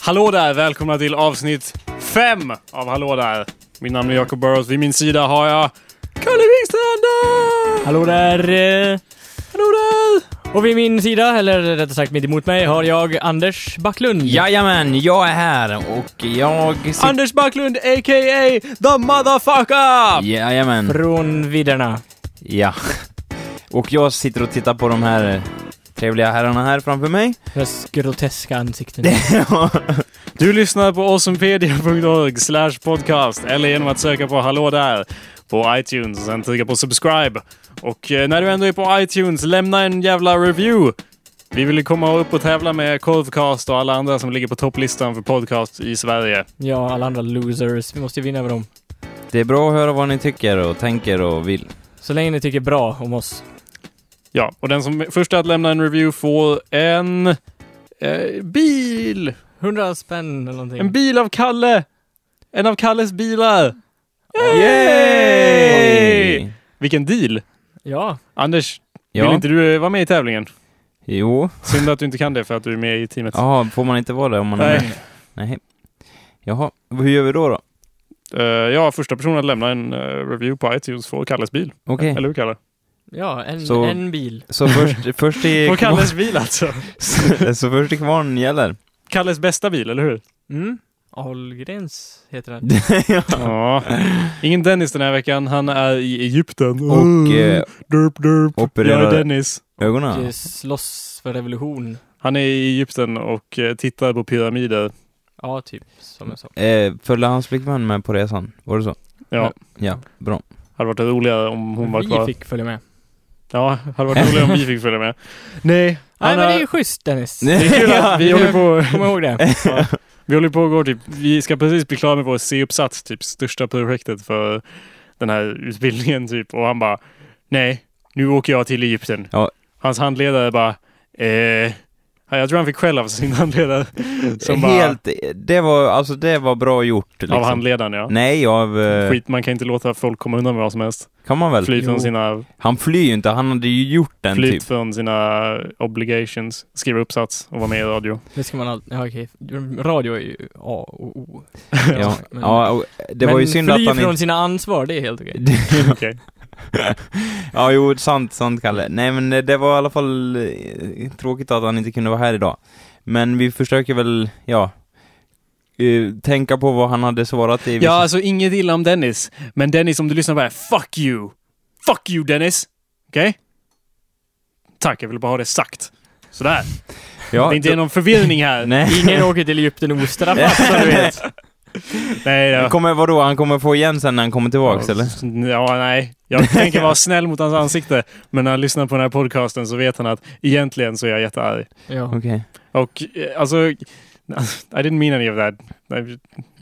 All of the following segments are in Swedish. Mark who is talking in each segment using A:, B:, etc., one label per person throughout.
A: Hallå där! Välkomna till avsnitt 5 av Hallå där! Mitt namn är Jacob Burrows. Vid min sida har jag Kalle Wingstrand!
B: Hallå där! eh,
A: Hallå där!
B: Och vid min sida, eller rättare sagt mitt emot mig, har jag Anders Backlund.
C: Jajamän, jag är här och jag sitter...
B: Anders Backlund, a.k.a. The Motherfucker!
C: Jajamän,
B: Från vidderna.
C: ja. Och jag sitter och tittar på de här eh, trevliga herrarna här framför mig.
B: Deras groteska ansikten.
A: Du lyssnar på awesomepedia.org slash podcast eller genom att söka på Hallå där på iTunes och sen trycka på subscribe. Och eh, när du ändå är på iTunes, lämna en jävla review! Vi vill ju komma upp och tävla med Korvcast och alla andra som ligger på topplistan för podcast i Sverige.
B: Ja, alla andra losers. Vi måste ju vinna över dem.
C: Det är bra att höra vad ni tycker och tänker och vill.
B: Så länge ni tycker bra om oss.
A: Ja, och den som är först att lämna en review får en eh, bil!
B: 100 spänn eller någonting.
A: En bil av Kalle! En av Kalles bilar!
C: Yay!
A: Vilken deal!
B: Ja.
A: Anders,
C: Ja.
A: vill inte du eh, vara med i tävlingen?
C: Jo.
A: Synd att du inte kan det för att du är med i teamet.
C: Jaha, får man inte vara det om man är med?
A: Nej.
C: Nej. Jaha, hur gör vi då då?
A: Eh, ja, första personen att lämna en eh, review på iTunes får Kalles bil.
C: Okej.
A: Eller hur Kalle?
B: Ja, en,
C: Så-
B: en bil.
C: Så först, först i
A: Får
C: kvarn...
A: Kalles bil alltså.
C: Så först i kvarn gäller.
A: Kalles bästa bil, eller hur?
B: Mm. Ahlgrens heter den.
A: Ja. Ingen Dennis den här veckan. Han är i Egypten.
C: Och eh,
A: Derp, derp. Jag är
C: opererar
A: Dennis.
C: ögonen.
B: Det eh, Slåss för revolution.
A: Han är i Egypten och eh, tittar på pyramider.
B: Ja, typ. Som jag sa.
C: Eh, följde hans flickvän med på resan? Var det så?
A: Ja,
C: Ja, bra.
A: hade varit roligare om hon var kvar.
B: Mm. Vi fick följa med.
A: Ja, hade varit roligare om vi fick följa med. Nej,
B: Nej,
A: han
B: men det är
A: har...
B: ju schysst Dennis.
A: Det är kul att vi
B: Ja.
A: håller på...
B: Kom ihåg det.
A: Ja. Vi håller på och går typ, vi ska precis bli klara med vår C-uppsats, typ största projektet för den här utbildningen typ. Och han bara, nej, nu åker jag till Egypten.
C: Ja.
A: Hans handledare bara, eh, ja, jag tror han fick skäll av sin handledare. Som bara,
C: Helt, det var, alltså det var bra gjort liksom.
A: av handledaren ja.
C: Nej, av... eh,
A: Skit, man kan inte låta folk komma undan med vad som helst.
C: Kan man väl?
A: Fly från
B: Jo.
A: sina,
C: Han flyr ju inte, han hade ju gjort den
A: flyt
C: typ.
A: från sina obligations, skriva uppsats och vara med i radio.
B: Det ska man alltid... Ja, okej. Radio är ju A och O.
C: Ja,
B: Men-
C: ja och det var ju
B: Men
C: synd att
B: fly
C: han
B: från
C: inte...
B: sina ansvar, det är helt okej.
A: Okej.
C: ja, jo, sant, sant Kalle. Nej men det- det var i alla fall eh, tråkigt att han inte kunde vara här idag. Men vi försöker väl, ja, eh, tänka på vad han hade svarat i
A: Ja, alltså inget illa om Dennis. Men Dennis, om du lyssnar på det här, fuck you! Fuck you Dennis! Okej? Tack, jag ville bara ha det sagt. Sådär.
C: ja,
A: det inte
C: då-
A: är någon förvirring här.
C: Nej.
B: Ingen åker till Egypten ostraffat, så du vet.
A: Nej, ja.
C: Kommer, vadå, han kommer få igen sen när han kommer tillbaks eller?
A: Ja, nej. Jag tänker vara snäll mot hans ansikte. Men när han lyssnar på den här podcasten så vet han att egentligen så är jag jättearg.
B: Ja.
C: Okej.
A: Och eh, alltså... I didn't mean any of that. Okej,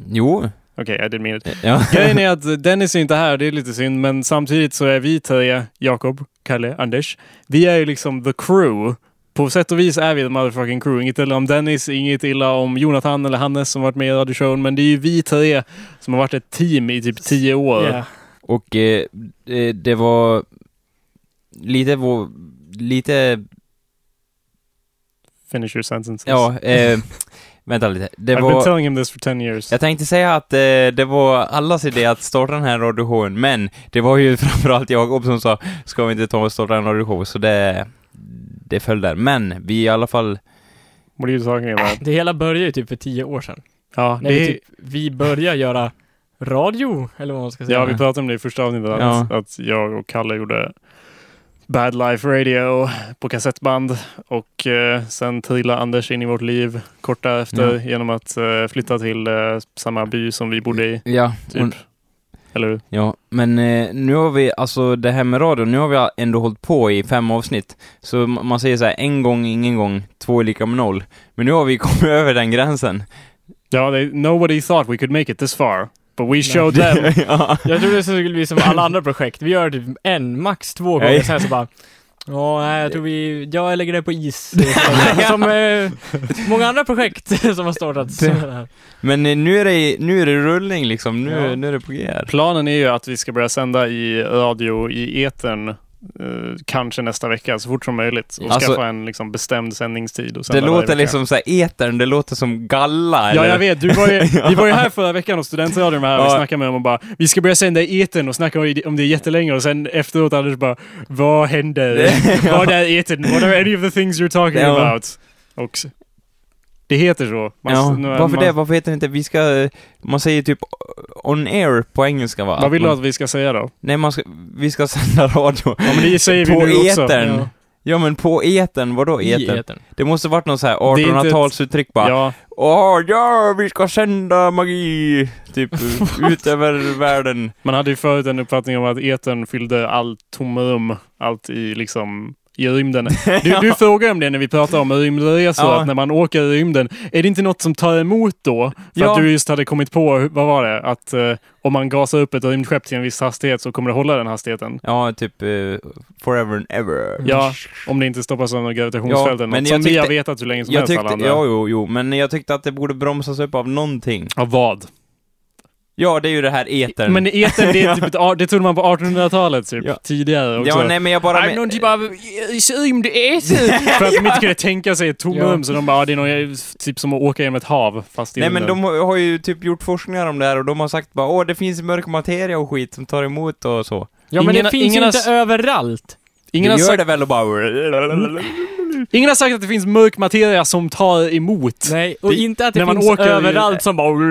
C: Jo. eh,
A: okay, I didn't mean it.
C: Ja.
A: Grejen är att Dennis är inte här, det är lite synd, men samtidigt så är vi tre, Jakob, Kalle, Anders, vi är ju liksom the crew. På sätt och vis är vi the motherfucking crew. Inget illa om Dennis, inget illa om Jonathan eller Hannes som varit med i radioshowen, men det är ju vi tre som har varit ett team i typ tio år.
B: Ja.
C: Och eh, eh, det var lite vår, lite,
A: Finish your sentences.
C: ja, eh, vänta lite. Det
A: I've been
C: var,
A: telling him this for ten years.
C: jag tänkte säga att eh, det var allas idé att starta den här radioshowen, men det var ju framförallt Jakob som sa, ska vi inte ta och starta en radioshow? Så det, det föll där. Men vi i alla fall,
A: What are you talking about?
B: Det hela började ju typ för tio år sedan.
A: Ja,
B: När
A: det
B: vi,
A: är,
B: typ, vi började göra radio, eller vad man ska säga.
A: ja, vi pratade om det i första avsnittet, att, att jag och Kalle gjorde Bad Life Radio på kassettband och eh, sen trillade Anders in i vårt liv kort därefter
C: Ja.
A: genom att eh, flytta till eh, samma by som vi bodde i.
C: ja,
A: Typ.
C: och-
A: Eller hur?
C: Ja, men eh, nu har vi, alltså det här med radio, nu har vi ändå hållit på i fem avsnitt. Så ma- man säger så här, en gång, ingen gång, två är lika med noll. Men nu har vi kommit över den gränsen.
A: Ja, they, nobody thought we could make it this far. But we showed them.
C: ja.
B: Jag trodde det skulle bli som alla andra projekt. Vi gör typ en, max två gånger,
C: Nej.
B: sen så bara Ja, nej, jag tror vi, jag lägger det på is. Som eh, många andra projekt som har startats.
C: Det- Men eh, nu är det, nu är det rullning liksom, nu,
B: Ja.
C: nu är det på G här.
A: Planen är ju att vi ska börja sända i radio i etern eh, kanske nästa vecka, så fort som möjligt. Och
C: Alltså-
A: skaffa en liksom, bestämd sändningstid. Och
C: Det
A: sända varje
C: låter
A: vecka.
C: liksom såhär, etern, det låter som galla
A: Ja,
C: eller?
A: jag vet. Du var ju, Vi var ju här förra veckan och studentradion var här och vi
C: Ja.
A: snackade med dem och bara Vi ska börja sända i etern och snacka om det- om det jättelänge och sen efteråt Anders bara Vad händer?
C: Ja.
A: Vad är etern? What are any of the things you're talking
C: Ja.
A: about? Och s- det heter så. Man-
C: ja,
A: nu-
C: varför
A: man-
C: det? Varför heter det inte, vi ska, eh, man säger typ on air på engelska va?
A: Vad vill du
C: man,
A: att vi ska säga då?
C: Nej, man ska, vi ska sända radio.
A: Ja, men det säger vi
C: På
A: nu också.
C: etern.
A: Ja.
C: Ja men på etern, vadå
B: I
C: etern?
B: etern.
C: Det måste varit något såhär
A: är inte ett-
C: 1800-talsuttryck bara.
A: Ja.
C: Åh, ja, vi ska sända magi! Typ ut över världen.
A: Man hade ju förut en uppfattning om att etern fyllde allt tomrum, allt i liksom i rymden. Du, du frågar om det när vi pratar om rymdresor,
C: Ja.
A: att när man åker i rymden, är det inte något som tar emot då? För
C: Ja.
A: att du just hade kommit på, hur- vad var det, att eh, om man gasar upp ett rymdskepp till en viss hastighet så kommer det hålla den hastigheten.
C: Ja, typ eh, forever and ever.
A: Ja, om det inte stoppas av något gravitationsfält
C: Ja,
A: eller
C: men
A: något,
C: jag
A: som vi har
C: tyckte-
A: vetat hur länge som
C: Jag
A: helst alla
C: tyckte,
A: andra.
C: ja, jo, jo, men jag tyckte att det borde bromsas upp av någonting.
A: Av vad?
C: Ja, det är ju det här etern.
A: Men etern, det, är typ, ett ar- det trodde man på 1800-talet typ,
C: Ja.
A: tidigare också.
C: ja, nej men jag bara... men-
A: av rymdäter! För att de inte kunde tänka sig ett tomrum, så de bara, ah, det är någon, typ som att åka genom ett hav, fast i
C: Nej men
A: rymden.
C: de har har ju typ gjort forskningar om det här och de har sagt bara åh det finns mörk materia och skit som tar emot och så.
B: Ja, men
A: Ingen-
B: det finns
A: ingen
B: ju
A: har
B: inte
A: s-
B: överallt.
A: ingen,
C: det
A: har
C: gör
A: sagt,
C: det väl och bara...
A: ingen har sagt att det finns mörk materia som tar emot.
B: Nej, och
C: Det-
B: inte att det
A: när man
B: finns
A: åker i-
B: överallt som bara... Som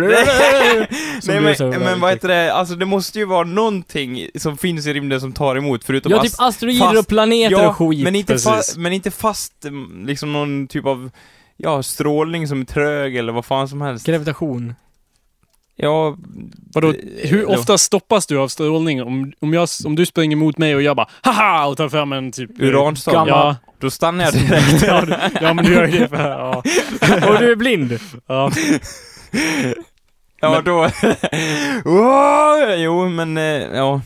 B: du
C: Nej
B: sa,
C: men, men vad heter det, alltså det måste ju vara någonting som finns i rymden som tar emot förutom
B: Ja,
C: ast-
B: typ asteroider och
C: fast-
B: planeter och skit.
C: men inte, fa-
A: Precis.
C: men inte fast mm, liksom någon typ av ja, strålning som är trög eller vad fan som helst.
B: Gravitation.
C: Ja,
A: Vadå,
C: Eh,
A: hur
C: då.
A: ofta stoppas du av strålning om, om, jag, om du springer mot mig och jag bara haha och tar fram en typ... eh,
C: uranstål.
B: gammal-
A: Ja,
C: Då stannar jag direkt.
A: ja, du- ja, men du gör ju det. För, ja,
B: Och du är blind.
A: ja.
C: Ja,
A: Men-
C: då... Wow, jo, men eh, ja.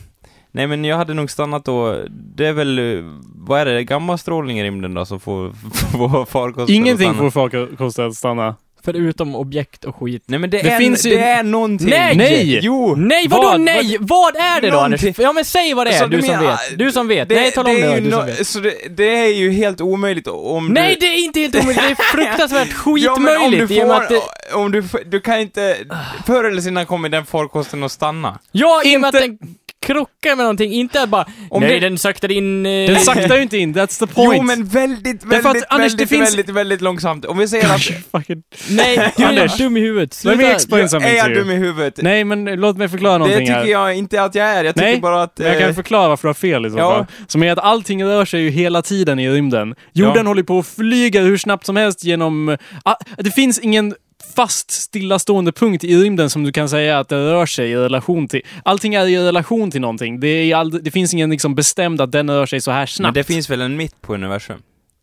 C: Nej, men jag hade nog stannat då. Det är väl, eh, vad är det, gammal strålning i rymden då som får, får farkosten
A: Ingenting
C: att stanna?
A: får farkosten att stanna.
B: Förutom objekt och skit.
C: Nej men det,
A: Det
C: är,
A: finns ju-
C: det är någonting.
B: Nej!
A: Nej!
C: Jo!
B: Nej, vadå
A: Vad?
B: nej? Vad är det då Anders?
C: Någonting.
B: Ja men säg vad det är,
C: Så
B: du
C: du
B: som
C: menar-
B: vet. Du som vet. nej, tala om
C: det
B: det,
C: är ju
B: du som
C: nå-
B: vet.
C: Så det, det är ju helt omöjligt om du...
B: Nej, det är inte helt omöjligt. Det är fruktansvärt
C: Ja, men om
B: skitmöjligt
C: du
B: i och med
C: får,
B: att det...
C: om du, får- du kan inte, förr eller senare kommer den farkosten att stanna.
B: Ja, i och med att den krockar med någonting. Inte bara...
C: Om
B: nej,
C: det-
B: den saktade in... eh,
A: Den saktar ju inte in, that's the point.
C: Jo men väldigt,
A: Därför att,
C: väldigt,
A: Anders, det
C: väldigt,
A: finns-
C: väldigt, väldigt långsamt. Om vi säger att,
A: Fucking...
B: Nej, du
A: Anders.
B: är dum i huvudet.
A: Let me
B: Sluta.
A: explain something
C: är
A: to
C: jag
A: you.
C: dum i huvudet?
A: Nej, men låt mig förklara
C: det
A: någonting
C: tycker
A: här.
C: jag inte att jag är. Jag tycker
A: Nej,
C: bara att...
A: Men jag
C: eh,
A: kan förklara varför du har fel i så
C: Ja.
A: fall. Som är att allting rör sig ju hela tiden i rymden. Jorden
C: Ja.
A: håller på att flyga hur snabbt som helst genom... ah, det finns ingen fast stillastående punkt i rymden som du kan säga att det rör sig i relation till. Allting är i relation till någonting. Det, är all, det finns ingen liksom bestämd att den rör sig så här
C: men
A: snabbt.
C: det finns väl en mitt på universum?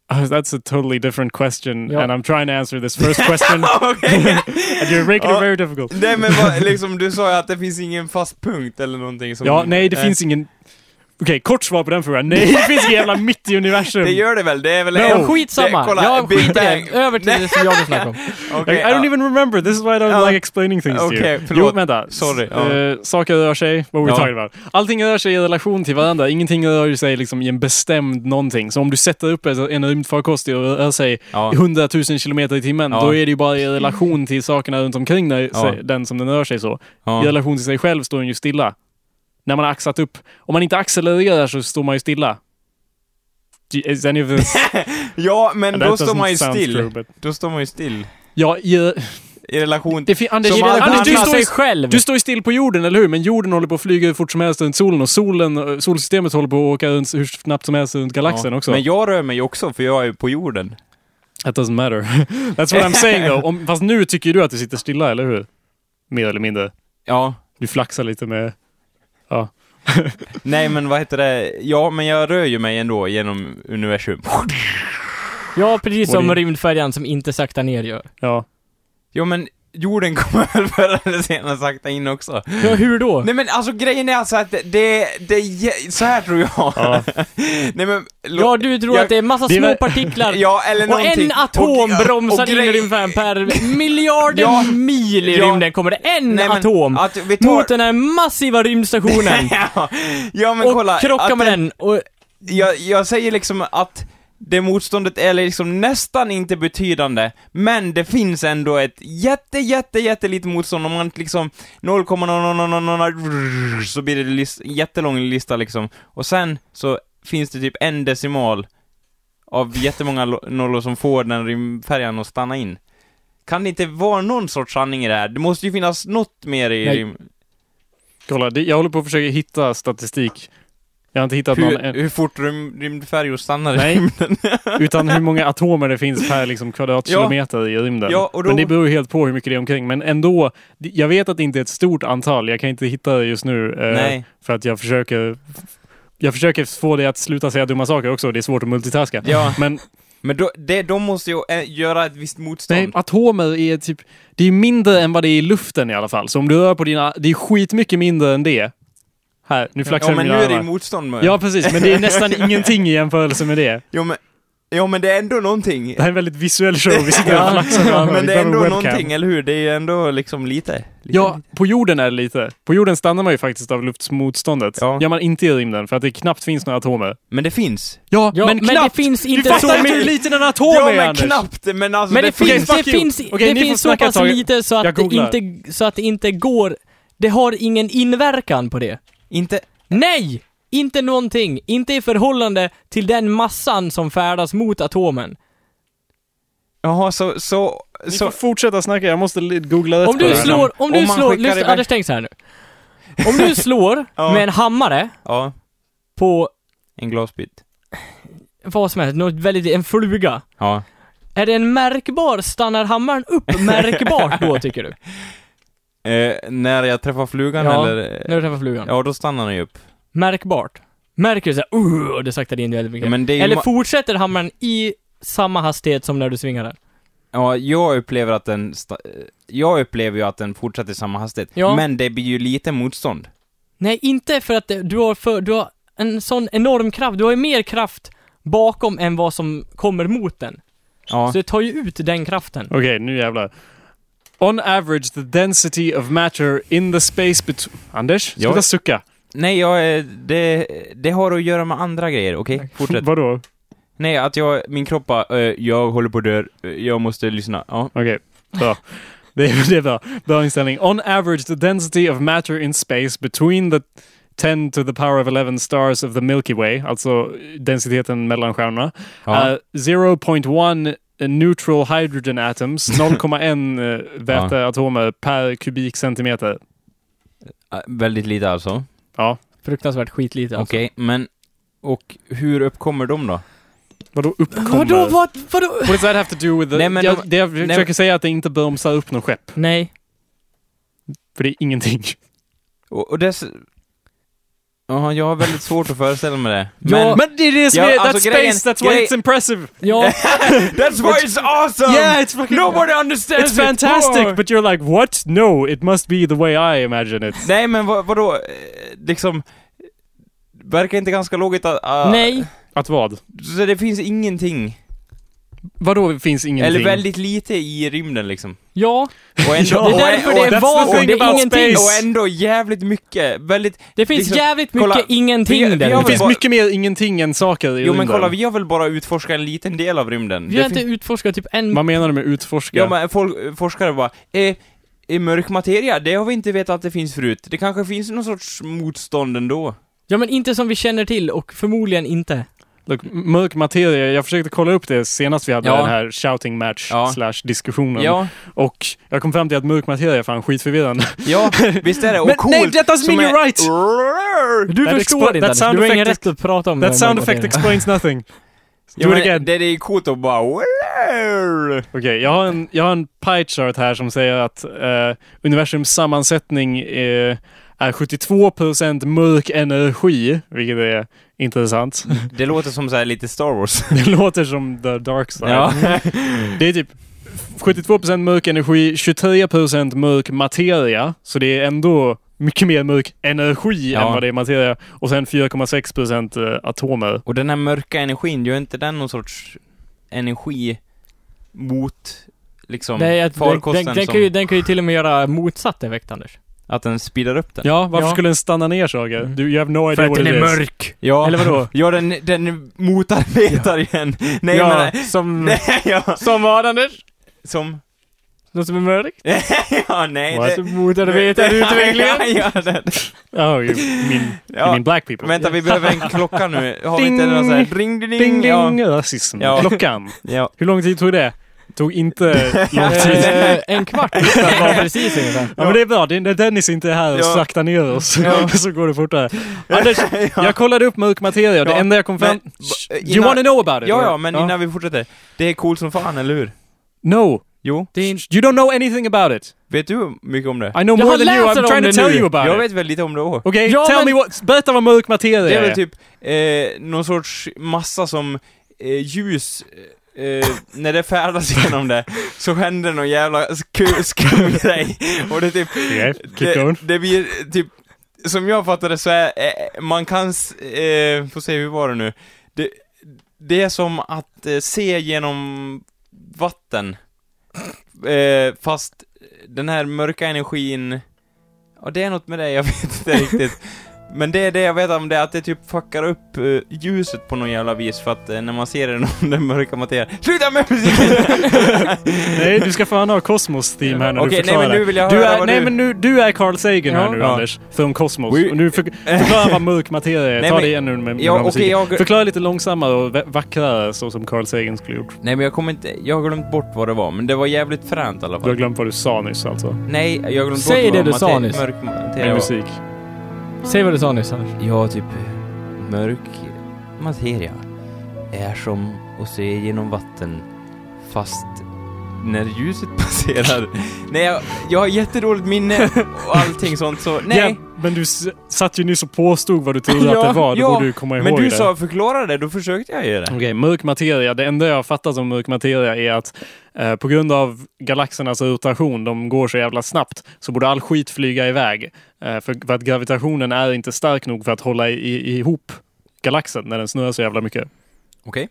A: Ah, that's a totally different question
B: Ja.
A: and I'm trying to answer this first question
C: Okej.
A: and you're making
C: Ja.
A: it very difficult.
C: Nej men vad, liksom, du sa ju att det finns ingen fast punkt eller någonting som...
A: Ja, nej det
C: Eh,
A: finns ingen... Okej, kort svar på den frågan. Nej, det finns ingen jävla mitt i universum.
C: Det gör det väl? Det är väl...
B: Nej,
C: Jo,
B: skitsamma.
C: Det, kolla,
B: jag
C: Big
B: skiter i
C: Bang.
B: det. Över till
C: Nej,
B: det som jag vill snacka om.
C: okej,
A: I don't
C: ja.
A: even remember, this is why I don't
C: Ja.
A: like explaining things to you.
C: Okej, uh, förlåt.
A: Jo, vänta.
C: Sorry, ja.
A: Eh, saker rör sig, what we're
C: Ja.
A: talking about. Allting rör sig i relation till varandra, ingenting rör ju sig liksom i en bestämd någonting. Så om du sätter upp en- en rymdfarkost och rör sig
C: Ja.
A: 100 000 kilometer i timmen,
C: Ja.
A: då är det ju bara i relation till sakerna runt omkring när,
C: Ja.
A: se- den som den rör sig så. I
C: Ja.
A: relation till sig själv står den ju stilla. När man har axlat upp. Om man inte accelererar så står man ju stilla. Do you- Is any of this...
C: ja, men då
A: That
C: står man ju
A: doesn't sound true,
C: still.
A: but-
C: Då står man ju still.
A: Ja, i,
C: I relation
A: det fin- Anders,
C: Som alla
A: Anders, du
B: Andas
A: står ju
B: sig själv.
A: Du står ju still på jorden, eller hur? Men jorden håller på att flyga hur fort som helst runt solen och solen, eh, solsystemet håller på att åka runt hur snabbt som helst runt galaxen
C: Ja.
A: också.
C: Men jag rör mig ju också, för jag är ju på jorden.
A: That doesn't matter. That's what I'm saying though. Om, fast nu tycker ju du att du sitter stilla, eller hur? Mer eller mindre.
C: Ja.
A: Du flaxar lite med... Ja.
C: Nej men vad heter det, ja men jag rör ju mig ändå genom universum.
B: Ja, precis
A: Och
B: som
A: det-
B: rymdfärjan som inte saktar ner gör.
A: ja.
C: Jo men jorden kommer väl förr eller senare sakta in också.
B: Ja, hur då?
C: Nej men alltså grejen är alltså att det, det, det är- så här tror jag.
A: Ja.
C: Nej men, låt-
B: Ja, du tror
C: jag-
B: att det är massa
A: det är
B: små
A: väl-
B: partiklar.
C: ja eller
B: Och
C: någonting.
B: en atom
C: Och- och-
B: bromsar
C: och
B: in
C: grej-
B: i rymdfärjan per miljarder
C: Ja.
B: mil i
C: Ja.
B: rymden kommer det en
C: Nej, men
B: atom
C: Att vi tar...
B: mot den här massiva rymdstationen
C: ja, ja men
B: och
C: kolla.
B: krockar
C: att
B: med den och
C: jag, jag säger liksom att det motståndet är liksom nästan inte betydande, men det finns ändå ett jätte, jätte, jättelitet motstånd. Om man liksom 0,0000 så blir det list, jättelång lista liksom. Och sen så finns det typ en decimal av jättemånga lo- nollor som får den rimfärjan att stanna in. Kan det inte vara någon sorts sanning i det här? Det måste ju finnas något mer i
B: Nej.
C: rim.
A: Kolla, det- jag håller på att försöka hitta statistik. Jag har inte hittat någon,
C: Hur,
A: än,
C: hur fort rym, rymdfärjor stannar
A: Nej.
C: i rymden.
A: utan hur många atomer det finns per liksom, kvadratkilometer i rymden.
C: Ja, och då-
A: Men det beror ju helt på hur mycket det är omkring. Men ändå, det- jag vet att det inte är ett stort antal. Jag kan inte hitta det just nu. eh,
C: Nej.
A: För att jag försöker, jag försöker få det att sluta säga dumma saker också. Det är svårt att multitaska.
C: Ja.
A: Men
C: Men då, det, de måste ju eh, göra ett visst
A: Nej,
C: motstånd.
A: atomer är typ... Det är mindre än vad det är i luften i alla fall. Så om du rör på dina... Det är skitmycket mindre än det. Här, nu flaxar
C: ja,
A: jag
C: men nu
A: mina
C: är det ju
A: armar.
C: motstånd med.
A: Ja, precis. Men det är nästan ingenting i jämförelse med det.
C: Jo, men, jo, men det är ändå någonting.
A: Det här är en väldigt visuell show. Vi sitter och
C: Ja,
A: flaxar med armar.
C: men
A: Vi
C: det är
A: behöver
C: ändå
A: webcam.
C: någonting, eller hur? Det är ju ändå liksom lite. lite
A: Ja, på jorden är det lite. På jorden stannar man ju faktiskt av luftmotståndet.
C: Ja.
A: Gör man inte i rymden, för att det knappt finns några atomer.
C: Men det finns.
A: Ja,
B: Ja, men,
A: men knappt!
B: det finns
A: Du
B: inte så
A: fattar inte hur
B: mycket.
A: liten en atom
C: Ja,
A: är,
C: men
A: Anders!
C: knappt! Men alltså,
B: Men det finns,
A: fuck
B: det
A: you.
B: finns,
A: Okej,
B: det
A: ni får
B: finns så
A: snacka ett
B: pass
A: tag.
B: lite så
A: Jag
B: att, det
A: googlar.
B: inte, så att det inte går, det har ingen inverkan på det.
C: Inte...
B: Nej! Inte någonting. Inte i förhållande till den massan som färdas mot atomen.
C: Jaha, så... så,
A: Ni
C: så
A: får fortsätta snacka, jag måste li- googla rätt
B: Om
A: på
B: du
A: det här.
B: slår, om
C: Om
B: du
C: man
B: slår,
C: skickar
B: lyssna,
C: iväg-
B: Anders tänk så här nu. Om du slår
C: Ja.
B: med en hammare
C: ja,
B: på
C: en glasbit.
B: vad som helst, något väldigt, en fluga.
C: Ja.
B: Är det en märkbar, stannar hammaren upp märkbart då tycker du?
C: Eh, när jag träffar flugan
B: Ja,
C: eller...
B: När du träffar flugan?
C: Ja, då stannar den ju upp.
B: Märkbart. Märker du såhär, uh, det saktar in väldigt mycket.
C: Ja, men det är ju
B: Eller
C: ma-
B: fortsätter hammaren i samma hastighet som när du svingar den?
C: Ja, jag upplever att den... Sta- eh, jag upplever ju att den fortsätter i samma hastighet.
B: Ja.
C: Men det blir ju lite motstånd.
B: Nej, inte för att det- du har, för, du har en sån enorm kraft, du har ju mer kraft bakom än vad som kommer mot den.
C: Ja.
B: Så det tar ju ut den kraften.
A: Okej, nu jävlar. On average the density of matter in the space between... Anders,
C: Ja.
A: sluta sucka.
C: Nej, jag, eh, det, det har att göra med andra grejer, okej? Fortsätt.
A: Vadå?
C: Nej, att jag, min kropp bara, eh, jag håller på att dö, eh, jag måste lyssna. Ja.
A: Okej, bra. Det är, det är bra. Bra inställning. On average the density of matter in space between the 10 to the power of 11 stars of the Milky Way, alltså densiteten mellan stjärnorna, eh,
C: Ja.
A: är 0.1 neutral hydrogen atoms, 0,1 eh, väteatomer per kubikcentimeter.
C: Eh, väldigt lite alltså.
A: Ja,
B: Fruktansvärt skitlite alltså.
C: Okej, men, och hur uppkommer de då?
A: vadå uppkommer?
B: Vadå, vad, vadå?
A: What does that have to do with the...
C: Nej, men
A: jag,
C: de-
A: det jag
C: nej,
A: försöker säga är att det inte bromsar upp något skepp,
B: Nej.
A: för det är ingenting.
C: Och, och dess... Ja, jag har väldigt svårt att föreställa mig det.
B: Ja.
C: Men...
A: Men det är det som
C: Ja,
A: är...
C: alltså,
A: that's
C: grejen-
A: space, that's why
C: grej-
A: it's impressive!
B: Ja,
C: That's why it's awesome!
A: Yeah, it's fucking...
C: understands
A: It's fantastic, but you're like, what? No, it must be the way I imagine it.
C: Nej, men vad, vadå, Eh, liksom... Verkar inte ganska logiskt att... ah,
B: nej.
A: Att vad?
C: Så det finns ingenting.
A: Vadå finns ingenting?
C: Eller väldigt lite i rymden liksom.
B: Ja,
C: Och ändå,
A: Ja,
B: det är därför
A: och-
B: det
A: that's
B: är
A: the
B: vakuum,
A: thing
B: det är
A: about
B: ingenting.
A: space.
C: Och ändå jävligt mycket, väldigt...
B: Det finns
C: Liksom,
B: jävligt mycket
C: kolla, vi-
B: ingenting
C: vi
B: där
C: har
A: det
C: väl
B: ute.
A: finns
C: bara-
A: mycket mer ingenting än saker i
C: Jo men
A: rymden.
C: kolla, vi har väl bara utforskat en liten del av rymden?
B: Vi har
C: Det
B: inte
C: fin-
B: utforskat typ en...
A: Vad menar du med utforska?
C: Ja men folk, forskare bara, eh, eh, mörk materia, det har vi inte vetat att det finns förut. Det kanske finns någon sorts motstånd ändå.
B: Ja men inte som vi känner till och förmodligen inte.
A: Look, m- mörk materia, jag försökte kolla upp det senast vi hade
C: Ja.
A: den här shouting match
C: Ja.
A: slash diskussionen.
C: Ja,
A: Och jag kom fram till att mörk materia är fan skitförvirrande.
C: ja, visst är det. Och
A: Men
C: coolt,
A: nej, that doesn't
C: som
A: mean you're
C: är-
A: right.
B: Du
A: That expo-
B: förstår inte
A: that
B: Anders,
A: sound
B: du har ingen
A: effect-
B: rätt att prata om
A: That sound
B: om-
A: effect explains nothing.
C: Ja,
A: Do it
C: men
A: again.
C: Det, det är coolt att bara...
A: Okej, jag har en, jag har en pie chart här som säger att eh, universums sammansättning eh, är 72% mörk energi, vilket är intressant.
C: Det låter som så här lite Star Wars.
A: Det låter som the dark side. Det är typ 72% mörk energi, 23% mörk materia, så det är ändå mycket mer mörk energi
C: Ja.
A: än vad det är materia. Och sen 4,6% eh, atomer.
C: Och den här mörka energin, gör inte den någon sorts energi mot liksom
B: Nej, att den,
C: farkosten
B: den, den,
C: som...
B: kan ju, den kan ju till och med göra motsatt effekt Anders.
C: Att den speedar upp den.
A: Ja, varför
B: Ja.
A: skulle den stanna ner saker?
B: Mm.
A: Du, you have no
B: För
A: idea
B: att
A: what
B: den
A: it
B: är
A: is.
B: mörk.
C: Ja,
A: Eller vadå?
C: ja den, den motarbetar igen. Nej
A: ja, Mm.
C: men...
A: eh, som...
C: Nej, ja.
A: Som vad Anders?
C: Som...
A: Något som är mörkt?
C: ja, nej.
A: Vad
C: det-
A: motarbetar utvecklingen?
C: Ja, ja, den.
A: Ja, oh, you mean, you
C: Ja,
A: mean black people?
C: vänta, vi behöver en klocka nu. Har vi inte
A: Ding.
C: någon sån här... Ring, ding,
A: Ding,
C: ding. Ja.
A: ding, rasism.
C: Ja.
A: Klockan.
C: ja.
A: Hur lång tid tog det? Tog inte lång tid.
B: Eh, en kvart utan var precis ungefär.
A: Ja, men det är bra, det är när Dennis inte är här och
C: Ja.
A: slaktar ner oss
C: Ja.
A: så går det fortare. Anders, jag kollade upp mörk materia och det
C: Ja,
A: enda jag kom fram...
C: men-
A: Shh,
C: b- eh,
A: you
C: innan-
A: wanna know about it?
C: Ja,
A: or-
C: ja, men innan vi fortsätter. Det är coolt som fan, eller hur?
A: No,
C: Jo.
B: Det är en...
A: you don't know anything about it.
C: Vet du mycket om det?
A: I know
B: Jag
A: more
B: har
A: than you,
B: läst
A: I'm
B: om
A: trying to
B: det
A: tell
B: nu.
A: you about
C: Jag
A: it.
C: vet väl lite om det också.
A: Okej,
B: Ja,
A: tell
B: men-
A: me what... Berätta vad mörk materia
C: Det är väl
A: är.
C: typ eh, någon sorts massa som eh, ljus, eh, när det färdas genom det, så händer någon jävla sku- skum grej. Och det är typ...
A: Okej, keep
C: Det,
A: going.
C: det blir eh, typ, som jag fattar det så är, eh, man kan, s- eh, får se hur var det nu? Det, det är som att eh, se genom vatten. Eh, fast den här mörka energin, ja det är något med det, jag vet inte riktigt. Men det är det jag vet om det, är att det typ fuckar upp eh, ljuset på någon jävla vis för att eh, när man ser den, den mörka materian. Sluta med musiken!
A: Nej, du ska fan ha Cosmos-team här när
C: Okej,
A: du
C: nej
A: förklarar.
C: men nu vill jag
A: du
C: höra
A: är,
C: vad
A: nej,
C: du...
A: men nu, du är Carl Sagan här
B: Ja.
A: nu
C: Ja.
A: Anders, från Cosmos.
C: We-
A: Och nu för, förklara vad mörk materia är.
C: Nej,
A: Ta
C: men-
A: det igen nu med, med
C: Ja, okej,
A: musiken.
C: jag-
A: Förklara lite långsammare och vä- vackrare så som Carl Sagan skulle gjort.
C: Nej men jag kommer inte, jag har glömt bort vad det var, men det var jävligt fränt i alla
A: Du har
C: fall.
A: glömt vad du sa nyss alltså.
C: Nej, jag har glömt
B: Säg
C: bort
B: det
C: vad
B: du sa
C: mate-
B: nyss.
C: mörk materia
A: Med
C: var.
A: musik.
B: Säg vad du sa nyss Anders.
C: Ja, typ mörk materia är som att se genom vatten fast när ljuset passerar. nej, jag, jag har jättedåligt minne och allting sånt så, nej.
A: Ja, men du s- satt ju nyss och påstod vad du trodde
C: Ja,
A: att det var. Du
C: ja,
A: borde ju komma ihåg
C: Men du
A: det.
C: sa förklara det, då försökte jag göra det.
A: Okej, mörk materia. Det enda jag fattar som mörk materia är att eh, på grund av galaxernas rotation, de går så jävla snabbt, så borde all skit flyga iväg. Eh, för, för att gravitationen är inte stark nog för att hålla i, i, ihop galaxen när den snurrar så jävla mycket.
C: Okej.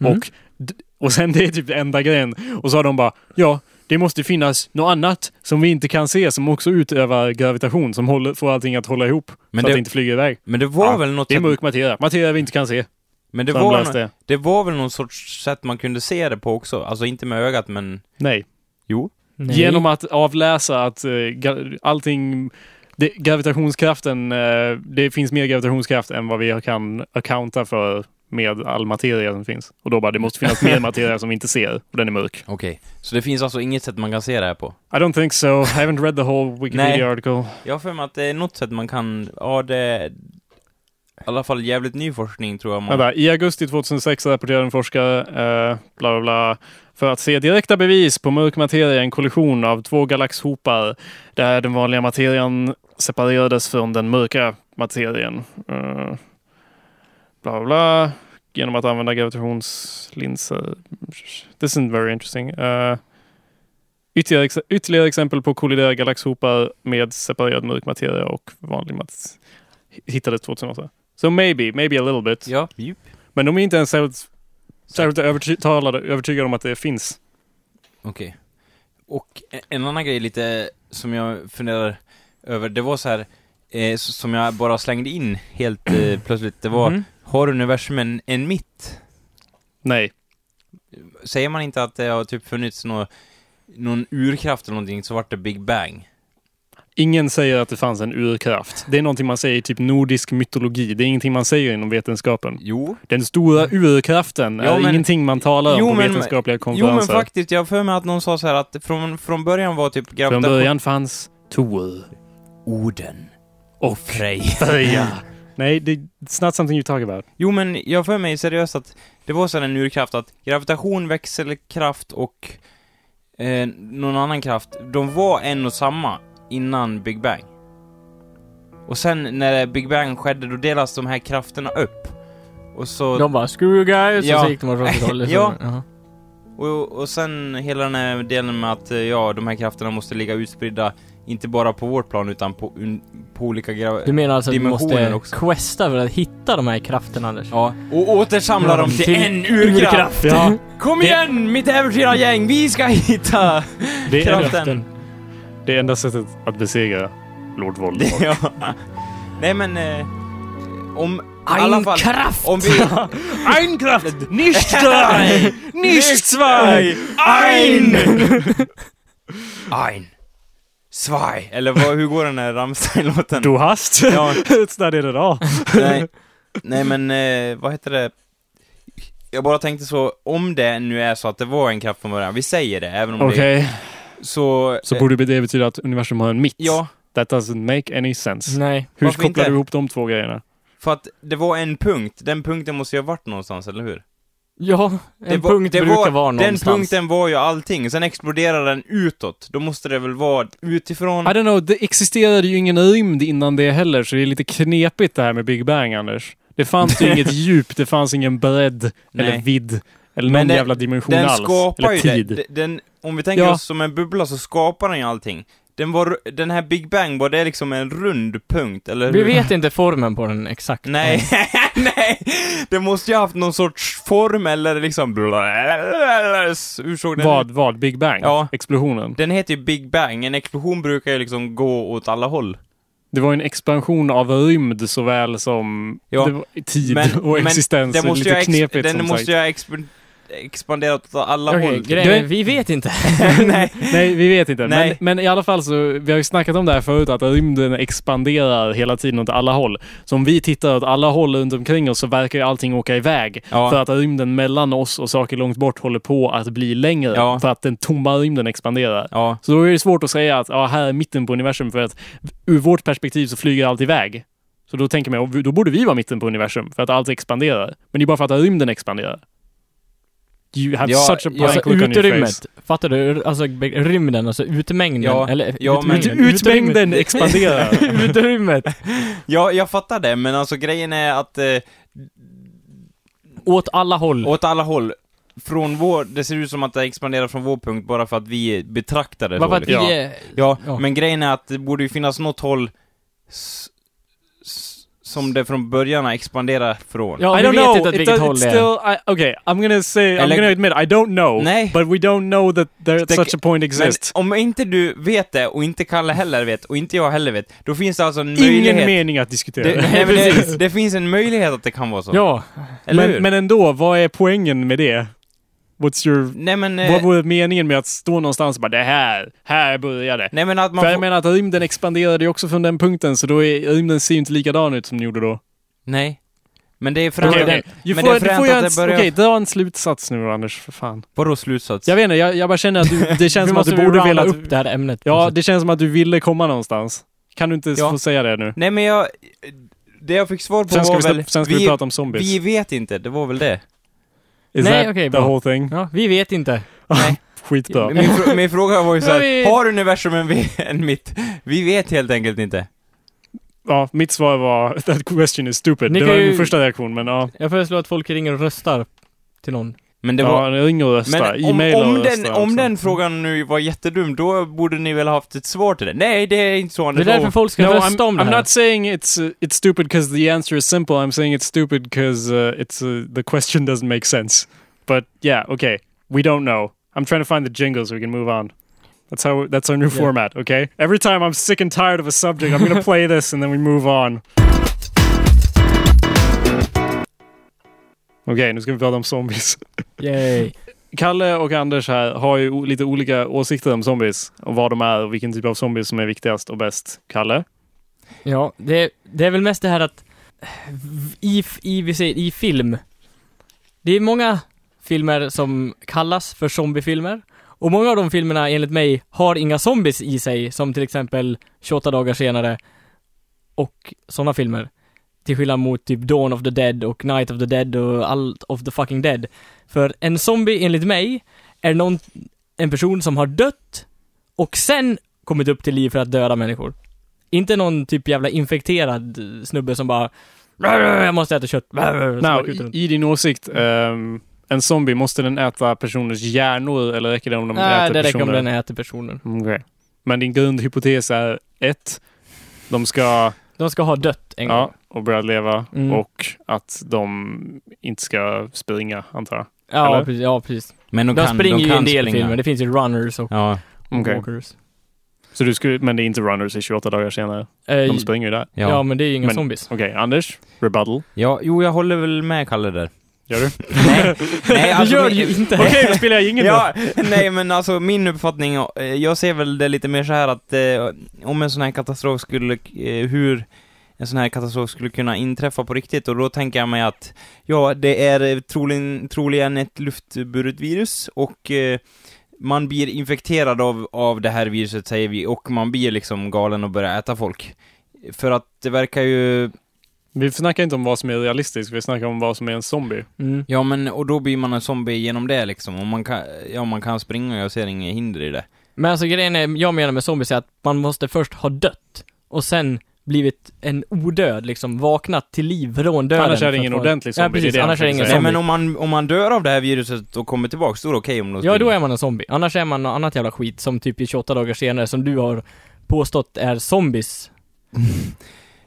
B: Mm.
A: Och, d- och sen det är typ det enda grejen. Och så har de bara, ja, det måste finnas något annat som vi inte kan se som också utövar gravitation, som håller, får allting att hålla ihop
C: Men
A: så att
C: det-
A: det inte flyger iväg.
C: Men det var
A: Ja,
C: väl något
A: Det är
C: sätt,
A: mörk materia. Materia vi inte kan se.
C: men det
A: Så han
C: var,
A: löste
C: nå-
A: det.
C: det var väl någon sorts sätt man kunde se det på också? Alltså inte med ögat men,
A: Nej.
C: jo.
B: Nej.
A: Genom att avläsa att eh, ga- allting, det, gravitationskraften, eh, det finns mer gravitationskraft än vad vi kan accounta för med all materia som finns. Och då bara, det måste finnas mer materia som vi inte ser, och den är mörk.
C: Okej, så det finns alltså inget sätt man kan se det här på?
A: I don't think so. I haven't read the whole
C: Nej.
A: Wikipedia article.
C: Jag har för mig att det är något sätt man kan, ja det... I alla fall jävligt ny forskning tror jag man...
A: Vänta, I augusti 2006 rapporterade en forskare, eh, bla bla bla, för att se direkta bevis på mörk materia i en kollision av två galaxhopar där den vanliga materian separerades från den mörka materien. Eh, bla bla bla. Genom att använda gravitationslinser. This isn't very interesting. Eh, ytterligare, ex- ytterligare exempel på kolliderade galaxhopar med separerad mörk materia och vanlig materia hittades 2008. So maybe, maybe a little bit.
C: Ja, djup.
A: Men de är inte ens särskilt, särskilt övertygade, övertygade om att det finns.
C: Okej. Och e- en annan grej lite som jag funderar över, det var så här eh, s- som jag bara slängde in helt eh, plötsligt, det var
A: Mhm.
C: Har universum en, en mitt?
A: Nej.
C: Säger man inte att det har typ funnits nå någon urkraft eller någonting så vart det Big Bang?
A: Ingen säger att det fanns en urkraft. Det är någonting man säger i typ nordisk mytologi. Det är ingenting man säger inom vetenskapen.
C: Jo.
A: Den stora urkraften
C: Ja,
A: är
C: Mm. men-
A: ingenting man talar om
C: Jo,
A: på
C: men-
A: vetenskapliga
C: Jo men
A: konferenser.
C: faktiskt, jag har för mig att någon sa så här att från, från början var typ gravitation...
A: Från början fanns Tor
C: Oden
A: och
C: Frej.
A: Freja. Nej, det, it's not something you talk about.
C: Jo men jag har för mig seriöst att det var sån en urkraft att gravitation, växelkraft och eh, någon annan kraft, de var en och samma innan Big Bang. Och sen när Big Bang skedde då delas de här krafterna upp. Och så...
B: De bara 'screw you guys' och
C: Ja.
B: så gick de åt sitt håll. liksom.
C: Ja.
B: Jaha.
C: Och, och sen hela den här delen med att eh, ja, de här krafterna måste ligga utspridda, inte bara på vårt plan utan på, un, på olika gra-
B: Du menar alltså att vi
C: Dimensioner
B: måste
C: också.
B: questa för att hitta de här krafterna Anders?
C: Ja, och återsamla dem till,
B: Till
C: en urkraft!
B: urkraft.
A: Ja,
C: Kom
A: Det-
C: igen mitt äventyrargäng, vi ska hitta
A: det är
C: kraften!
A: det enda sättet att besegra Lord Voldemort.
C: ja. Nej men... Eh, om... i alla fall-
B: Einkraft!
C: Om vi...
A: Einkraft! Nicht zwei! Nicht zwei!
C: Ein! Ein. Zwei. Eller vad, hur går den här Rammstein-låten?
A: Du hast!
C: Ja. Mm,
A: It's not it at all.
C: Nej. Nej men, eh, vad heter det? Jag bara tänkte så, om det nu är så att det var en kraft från början, vi säger det, även om det
A: Okej,
C: så...
A: så
C: eh,
A: borde det betyda att universum har en mitt.
C: Ja,
A: That doesn't make any sense.
B: Nej.
A: Hur
C: varför
A: kopplar
C: inte?
A: du ihop de två grejerna?
C: för att det var en punkt, den punkten måste ju ha varit någonstans, eller hur?
B: Ja, en
C: det var-
B: punkt
C: det
B: brukar
C: var-
B: vara någonstans.
C: Den punkten var ju allting, sen exploderade den utåt, då måste det väl vara utifrån...
A: I don't know, det existerade ju ingen rymd innan det heller, så det är lite knepigt det här med Big Bang, Anders. Det fanns ju inget djup, det fanns ingen bredd, eller
C: Nej.
A: vidd, eller
C: Men
A: någon
C: den-
A: jävla dimension
C: Den
A: alls.
C: skapar
A: eller
C: ju
A: tid.
C: det. D- Den, om vi tänker
A: Ja.
C: oss som en bubbla så skapar den ju allting. Den, var, den här Big Bang, var det liksom en rund punkt, eller
B: Vi
C: hur?
B: vet inte formen på den exakt.
C: Nej, nej! Det måste ju ha haft någon sorts form eller liksom... Hur såg den
A: Vad,
C: ut?
A: vad? Big Bang?
C: Ja.
A: Explosionen?
C: Den heter ju Big Bang, en explosion brukar ju liksom gå åt alla håll.
A: Det var ju en expansion av rymd såväl som
C: Ja.
A: det var, tid
C: Men-
A: och
C: men
A: existens.
C: Den måste
A: lite
C: ju ha ex-
A: knepigt
C: den
A: som
C: måste
A: sagt.
C: ju ha exp- expanderat åt alla
B: Okej,
C: håll. typ.
B: grejen är, vi vet inte.
C: nej.
A: Nej, vi vet inte. Men,
C: Nej.
A: men i alla fall så, vi har ju snackat om det här förut, att rymden expanderar hela tiden åt alla håll. Så om vi tittar åt alla håll runt omkring oss så verkar ju allting åka iväg.
C: Ja.
A: För att rymden mellan oss och saker långt bort håller på att bli längre.
C: Ja.
A: För att den tomma rymden expanderar.
C: Ja.
A: Så då är det svårt att säga att ja, här är mitten på universum för att ur vårt perspektiv så flyger allt iväg. Så då tänker man, "Och då borde vi vara mitten på universum för att allt expanderar. Men det är bara för att rymden expanderar. You have
C: Ja,
A: such a blank
C: ja,
B: Alltså
A: look on your face.
B: utrymmet. Fattar du? Alltså be- rymden, alltså utemängden.
C: Ja,
B: Eller
C: ja, men-
A: Ut- Utmängden
B: Utrymmet.
A: expanderar.
B: utrymmet.
C: ja, jag fattar det, men alltså grejen är att... Eh,
B: Åt alla håll.
C: Åt alla håll. Från vår, det ser ut som att det expanderar från vår punkt bara för att vi betraktar det
B: Bara för
C: så.
B: att vi
C: liksom.
A: Ja.
B: är...
C: ja.
B: ja.
C: men grejen är att det borde ju finnas något håll s- s- som det från början har expanderat från.
B: Ja,
A: I
B: vi
A: don't
B: vet
A: know.
B: inte åt
A: It
B: vilket
A: does-
B: håll
A: it's
B: det är.
A: still, I, okay, I'm gonna say, I'm
C: Eller-
A: gonna admit, I don't know.
C: Nej.
A: But we don't know that there,
C: Det-
A: such a point
C: Men
A: exists.
C: om inte du vet det, och inte Kalle heller vet, och inte jag heller vet, då finns det alltså en
A: Ingen
C: möjlighet...
A: mening att diskutera.
C: Det, nej, men det, det finns en möjlighet att det kan vara så.
B: Ja.
C: Eller hur?
A: men, men ändå, vad är poängen med det? What's your
C: nej men... eh,
A: Vad vore meningen med att stå någonstans och bara det här, här börjar det.
C: Nej men att man...
A: För
C: får-
A: jag menar att rymden expanderade ju också från den punkten, så då är, rymden ser ju inte likadan ut som den gjorde då.
C: Nej. Men det är
B: Men
A: Okej,
C: fränt
B: det-
A: okej.
C: att det...
A: Du
C: men
A: får-
C: det är
A: du
C: fränt
A: får göra
C: att
A: en
C: det
A: s-
C: börjar-
A: Okej, dra en slutsats nu Anders, för fan.
C: Vadå slutsats?
A: Jag vet inte, jag, jag bara känner att du, det känns
B: Vi
A: som att
B: måste
A: du borde
B: rounda
A: vilja...
B: upp det här ämnet. Alltså,
A: Ja, det känns som att du ville komma någonstans. Kan du inte
C: Ja.
A: få säga det nu?
C: Nej men jag... Det jag fick svar på
A: Sen ska,
C: var
A: vi,
C: väl...
A: släpp- sen ska vi, prata om zombies.
C: vi vet inte, det var väl det?
A: Is
B: Nej,
A: that
B: okej,
A: the
B: bra.
A: whole thing?
B: Ja, vi vet inte.
C: Nej.
A: Skitbra.
C: Min, fr- min fråga var ju
B: Ja, vi-
C: såhär, har universum en, vi- en mitt? Vi vet helt enkelt inte.
A: Ja, mitt svar var that question is stupid.
B: Ni
A: det
B: kan
A: var
B: ju-
A: min första reaktion, men ja.
B: Jag föreslår att folk ringer och röstar till någon.
C: Men det
A: ja
C: var...
A: ring och rösta.
C: Men om,
A: E-mail och
C: om,
A: rösta
C: den,
A: också.
C: om den frågan nu var jättedum, då borde ni väl ha haft ett svar till det. Nej, det är inte så
B: Det är
C: Anders. Oh.
B: därför folk ska
A: No, I'm,
B: rösta om det
A: I'm
B: här.
A: not saying it's uh, it's stupid because the answer is simple. I'm saying it's stupid because uh, it's uh, the question doesn't make sense. But yeah, okay, we don't know. I'm trying to find the jingle so we can move on. That's how that's our new
B: Yeah.
A: format. Okay, every time I'm sick and tired of a subject, I'm gonna play this and then we move on. Okej, nu ska vi prata om zombies.
B: Yay.
A: Kalle och Anders här har ju o- lite olika åsikter om zombies. Och vad de är och vilken typ av zombies som är viktigast och bäst. Kalle?
B: Ja, det, det är väl mest det här att i, i, vi säger, i film, det är många filmer som kallas för zombiefilmer och många av de filmerna enligt mig har inga zombies i sig som till exempel 28 dagar senare och sådana filmer. Till skillnad mot typ Dawn of the Dead och Night of the Dead och allt of the fucking dead. För en zombie enligt mig är någon, en person som har dött och sen kommit upp till liv för att döda människor. Inte någon typ jävla infekterad eh, snubbe som bara Jag måste äta kött. som bara
A: Now,
B: skjuter
A: i,
B: runt.
A: i din åsikt, ehm, en zombie, måste den äta personers hjärnor eller räcker det om de
B: Nej,
A: äter
B: det räcker
A: personer?
B: om den äter personer.
A: Mm, okej. Men din grundhypotes är ett, de ska
B: De ska ha dött en gång.
A: ja, och börja leva
B: Mm.
A: och att de inte ska springa, antar jag.
B: Ja,
A: Eller?
B: precis. Ja, precis.
C: Men
B: De,
C: de, kan,
B: springer
C: de
B: ju i
C: kan
B: en del
C: springa.
B: filmer. Det finns ju runners och
C: Ja.
A: Okej.
B: walkers.
A: Så du skulle, men det är inte runners i 28 dagar senare.
B: Eh,
A: De springer ju där.
B: ja.
C: Ja.
B: men det är ju inga
A: Men-
B: zombies.
A: Okej, Anders. Rebuttal.
C: ja, jo jag håller väl med Kalle där.
A: Gör du?
C: Nej, nej
B: det
C: alltså,
B: gör det
C: min-
B: ju inte.
A: Okej, då spelar jag ingen
C: Ja, nej men alltså min uppfattning, eh, jag ser väl det lite mer så här att eh, om en sån här katastrof skulle, eh, hur en sån här katastrof skulle kunna inträffa på riktigt och då tänker jag mig att ja, det är eh, troligen, troligen ett luftburet virus och eh, man blir infekterad av, av det här viruset säger vi och man blir liksom galen och börjar äta folk. För att det verkar ju,
A: Vi snackar inte om vad som är realistiskt, vi snackar om vad som är en zombie.
B: Mm.
C: ja men och då blir man en zombie genom det liksom och man kan, ja man kan springa och jag ser inget hinder i det.
B: Men alltså grejen är, jag menar med zombies är att man måste först ha dött och sen blivit en odöd, liksom vaknat till liv från döden.
A: Annars är
B: för
A: det
B: att
A: ingen
B: vara-
A: ordentlig
B: Ja,
A: zombie.
B: precis,
A: det är det
B: annars är det
A: jag
B: ingen
A: försöker
C: Nej
A: säga.
B: zombie.
C: men om man, om man dör av det här viruset och kommer tillbaks, då är det okej om de
B: Ja, då
C: springer.
B: är man en zombie. Annars är man något annat jävla skit som typ i 28 dagar senare som du har påstått är zombies.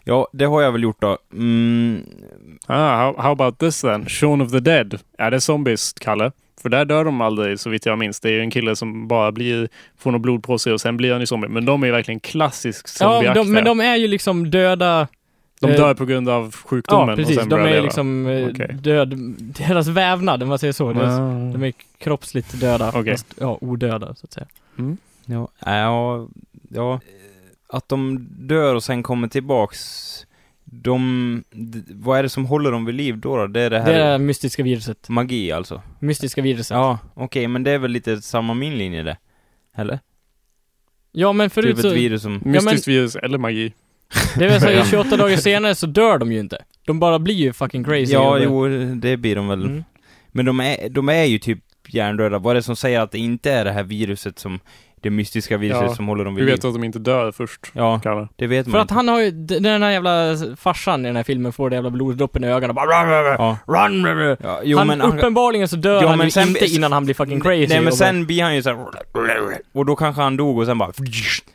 C: Ja, det har jag väl gjort då. Mm,
A: Ah, how, how about this then? Shaun of the Dead. Är det zombies, Kalle? För där dör de aldrig, så vitt jag minns. Det är ju en kille som bara blir, får något blod på sig och sen blir han ju zombie. Men de är ju verkligen klassiskt
B: Ja,
A: zombieaktiga.
B: de, men de är ju liksom döda...
A: De
B: eh,
A: dör på grund av sjukdomen
B: ja,
A: och
B: precis.
A: sen
B: De
A: börjar
B: är
A: leva.
B: liksom eh,
A: Okej.
B: död... Deras vävnad, om man säger så. Deras,
A: Ah.
B: De är kroppsligt döda,
A: Okej.
B: fast ja, odöda så att säga.
C: ja, ja, ja. Eh, Att de dör och sen kommer tillbaks, de, d- vad är det som håller dem vid liv då? då? Det är det
B: Det
C: här
B: är det här mystiska viruset.
C: magi alltså?
B: Mystiska viruset. Ja,
C: Ja, okej, men det är väl lite samma min linje det? Eller?
B: men förut
C: Typ
B: så...
C: ett virus som...
A: Mystiskt virus eller magi.
B: Det vill säga 28 dagar senare så dör de ju inte. De bara blir ju fucking crazy.
C: Ja,
B: Och-
C: jo, det blir de väl.
B: Mm.
C: Men de är, de är ju typ hjärndöda. Vad är det som säger att det inte är det här viruset som, det mystiska viruset
A: Ja,
C: som håller dem
A: Vi
C: vid
A: vet
C: liv?
A: att de inte dör först,
C: Ja,
A: Kalle.
C: det vet man
B: För att
C: inte.
B: han har ju, d- den här jävla farsan i den här filmen får det jävla bloddroppen i ögonen och bara
C: Ja.
B: run, run, run.
C: Ja, jo,
B: han,
C: men
B: uppenbarligen så dör
C: Ja,
B: han
C: men
B: ju
C: sen-
B: inte innan han blir fucking crazy.
C: Nej men
B: och bara,
C: sen blir han ju såhär... Och då kanske han dog och sen bara...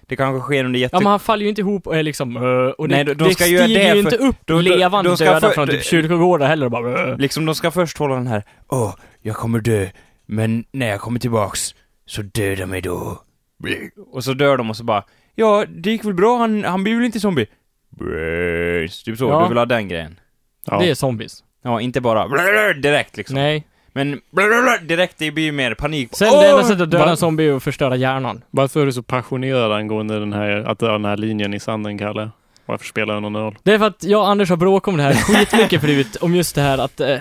C: Det kanske sker under jätte...
B: ja men han faller ju inte ihop och är liksom, eh, och det,
C: Nej, de- de
B: det
C: ska
B: stiger
C: göra det
B: ju
C: för-
B: inte upp
C: då- då-
B: levande
C: de ska
B: döda
C: för-
B: från typ
C: det-
B: kyrkogårdar heller och bara eh.
C: Liksom de ska först hålla den här... Åh, jag kommer dö. Men när jag kommer tillbaks så döda mig då. Och så dör de och så bara... Ja, det gick väl bra, han, han blir väl inte zombie? Typ så,
B: Ja.
C: du vill ha den grejen.
A: Ja.
B: Det är zombies.
C: Ja, inte bara direkt liksom.
B: Nej.
C: Men direkt, det blir ju mer panik.
B: Sen det enda sättet att döda
A: va-
B: en zombie är att förstöra hjärnan.
A: Varför är du så passionerad angående den här, att dra den här linjen i sanden, Kalle? Varför spelar det någon roll?
B: Det är för att jag och Anders har bråkat om det här skitmycket förut, om just det här att, eh,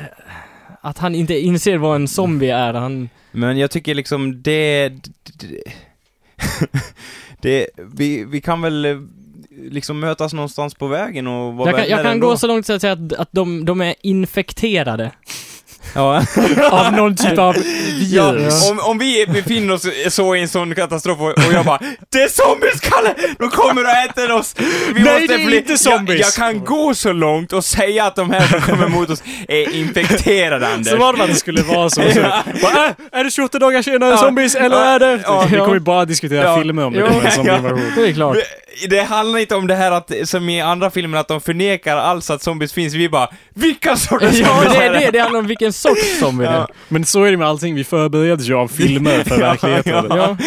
B: att han inte inser vad en zombie är. Han,
C: Men jag tycker liksom det... d- d- det vi, vi kan väl eh, liksom mötas någonstans på vägen och vara
B: jag kan, jag
C: vänner
B: kan
C: ändå.
B: gå så långt så att säga att, att de, de är infekterade
C: Ja.
B: av någon typ av
C: Ja,
B: virus.
C: om, om vi befinner oss så i en sån katastrof och, och jag bara Det är zombies Kalle! De kommer och äter oss! Vi
A: Nej, det är inte zombies.
C: Jag, jag kan gå så långt och säga att de här som kommer mot oss är infekterade Anders.
A: Så var det bara att det skulle vara så. så.
C: Ja.
A: Bara, äh, är det 28 dagar senare
C: Ja.
A: zombies eller
C: Ja.
A: är det...
C: Ja.
A: Vi kommer ju bara diskutera
C: Ja.
A: filmer om det
C: Jo.
A: kommer en
C: Ja.
A: zombieinvasion.
B: Det är klart.
C: Det- Det handlar inte om det här att, som i andra filmer, att de förnekar alls att zombies finns. Vi bara, vilka sorters
B: Ja, men
C: zombies
B: det är det. Det handlar om vilken sorts zombie det är.
C: Ja.
A: Men så är det med allting, vi förbereder ju av filmer för verkligheten.
B: Ja.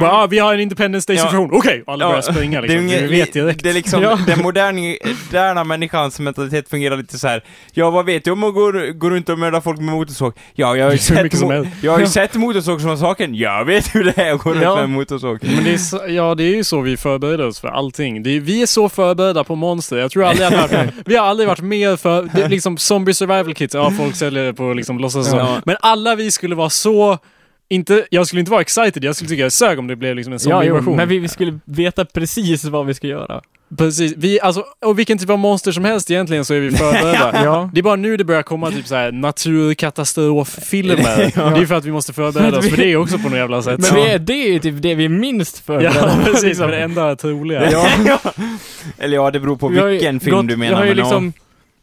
A: Bara, ah, vi har en Independence
C: Ja.
A: Day-situation, okej! Alla
C: Ja.
A: börjar springa
C: Det är,
A: liksom.
C: unge,
A: vi vet direkt.
C: det är liksom,
B: Ja.
C: den moderna, moderna människans mentalitet fungerar lite så här. ja vad vet jag om att gå, gå runt och mörda folk med motorsåg? Ja, jag har ju
A: Hur
C: sett,
A: mycket som
C: mo-
A: helst.
C: jag har ju sett motorsågsmassaken, jag vet hur det är att gå runt
B: Ja.
C: med en motorsåg.
A: Men det är så, ja, det är ju så vi förbereder oss för allting. Det är, vi är så förberedda på monster. Jag tror aldrig att varit, vi har aldrig varit mer för... Det, är liksom zombie survival kits, ja folk säljer det på liksom låtsas så.
C: Ja.
A: Men alla vi skulle vara så... Inte, jag skulle inte vara excited, jag skulle tycka jag sög om det blev liksom en
B: Ja, jo,
A: zombieinvasion.
B: men vi, vi skulle veta precis vad vi ska göra.
A: Precis, vi, alltså, och vilken typ av monster som helst egentligen så är vi förberedda.
B: Ja.
A: Det är bara nu det börjar komma typ såhär naturkatastroffilmer. Det är för att vi måste förbereda oss för det också på något jävla sätt.
B: Men det är, det är ju typ det vi är minst
A: Ja,
B: förberedda på,
A: precis.
B: liksom.
A: Det enda troliga.
C: Eller ja, det beror på
B: Vi har ju
C: vilken film
B: gått-
C: du
B: Jag
C: menar.
B: har ju
C: men ja.
B: liksom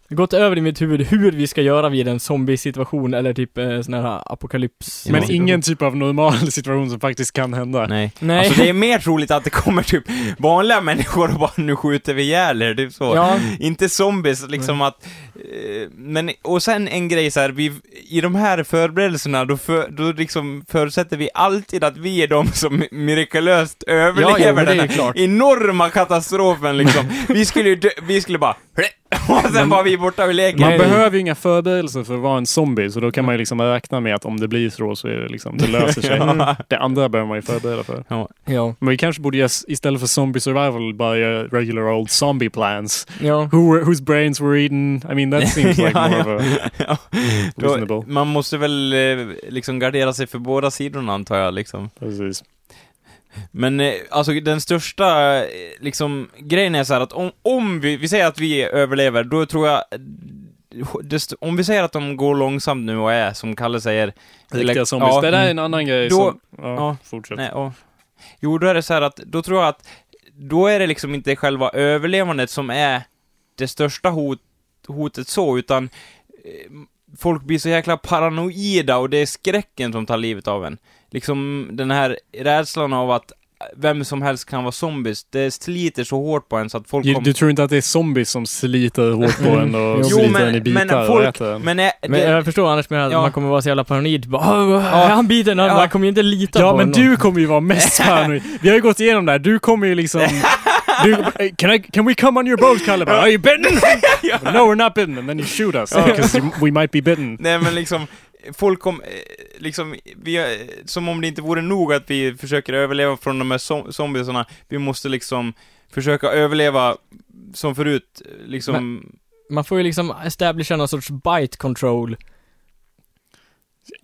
B: gått över i mitt huvud hur vi ska göra vid en zombiesituation eller typ eh, sån här apokalyps.
A: Men
B: situation.
A: ingen typ av normal situation som faktiskt kan hända.
C: Nej.
B: Nej.
C: Alltså det är mer troligt att det kommer typ vanliga människor och bara nu skjuter vi ihjäl er, typ så.
B: Ja,
C: Inte zombies, liksom att... eh, Men, och sen en grej så här, vi, i de här förberedelserna, då, för, då liksom förutsätter vi alltid att vi är de som mirakulöst
B: ja,
C: överlever
B: ja men det
C: den
B: är ju
C: här
B: klart.
C: enorma katastrofen liksom. vi skulle ju dö, vi skulle bara... Och sen var vi borta vid leken.
A: Man
B: Nej.
A: behöver ju inga förberedelser för att vara en zombie, så då kan man ju liksom räkna med att om det blir så, så är det liksom, det löser sig.
C: Ja.
A: Det andra behöver man ju förbereda för.
B: Ja,
A: Men vi kanske borde göra, istället för zombie survival, bara göra regular old zombie plans.
B: ja.
A: Who were, whose brains were eaten? I mean, that seems like
C: Ja,
A: more
C: ja.
A: of a
C: Ja.
A: reasonable.
C: Då, man måste väl eh, liksom gardera sig för båda sidorna antar jag liksom.
A: Precis.
C: Men eh, alltså den största eh, liksom, grejen är så här att om, om vi, vi säger att vi överlever, då tror jag eh, dest- om vi säger att de går långsamt nu och är, som Kalle säger...
A: Riktiga
C: elek-
A: zombies.
C: Ja, mm.
A: det där är en annan grej
C: Då-
A: som... Ja,
C: ja.
A: fortsätt.
C: Nej, ja. Jo, då är det så här att, då tror jag att, då är det liksom inte själva överlevandet som är det största hot, hotet så, utan eh, folk blir så jäkla paranoida och det är skräcken som tar livet av en. Liksom den här rädslan av att vem som helst kan vara zombies, det sliter så hårt på en så att folk
A: Ju-
C: kommer...
A: Du tror inte att det är zombies som sliter hårt på en och
B: Jo,
A: sliter
C: men-
A: en i
C: men
A: bitar och
C: folk-
A: äter en?
C: Men, är,
B: Men
C: det,
B: jag förstår annars med att
C: Ja.
B: man kommer vara så jävla paranoid. Bara, "Åh, åh,
C: Ja.
B: är han biten?
C: Ja.
B: Man kommer ju inte lita
A: Ja
B: på
A: men
B: honom.
A: du kommer ju vara mest paranoid. Vi har ju gått igenom det här. Du kommer ju liksom... Du, eh, can, I, can we come on your boat Kalle? Bara, Are you bitten? No we're not bitten. And then you shoot us.
C: Ja.
A: Because you, we might be bitten.
C: Nej men liksom, folk kom, eh, liksom, vi, eh, som om det inte vore nog att vi försöker överleva från de här zo- zombiesarna, vi måste liksom försöka överleva som förut, eh, liksom,
B: Man får ju liksom establisha någon sorts bite control.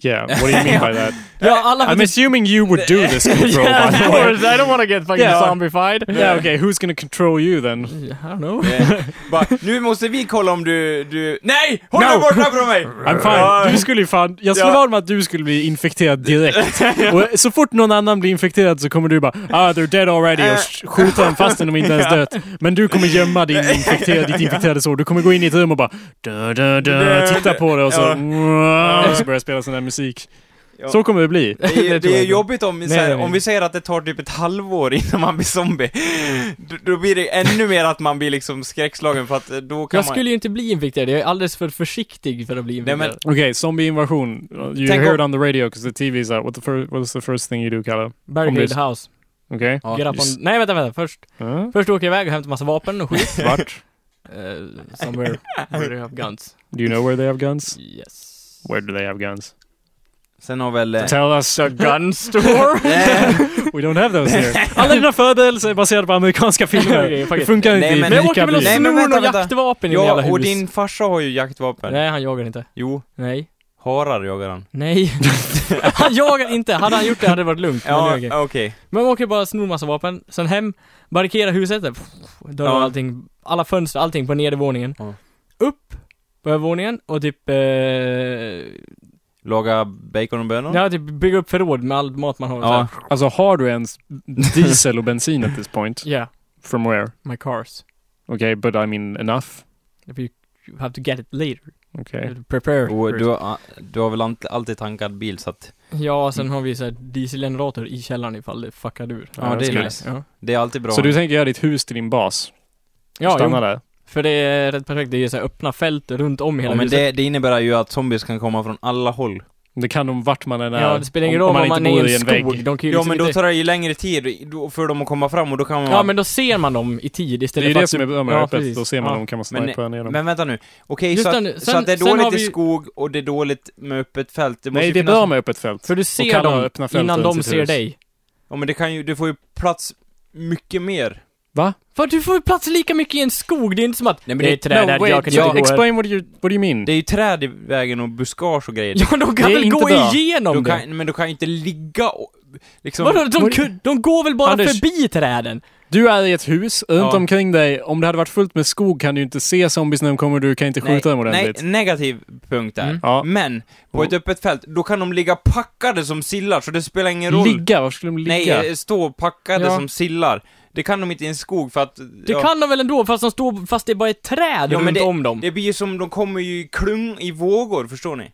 A: Yeah, what do you mean by that?
B: Ja, alla får typ-
A: I'm assuming you would do this control by
B: yeah,
A: the
B: of
A: way.
B: course, I don't wanna get fucking
A: Yeah.
B: zombified.
A: Yeah okay, who's gonna control you then?
B: I don't know.
C: eh, bara, nu måste vi kolla om du, du, nej! Håll
A: No!
C: dig borta från mig!
A: I'm
C: Ja.
A: fine. Du skulle ju fan... Jag slår
C: Ja.
A: vad om att du skulle bli infekterad direkt. Och så fort någon annan blir infekterad så kommer du bara ah they're dead already och sk- skjuta dem fastän de inte ens dött. Men du kommer gömma din infekterade, ditt infekterade sår. Du kommer gå in i ett rum och bara dö, dö, dö, titta på det och så,
C: Ja.
A: och så börjar jag spela sån där musik.
C: Ja.
A: Så kommer det bli.
C: Det är,
B: Det tror
C: det
B: jag
C: är
B: inte.
C: jobbigt om,
B: Nej,
C: så här,
B: nej, nej.
C: om vi säger att det tar typ ett halvår innan man blir zombie, då, då blir det ännu mer att man blir liksom skräckslagen för att eh, då kan
B: Jag
C: man...
B: skulle ju inte bli infekterad, jag är alldeles för försiktig för att bli
C: Nej, men-
B: infekterad.
A: Okej, zombieinvasion. You
C: Tänk
A: hear
C: om-
A: it on the radio because the TV is out. What the first, what's the first thing you do, Kalle?
B: Barricade house.
A: Okej?
C: Ja,
B: Get up on...
A: just-
B: Nej vänta, vänta. Först,
A: Ja.
B: först åker jag iväg och hämtar massa vapen och skit.
A: Vart?
B: Eh, somewhere where they have guns.
A: Do you know where they have guns?
B: Yes.
A: Where do they have guns?
C: Sen har väl... eh,
A: Tell us a
B: Gun store?
A: We don't have those here. Alla dina
B: Alltså,
A: förberedelser är baserade på amerikanska filmer.
B: Okej, fuck
A: Det
B: it.
A: funkar inte
C: Nej,
A: i
C: men-
B: Men jag åker
A: rika
B: väl och
A: blir.
C: Nej, men
B: snor
C: vänta,
B: något
C: vänta.
B: jaktvapen i mitt jävla
C: Ja,
B: hus.
C: och din farsa har ju jaktvapen.
B: Nej, han jagar inte.
C: Jo,
B: Nej.
C: harar jagar han.
B: Nej. han jagar inte. Hade han gjort det hade det varit lugnt. men,
C: Ja,
B: det är okej.
C: okej.
B: men man åker bara snor massa vapen, sen hem, barrikera huset, där, pff, dörrar och
C: Ja.
B: allting, alla fönster, allting på nedervåningen.
C: Ja.
B: Upp på övervåningen och typ, eh,
C: Laga bacon och bönor?
B: ja, typ bygga upp förråd med all mat man har. Ja.
C: Ja.
A: Alltså har du ens diesel och bensin at this point?
B: Yeah,
A: From where?
B: my cars.
A: Okay, but I mean enough.
B: If you, you have to get it later. You
A: Okay.
B: have to prepare.
C: Och
B: first.
C: du, har- du har väl ant- alltid tankad bil så att
B: Ja, sen har vi så här dieselgenerator i källaren ifall det fuckar ur.
A: Ja,
C: det är
A: skulle-
C: nice.
B: Ja,
C: det är alltid bra.
A: Så du tänker göra ditt hus till din bas?
B: ja
A: Stanna
B: jo,
A: där?
B: för det är rätt perfekt. Det är så här öppna fält runt om hela
C: ja, men
B: huset.
C: det, det innebär ju att zombies kan komma från alla håll.
A: Det kan de vart man än är.
B: Ja, det spelar ingen roll om man, är i en skog. De kan ju
C: Ja,
B: liksom
C: men då
B: inte...
C: tar det ju längre tid då- för dem att komma fram och då kan man...
B: Ja, men då ser man dem i tid
A: Det är
B: istället
A: ju
B: för
A: det
B: att...
A: som är bra med
B: Ja,
A: öppet.
B: precis.
A: Då ser man
B: Ja.
A: om kan man
C: Men-
A: snipa ner dem.
C: Men vänta nu. Okej,
B: Just
C: så,
B: det,
C: att,
B: nu-
C: så att det är
B: sen- sen har
C: dåligt
B: vi-
C: i skog och det är dåligt med öppet fält. Det måste
A: Nej,
C: ju
A: det är
C: finnas-
A: bra med öppet fält.
B: För du ser
A: kallar
B: dem
A: öppna fälten
B: innan
A: till
B: de
A: sitt
B: ser
A: hus.
B: dig.
C: Ja, men det kan ju, du får ju plats mycket mer.
B: För du får ju plats lika mycket i en skog, det är inte som att...
C: Nej, men
B: det är
C: det-
B: ett träd
A: no,
B: där,
A: wait,
B: jag kan
A: ja,
B: inte gå här.
A: explain what you, what do you mean?
C: Det är ju träd i vägen och buskage och grejer.
B: Ja, de kan
A: Det är
B: väl
A: inte
B: gå
A: bra.
B: igenom
C: Du
B: det?
C: kan, liksom- men du kan ju inte ligga och, liksom...
B: Vadå, de,
A: Vad-
B: kun- de går väl bara
A: Anders.
B: förbi träden?
A: Du är i ett hus, runt
C: Ja.
A: omkring dig, om det hade varit fullt med skog kan du inte se zombies när de kommer, du kan inte skjuta dem
C: nej,
A: ordentligt.
C: negativ punkt där.
B: Mm.
A: Ja.
C: Men, på
A: Och-
C: ett öppet fält, då kan de ligga packade som sillar, så det spelar ingen roll. eh,
A: Ligga, var skulle de ligga?
C: Nej, eh, stå packade
B: Ja.
C: som sillar. Det kan de inte i en skog för att...
B: Det kan de väl ändå, fast, de står, fast det bara är träd
C: Ja, men
B: runt om dem?
C: Det blir ju som, de kommer ju i klung, i vågor, förstår ni?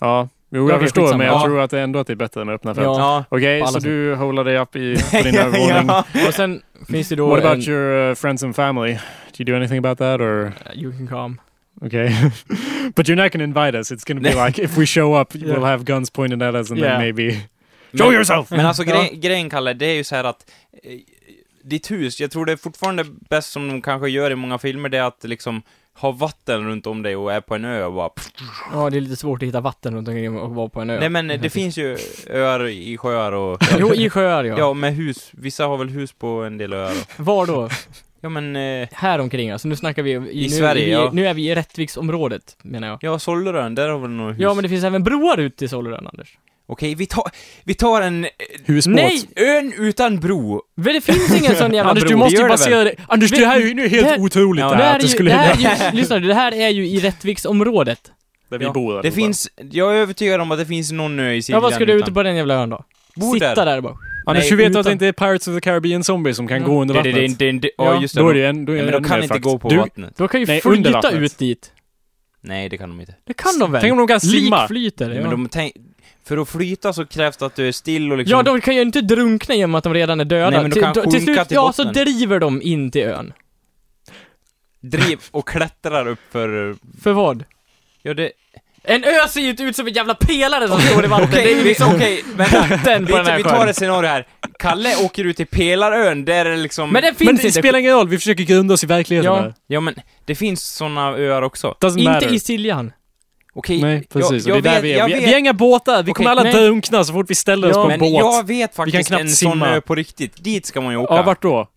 A: Ja, jo, jag
B: Okej,
A: förstår,
B: skitsamma.
A: men jag
C: Ja.
A: tror att det ändå att det är bättre med öppna fält.
B: Ja.
A: Okej,
B: på alla
A: så
B: sätt.
A: du håller dig upp i, på din övervåning.
C: ja.
B: Och sen finns det då
A: What
B: en...
A: about your uh, friends and family? Do you do anything about that or
B: You can come.
A: okay? but you're not gonna invite us. It's gonna be like if we show up,
B: Yeah.
A: we'll have guns pointed at us and
B: Yeah.
A: then maybe
C: Men-
A: show yourself.
C: Men alltså
B: Ja.
C: gre grejen Kalle, det är ju så här att eh, ditt hus, jag tror det är fortfarande bäst som de kanske gör i många filmer, det är att liksom ha vatten runt om dig och är på en ö och bara
B: Ja, det är lite svårt att hitta vatten runt omkring och vara på en ö.
C: Nej men eh, det finns ju öar i sjöar och...
B: Jo, i sjöar ja.
C: Ja, med hus. Vissa har väl hus på en del öar. och-
B: Var då?
C: Ja men, eh,
B: Här omkring alltså, nu snackar vi... nu,
C: Sverige,
B: vi,
C: ja.
B: Nu är vi i Rättviksområdet, menar jag.
C: ja Sollerön, där har väl några hus?
B: Ja, men det finns även broar ut till Sollerön, Anders.
C: Okej, vi tar, vi tar en... eh,
A: Husbåt.
B: Nej!
C: Ön utan bro!
B: Men det finns ingen sån jävla
A: Anders,
B: bro.
A: du måste
C: gör
A: ju
C: det
A: basera dig... Anders,
B: Men-
A: det här är ju nu
B: det
A: helt
B: här-
A: otroligt
C: Ja,
A: det
B: det
A: här att
B: här är
A: det
B: ju,
A: skulle
B: det
A: hända.
B: här är ju, lyssna, det här är ju i Rättviksområdet.
A: Där
C: Ja,
A: vi bor.
C: Det
A: allihopa.
C: finns... Jag är övertygad om att det finns någon ö i
B: Ja,
C: Siljan
B: vad ska du ut
C: utan-
B: på den jävla ön då?
C: Bo
B: Sitta
C: där.
B: där bara.
A: Anders,
C: Nej,
A: hur vet du
B: utan-
A: att det inte är Pirates of the Caribbean zombies som kan
B: Ja.
A: gå under
C: Det,
A: vattnet?
C: det, det, det, det, ja,
B: Ja,
C: just det.
A: Då är det
C: de-
A: ju en... Då är
C: Ja,
A: det
C: men
A: ännu
C: de kan
A: mer
C: inte
A: fucked.
C: gå på
A: du,
C: vattnet.
B: Då kan ju
A: Nej, under
B: flyta
A: vattnet.
B: ut dit.
C: Nej, det kan de inte.
B: Det kan de väl?
A: Tänk om de kan simma?
B: Likflyter,
C: Men
B: ja.
C: de tänk, för att flyta så krävs det att du är still och liksom...
B: Ja, de kan ju inte drunkna genom att de redan är döda.
C: Nej, men de
B: Till-
C: kan
B: då-
C: sjunka
B: till slut,
C: till
B: ja, så
C: botten.
B: driver de in till ön.
C: Driv och klättrar upp för... eh,
B: För vad?
C: Ja, det...
B: En ö ser ju inte ut som en jävla pelare som står i vattnet. det är
C: Okej,
B: ju
C: vi-
B: liksom
C: okej, vänta.
B: botten
C: Vi,
B: på den här
C: vi tar
B: sjön.
C: ett scenario här. Kalle åker ut till Pelarön, där är det liksom...
B: Men det finns
A: Men
B: inte.
A: det spelar ingen roll, vi försöker grunda oss i verkligheten
B: Ja.
A: här.
C: Ja, men det finns såna öar också.
A: Doesn't
B: inte
A: matter.
B: i Siljan.
C: Okej,
A: Nej, precis.
C: jag,
A: och det är där
C: jag
A: vi
C: vet,
A: är.
C: jag
A: Vi,
C: vet,
A: vi har inga båtar. Vi
B: Okej,
A: kommer alla
B: nej.
A: drunkna så fort vi ställer oss
B: Ja,
A: på en
C: men
A: båt.
C: jag vet faktiskt
A: knappt
C: en sån
A: simma.
C: ö på riktigt. Dit ska man ju åka.
A: ja, vart då?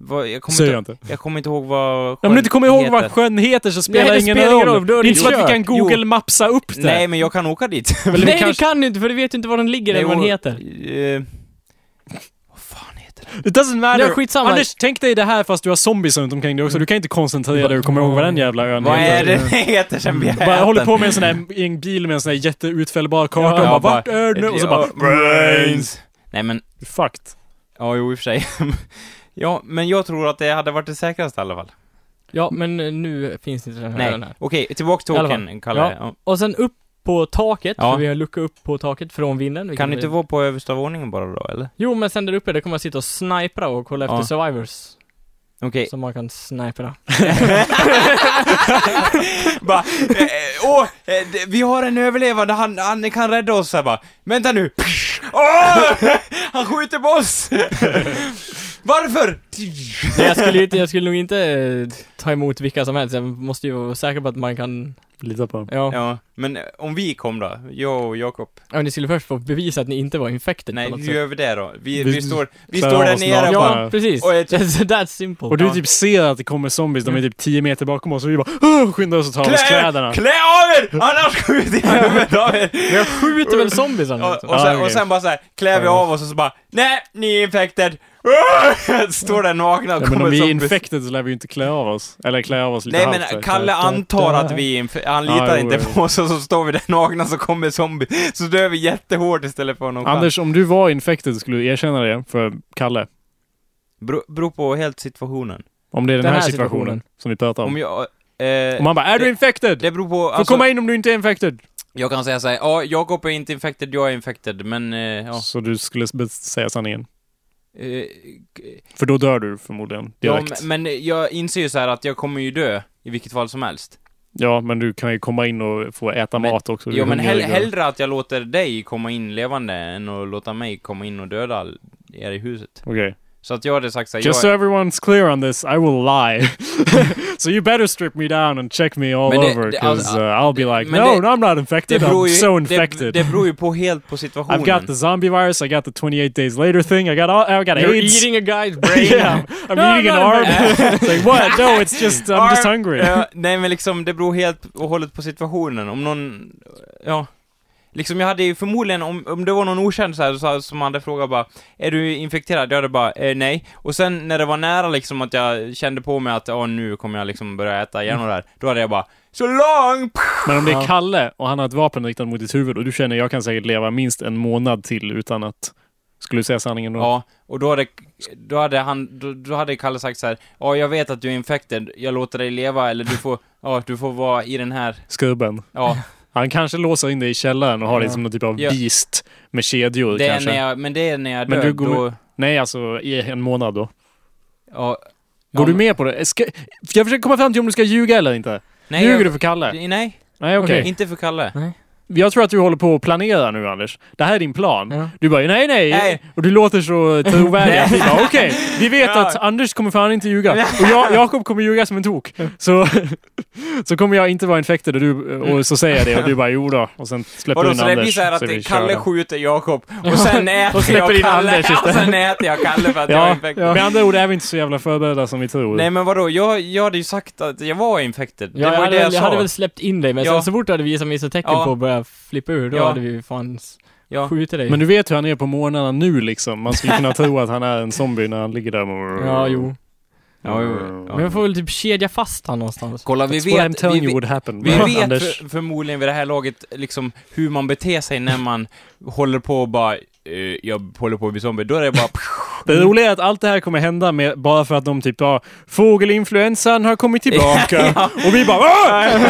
C: Vad- jag, kommer
A: Säger jag
C: inte,
A: inte.
C: jag kommer inte ihåg vad
A: Om du inte kommer ihåg
C: heter.
A: vad sjön heter så spelar
B: Nej, det
A: ingen
B: spelar
A: roll.
B: ingen roll, då är
A: det är
B: det
A: inte så att vi
B: kört.
A: kan Google-mapsa upp det.
C: Nej, men jag kan åka dit.
A: Eller
B: Nej,
A: vi kanske...
B: det kan du inte för du vet ju inte var den ligger eller vad den
C: och-
B: heter.
C: eh, vad fan heter den?
A: It doesn't matter.
B: Nej, skitsamma.
A: Anders, tänk dig det här fast du har zombies runt omkring dig också. Du kan inte koncentrera dig och komma ihåg vad den jävla ön
C: Vad
A: heter. Mm.
C: är det den heter sen vi
A: Bara håller på med en sån här, i en bil med en sån här jätteutfällbar karta
C: Ja,
A: och bara,
C: ja,
A: vart är du nu? Och så bara,
C: Brains! Nej men,
A: fucked.
C: ja jo i och för sig. ja, men jag tror att det hade varit det säkraste i alla fall.
B: Ja, men eh, nu finns inte den här
C: Nej,
B: ön här.
C: okej, tillbaka till
B: I alla fall.
C: åkern, Kalle.
B: Ja.
C: Ja.
B: Och sen upp på taket,
C: Ja.
B: för vi har lucka upp på taket från vinden. vilket
C: Kan du
B: vi-
C: inte vara på översta våningen bara då, eller?
B: Jo, men sen där uppe, där kommer jag sitta och snipra och kolla
C: Ja.
B: efter survivors.
C: Okej.
B: Som man kan snipra.
C: bara, eh, eh, åh, eh, det- vi har en överlevande, han, han kan rädda oss här bara. Vänta nu! Åh! Han skjuter på oss! Varför?
B: Nej, jag skulle, ju inte, jag skulle nog inte eh, ta emot vilka som helst. Jag måste ju vara säker på att man kan,
A: Lita på dem.
B: ja. ja.
C: Ja, men eh, om vi kom då, jag och Jakob.
B: men ni skulle först få bevisa att ni inte var infected
C: Nej,
B: på något
C: hur
B: sätt.
C: gör vi det då? Vi,
A: Vi-
C: vi, står, vi
A: Klarar
C: står
A: av
C: där
A: oss
C: nere
A: nakna.
C: bara,
B: Ja, precis. Alltså,
C: Och jag-
B: That's simple.
A: Och du
B: Ja.
A: typ ser att det kommer zombies, de är typ 10 meter bakom oss och vi bara "Åh", skyndar oss och tar av oss kläderna.
C: Klä av er! Annars skjuter jag huvudet av er!
B: Men jag skjuter väl zombiesarna
C: Och,
B: liksom.
C: och,
A: Ja,
C: sen,
A: okej.
C: och sen bara såhär, klär vi
A: Ja.
C: av oss och så bara Nej, ni är infected! Står där nakna och
A: Ja, men
C: kommer
A: om vi är
C: zombies.
A: infected så lär vi ju inte klä av oss. Eller klä av oss lite
C: Nej
A: halvt.
C: men
A: så-
C: Kalle antar att vi är inf- han litar
A: Ja, jo,
C: inte
A: jo.
C: på oss och så står vi där nakna så kommer zombies. Så dör vi jättehårt istället för någon
A: Anders, om du var infected skulle du erkänna det för Kalle.
C: Bero, beror på helt situationen.
A: Om det är den,
B: Den
A: här,
B: här
A: situationen,
B: situationen.
A: som vi pratar om.
C: Om jag...
A: Om
C: Eh,
A: man bara “Är du
C: det-
A: infected?”
C: det beror på... alltså,
A: Får komma in om du inte är infected!
C: Jag kan säga såhär, ja, Jakob är inte infected, jag är infected, men eh, ja.
A: Så du skulle be- säga sanningen.
C: Eh,
A: För då dör du förmodligen
C: ja
A: direkt. Ja, men,
C: men men jag inser ju så här att jag kommer ju dö i vilket fall som helst.
A: du kan ju komma in och få äta
C: Men-
A: mat också. Du
C: Jo
A: är
C: men hell,
A: hungrig och-
C: hellre att jag låter dig komma in levande än att låta mig komma in och döda all- er i huset.
A: Okej.
C: Så att jag hade sagt såhär,
A: Just so
C: jag...
A: everyone's clear on this, I will lie. so you better strip me down and check me all
C: Men det-
A: over,
C: det-
A: because
C: alltså,
A: uh, I'll be like,
C: men
A: no,
C: det-
A: no, I'm not infected, I'm so
C: det,
A: infected.
C: det beror ju på helt på
A: I've got
C: situationen.
A: the zombie virus, I got the 28 days later thing, I got all, I got
B: You're
A: AIDS.
B: eating a guy's brain.
A: yeah, I'm
B: No,
A: eating an
B: no,
A: arm.
C: no.
A: it's like, what? No, it's just, I'm just
C: Arm,
A: hungry.
C: Ja, nej men liksom, det beror helt och hållet på situationen. Om någon, ja. Liksom jag hade ju förmodligen, om, om det var någon okänd så här, så, som hade frågat bara Är du infekterad? Jag hade bara eh, nej. Och sen när det var nära liksom att jag kände på mig att ja nu kommer jag liksom börja äta igen
A: Mm.
C: och där. Då hade jag bara Så lång!
A: Men om det är
B: Ja.
A: Kalle och han har ett vapen riktat mot ditt huvud och du känner jag kan säkert leva minst en månad till utan att Skulle du säga sanningen då?
C: Ja, och då hade, då hade han, då, då hade Kalle sagt så här, ja jag vet att du är infected, jag låter dig leva eller du får, ja du får vara i den här,
A: Skubben.
C: ja.
A: Han kanske låser in dig i källaren och har dig
B: Ja.
A: som någon typ av
C: Ja.
A: beast med kedjor
C: Det är
A: kanske.
C: när jag, men det är när jag
A: Men
C: dör,
A: du går
C: då,
A: Nej, alltså i en månad då.
C: ja.
A: Går du med på det? Ska... ska jag försöka komma fram till om du ska ljuga eller inte?
C: Nej,
A: Ljuger
C: jag,
A: du för Kalle?
C: nej,
A: Nej, okej.
C: inte för Kalle.
A: Jag tror att du håller på att planera nu, Anders. Det här är din plan.
B: Ja.
A: Du bara nej, nej,
C: Mm. Nej.
A: Och du låter så trovärdig. Vi bara okej, vi vet
C: Ja.
A: att Anders kommer fan inte ljuga. Och jag, Jakob kommer ljuga som en tok. Så, så kommer jag inte vara infected och, du, och så säger jag det och du bara jo då. Och sen släpper du
C: Vadå,
A: in
C: så det blir
A: Anders.
C: så här att
A: är vi
C: det Kalle
A: körda.
C: skjuter Jakob, och sen äter
A: släpper
C: jag
A: in
C: Kalle,
A: Anders
C: och
A: istället.
C: sen äter jag Kalle för att jag är
A: Ja,
C: infected.
A: med andra ord är vi inte så jävla förberedda som vi tror.
C: Nej men vadå, jag, jag hade ju sagt att jag var infected.
B: Ja,
C: det
B: jag,
C: var ju
B: hade,
C: det jag
B: väl- jag
C: sa.
B: hade väl släppt in dig, men
C: Ja.
B: sen så fort du hade visat mig så tecken
C: Ja.
B: på att börja flippa ur, då
C: Ja.
B: hade vi ju fan s-
C: ja.
B: skjutit dig.
A: Men du vet hur han är på morgnarna nu liksom. Man skulle kunna tro att han är en zombie när han ligger där. och-
B: Ja, jo.
C: Ja, jo, ja.
B: Men jag får väl typ kedja fast han någonstans.
C: Kolla, vi
A: That's what I'm
C: vet,
A: telling
C: vi,
A: you
C: vi,
A: would happen.
C: vi
A: va,
C: vet
A: Anders.
C: för, förmodligen vid det här laget liksom hur man beter sig när man håller på och bara eh, jag håller på att bli zombie, då är det bara
A: Det roliga är att allt det här kommer hända med, bara för att de typ ja, fågelinfluensan har kommit tillbaka. Och vi bara "Ah!"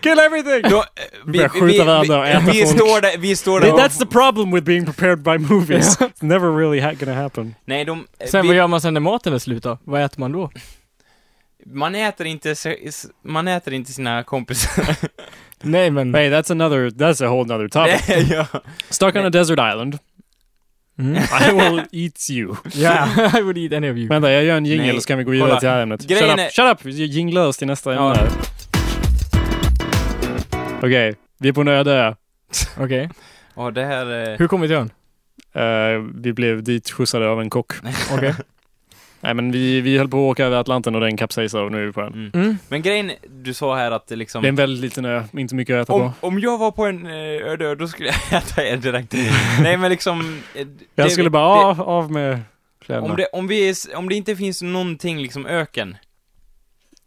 A: Kill everything!
C: då, eh,
A: Vi börjar skjuta varandra och äta
C: vi
A: folk.
C: står där, vi står där och,
A: That's the problem with being prepared by movies. It's never really ha- gonna happen.
C: Nej, de, eh,
B: Sen vad
C: vi,
B: gör man sen när maten är slut då? Vad äter man då?
C: man äter inte, sig- s- man äter inte sina kompisar.
B: Nej men...
A: Hey, that's another, that's a whole another topic.
C: Nej, ja.
A: Stuck on a desert island.
B: Mm.
A: I will eat you.
B: Yeah, I would eat any of you.
A: Vänta, jag gör en
C: Nej.
A: jingel så kan vi gå vidare
C: Kolla.
A: till det här ämnet.
C: Grejen
A: Shut up,
C: är-
A: shut up! Vi jinglar oss till nästa
C: Ja.
A: ämne. här. Okej, vi är på en öde ö.
B: Okej.
C: Ja, det här... eh,
B: Hur kom vi till ön?
A: Eh, vi blev dit skjutsade av en kock.
B: Okej.
A: Nej men vi, vi höll på att åka över Atlanten och den kapsejsade och nu är vi på den.
C: Mm.
B: Mm.
C: Men grejen, du sa här att det liksom...
A: Det är en väldigt liten ö, inte mycket att äta
C: Om,
A: på.
C: om jag var på en eh, öde ö, då skulle jag äta er direkt. Nej men liksom... eh, d-
A: Jag
C: det-
A: skulle bara "Ah, av,
C: det-
A: av med kläderna.
C: Om det, om, vi är, s- om det inte finns någonting liksom öken.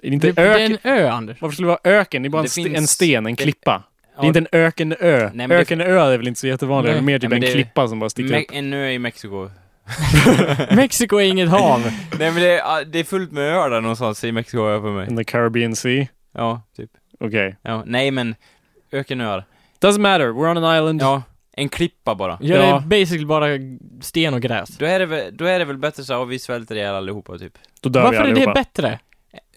A: det är inte
B: Det, det är
A: öken.
B: en ö, Anders.
A: Varför skulle det vara öken? Det är bara en,
C: Det
A: st-
C: finns-
A: en sten, en
C: det-
A: klippa. Det är
C: Ja,
A: inte en ökenö.
C: men det-
A: Ökenö är väl inte så jättevanligt.
B: Nej.
A: Det är mer typ
C: Nej, men
A: en
C: det-
A: klippa som bara sticker
C: Me-
A: upp.
C: en ö i Mexiko.
B: Mexiko är inget hav.
C: Nej men det, är- ah, det är fullt med öar där någonstans i Mexiko har jag för mig.
A: In the Caribbean Sea.
C: Ja, typ.
A: Okej.
C: Ja, nej men, ökenöar.
A: Doesn't matter, we're on an island.
C: Ja, en klippa bara.
B: Ja, det
A: Ja.
B: är basically bara sten och gräs.
C: Då är det väl, då är det väl bättre så här, "Ja, vi svälter ihjäl allihopa typ.
A: Då dör
B: Varför
A: vi
B: är
A: allihopa.
B: det bättre?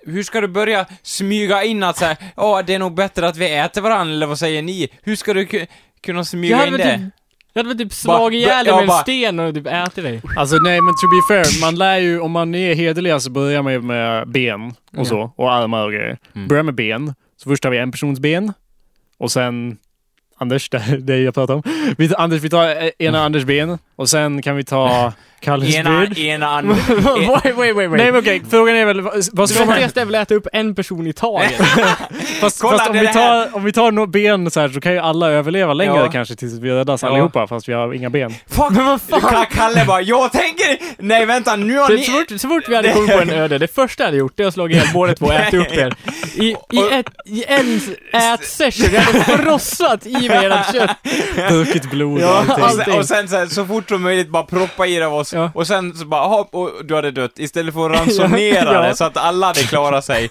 C: Hur ska du börja smyga in att säga ja det är nog bättre att vi äter varandra eller vad säger ni? Hur ska du ku- kunna
B: Jag
C: smyga
B: hade
C: in
B: väl
C: det?
B: typ, jag hade väl typ
C: Bara-
B: slagit ihjäl dig
C: ja,
B: med en
C: bara-
B: sten och typ ätit dig.
A: Alltså nej men to be fair, man lär ju, om man är hederlig så börjar man ju med ben
B: Ja.
A: och så, och armar och grejer.
C: Mm.
A: Börjar med ben, så först har vi en persons ben, och sen Anders, det, det jag pratar om. Vi, tar- Anders, vi tar eh, ena
C: Mm.
A: Anders ben, och sen kan vi ta Kalles
C: Ena,
A: ben.
C: ena andra.
B: wait, wait, wait,
A: Nej
B: wait.
A: men okej, frågan är väl vad- vad
B: Det
A: ska man...
B: vettigaste är väl att äta upp en person i taget.
A: Fast,
C: Kolla,
A: fast om,
C: det
A: vi
C: är det här.
A: tar, om vi tar några ben så här så kan ju alla överleva längre
C: Ja.
A: kanske tills vi räddas
C: Ja.
A: allihopa fast vi har inga ben.
C: Fuck! Men vad fan? Kalle bara, jag tänker... Nej vänta, nu har
B: Så, så,
C: ni...
B: fort, så fort vi hade kommit på en öde, det första jag hade gjort, det är att slå ihjäl båda två och äta upp er. I, i,
C: Och-
B: ett, i en ätsession, jag hade frossat i mig ert kött.
A: Druckit blod och
B: Ja.
A: allting.
C: Och sen, och sen så, här, så fort som möjligt bara proppa i det av oss,
B: Ja.
C: och sen så bara, hopp, och du hade dött. Istället för att ransonera
B: Ja.
C: det så att alla hade klarat sig.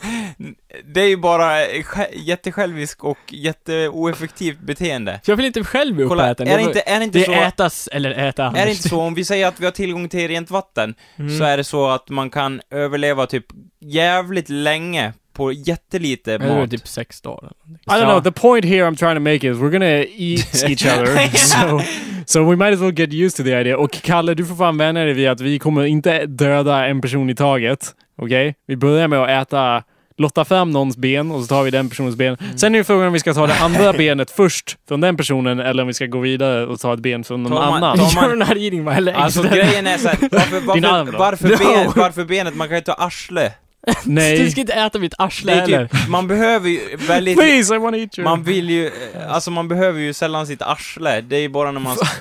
C: Det är ju bara sj- jättesjälvisk och jätteoeffektivt beteende.
B: Jag vill inte själv bli
C: Kolla, är
B: uppäten.
C: det inte, är det inte
B: det
C: så...
B: är ätas eller äta Anders.
C: Är det inte så, om vi säger att vi har tillgång till rent vatten,
B: Mm.
C: så är det så att man kan överleva typ jävligt länge på jättelite
B: Eller
C: mat.
B: typ sex dagar.
A: I don't
C: Ja.
A: know. The point here I'm trying to make is we're gonna eat each other. so, so we might as well get used to the idea. Och Kalle, du får fan vänja dig vid att vi kommer inte döda en person i taget. Okej? Vi börjar med att äta, lotta fram någons ben och så tar vi den personens ben. Sen är ju frågan om vi ska ta det andra benet först från den personen eller om vi ska gå vidare och ta ett ben från någon
C: Tar man-
A: annan.
C: tar- Alltså, man-
B: You're not eating my legs.
C: Alltså grejen är såhär, varför,
A: Din arm
C: varför,
A: då?
C: varför,
B: No.
C: ben, varför benet? Man kan ju ta arsle.
B: Du
A: Nej.
B: ska inte äta mitt arsle
C: Det är
B: heller.
C: typ, man behöver ju väldigt...
A: Please, I wanna eat you.
C: Man vill ju, eh, alltså man behöver ju sällan sitt arsle, det är ju bara när man...
A: man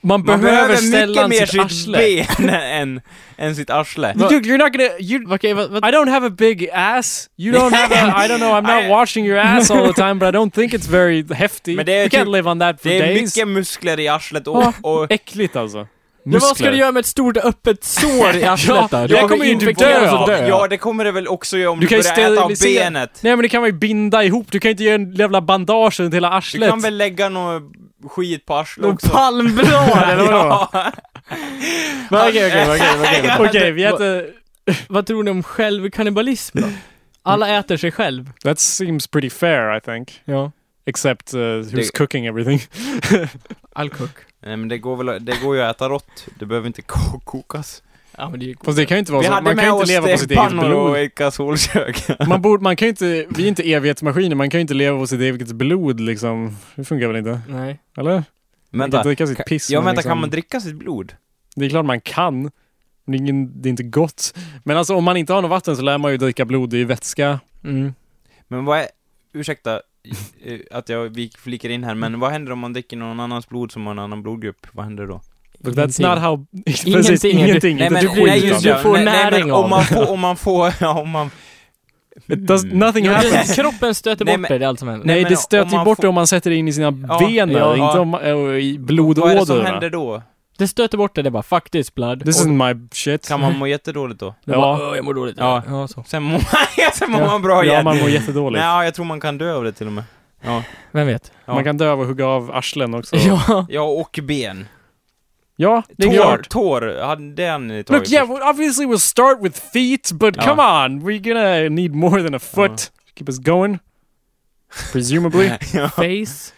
C: Man
A: behöver,
C: behöver
A: ställa
C: mycket
A: sitt
C: mer sitt
A: arsle.
C: ben än, än sitt arsle.
A: Dude, you're not gonna... You,
B: Okej, vad, vad,
A: I don't have a big ass. You don't have a... I don't know, I'm not washing your ass all the time, but I don't think it's very hefty.
C: Men det är
A: you can't
C: typ-
A: live on that for
C: Det är
A: days.
C: mycket muskler i arslet och... och
A: Äckligt alltså.
B: men vad ska
A: Muskler.
B: du göra med ett stort öppet sår i arslet där? Du
A: jag kommer ju inte
B: infekteras
A: dö
B: och
A: av-
C: ja, det kommer det väl också göra om
A: Du
C: du,
A: kan ju
C: börjar äta av
A: sterilisera-
C: benet.
A: Nej men det kan man ju binda ihop, du kan inte göra en jävla bandage runt hela
C: Du
A: arslet.
C: kan väl lägga någon skit på arslet
B: Någon
C: också?
B: palmblad eller vadå?
C: ja.
B: Men Okej, okej, okej, okej.
A: Okej, vi äter...
B: Vad tror ni om självkannibalism då? Alla äter sig själv.
A: That seems pretty fair I think.
B: Ja.
A: Except uh, who's
C: Det-
A: cooking everything.
B: All cook.
C: Nej men det går väl, det går ju att äta rått. Det behöver inte ko- kokas.
B: Ja men det är ju
A: Fast det kan ju inte vara
C: Vi
A: så,
C: hade
A: man kan
C: med
A: ju inte
C: oss
A: leva på sitt eget
C: stekpannor
A: blod.
C: och ett gasolkök.
A: Man, borde, man kan ju inte, vi är inte evighetsmaskiner, man kan ju inte leva på sitt eget blod liksom. Det funkar väl inte?
B: Nej.
A: Eller? Man kan
C: vänta,
A: dricka sitt piss.
C: ja
A: men
C: vänta,
A: liksom,
C: kan man dricka sitt blod?
A: Det är klart man kan. Men Det är, ingen, det är inte gott. Men alltså om man inte har något vatten så lär man ju dricka blod, det är ju vätska.
B: Mm.
C: Men vad är, ursäkta eh, att jag vi flikar in här, men vad händer om man dricker någon annans blod som har en annan blodgrupp? Vad händer då?
A: But that's not how... Precis,
B: Ingenting.
A: ingenting.
C: Nej
A: inte
C: men,
A: ett skit.
C: nej, just,
B: Du
C: det.
B: får
C: nej, nej,
B: näring
C: men
B: av
C: om man får, om man får, ja, om man... Mm.
A: It does, nothing
B: Ja,
A: happens.
B: det- Kroppen stöter
C: Nej,
B: bort
C: men-
B: dig, det är allt som händer.
A: Nej,
C: Nej,
A: det
C: men
A: stöter
C: om
A: ju
C: man
A: bort det
C: får-
A: om man sätter det in i sina
C: Ja,
A: vener,
C: ja.
A: inte om, äh, i
C: Vad är det som
A: blodådrorna.
C: händer då?
B: Det stöter bort dig, det är bara 'fuck this blood'
A: This
B: Och-
A: isn't my shit.
C: Kan man må jättedåligt då?
A: Ja.
B: det är bara, "Åh, jag mår dåligt.
C: Ja.
B: ja så.
C: Sen mår man, sen mår
A: Ja.
C: man bra
A: ja,
C: igen.
A: man mår jättedåligt.
C: Nej, ja, jag tror man kan dö av det till och med. Ja,
B: Vem vet?
C: ja.
A: Man kan dö av att hugga av arslen också.
B: Ja.
C: ja och ben.
A: Ja, det är
C: Tår,
A: klart.
C: tår, hade det han tagit
A: Look, yeah,
C: först?
A: well, obviously we'll start with feet, but
C: Ja.
A: come on, we're gonna need more than a foot. Keep us going. Presumably.
C: Ja.
B: Face.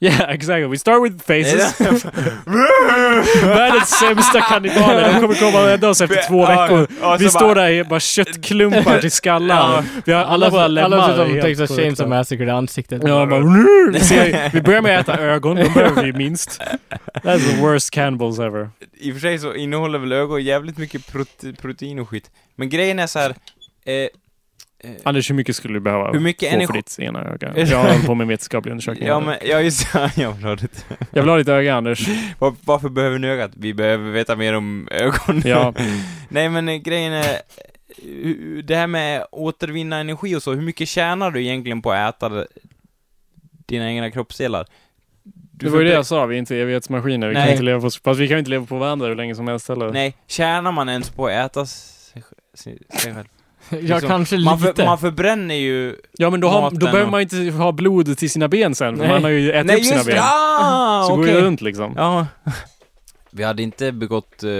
A: yeah, exactly. We start with faces.
C: Är det-
A: Världens sämsta kannibaler, de kommer komma och rädda oss efter två
C: Ja,
A: veckor.
C: ja,
A: Vi
C: så
A: står
C: bara-
A: där i bara köttklumpar till
C: Ja.
A: skallar. Vi har alla våra lemmar.
B: Alla
A: är
B: förutom
A: helt
B: Texas
A: korrekta.
B: Chainsaw Massacre i ansiktet.
A: Ja, man bara, vi, ser, vi börjar med att äta ögon, de behöver vi minst. That's the worst cannibals ever.
C: I och för sig så innehåller väl ögon jävligt mycket prote protein och skit. Men grejen är så här. Eh, eh,
A: Anders, hur mycket skulle du behöva
C: hur mycket
A: få för
C: energi...
A: ditt ena öga? Jag håller på med en vetenskaplig undersökning.
C: Ja men, ja just det, jag vill ha det.
A: Jag vill ha ditt öga, Anders.
C: Var, varför behöver ni ögat? Vi behöver veta mer om ögon.
A: Ja.
C: Nej men eh, grejen är, eh, hu- det här med återvinna energi och så, hur mycket tjänar du egentligen på att äta d- dina egna kroppsdelar? Du
A: Det var ju det
C: förbrä-
A: jag sa, vi är inte evighetsmaskiner. Vi kan
C: Nej.
A: inte leva på, fast vi kan ju inte leva på varandra hur länge som helst heller.
C: Nej, tjänar man ens på att äta sig, sig, sig själv?
B: Jag
C: Liksom,
B: kanske
C: Man,
B: lite.
C: för, man förbränner ju...
A: Ja, men då, har,
C: Maten
A: då behöver
C: och-
A: man ju inte ha blod till sina ben sen, för
B: Nej.
A: man har ju ätit upp sina ben.
C: Ah,
A: Så går det
C: okej.
A: runt liksom.
C: Ja. Vi hade inte begått, eh,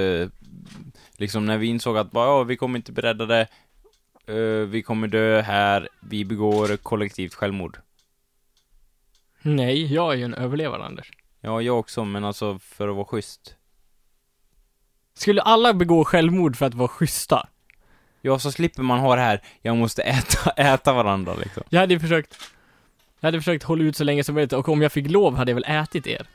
C: liksom när vi insåg att bara, ja, vi kommer inte beredda det, eh, vi kommer dö här, vi begår kollektivt självmord.
B: Nej, jag är ju en överlevare Anders.
C: Ja, jag också, men alltså för att vara schysst.
B: Skulle alla begå självmord för att vara schyssta?
C: Ja, så slipper man ha det här, jag måste äta, äta varandra liksom.
B: Jag hade ju försökt jag hade försökt hålla ut så länge som möjligt och om jag fick lov hade jag väl ätit er.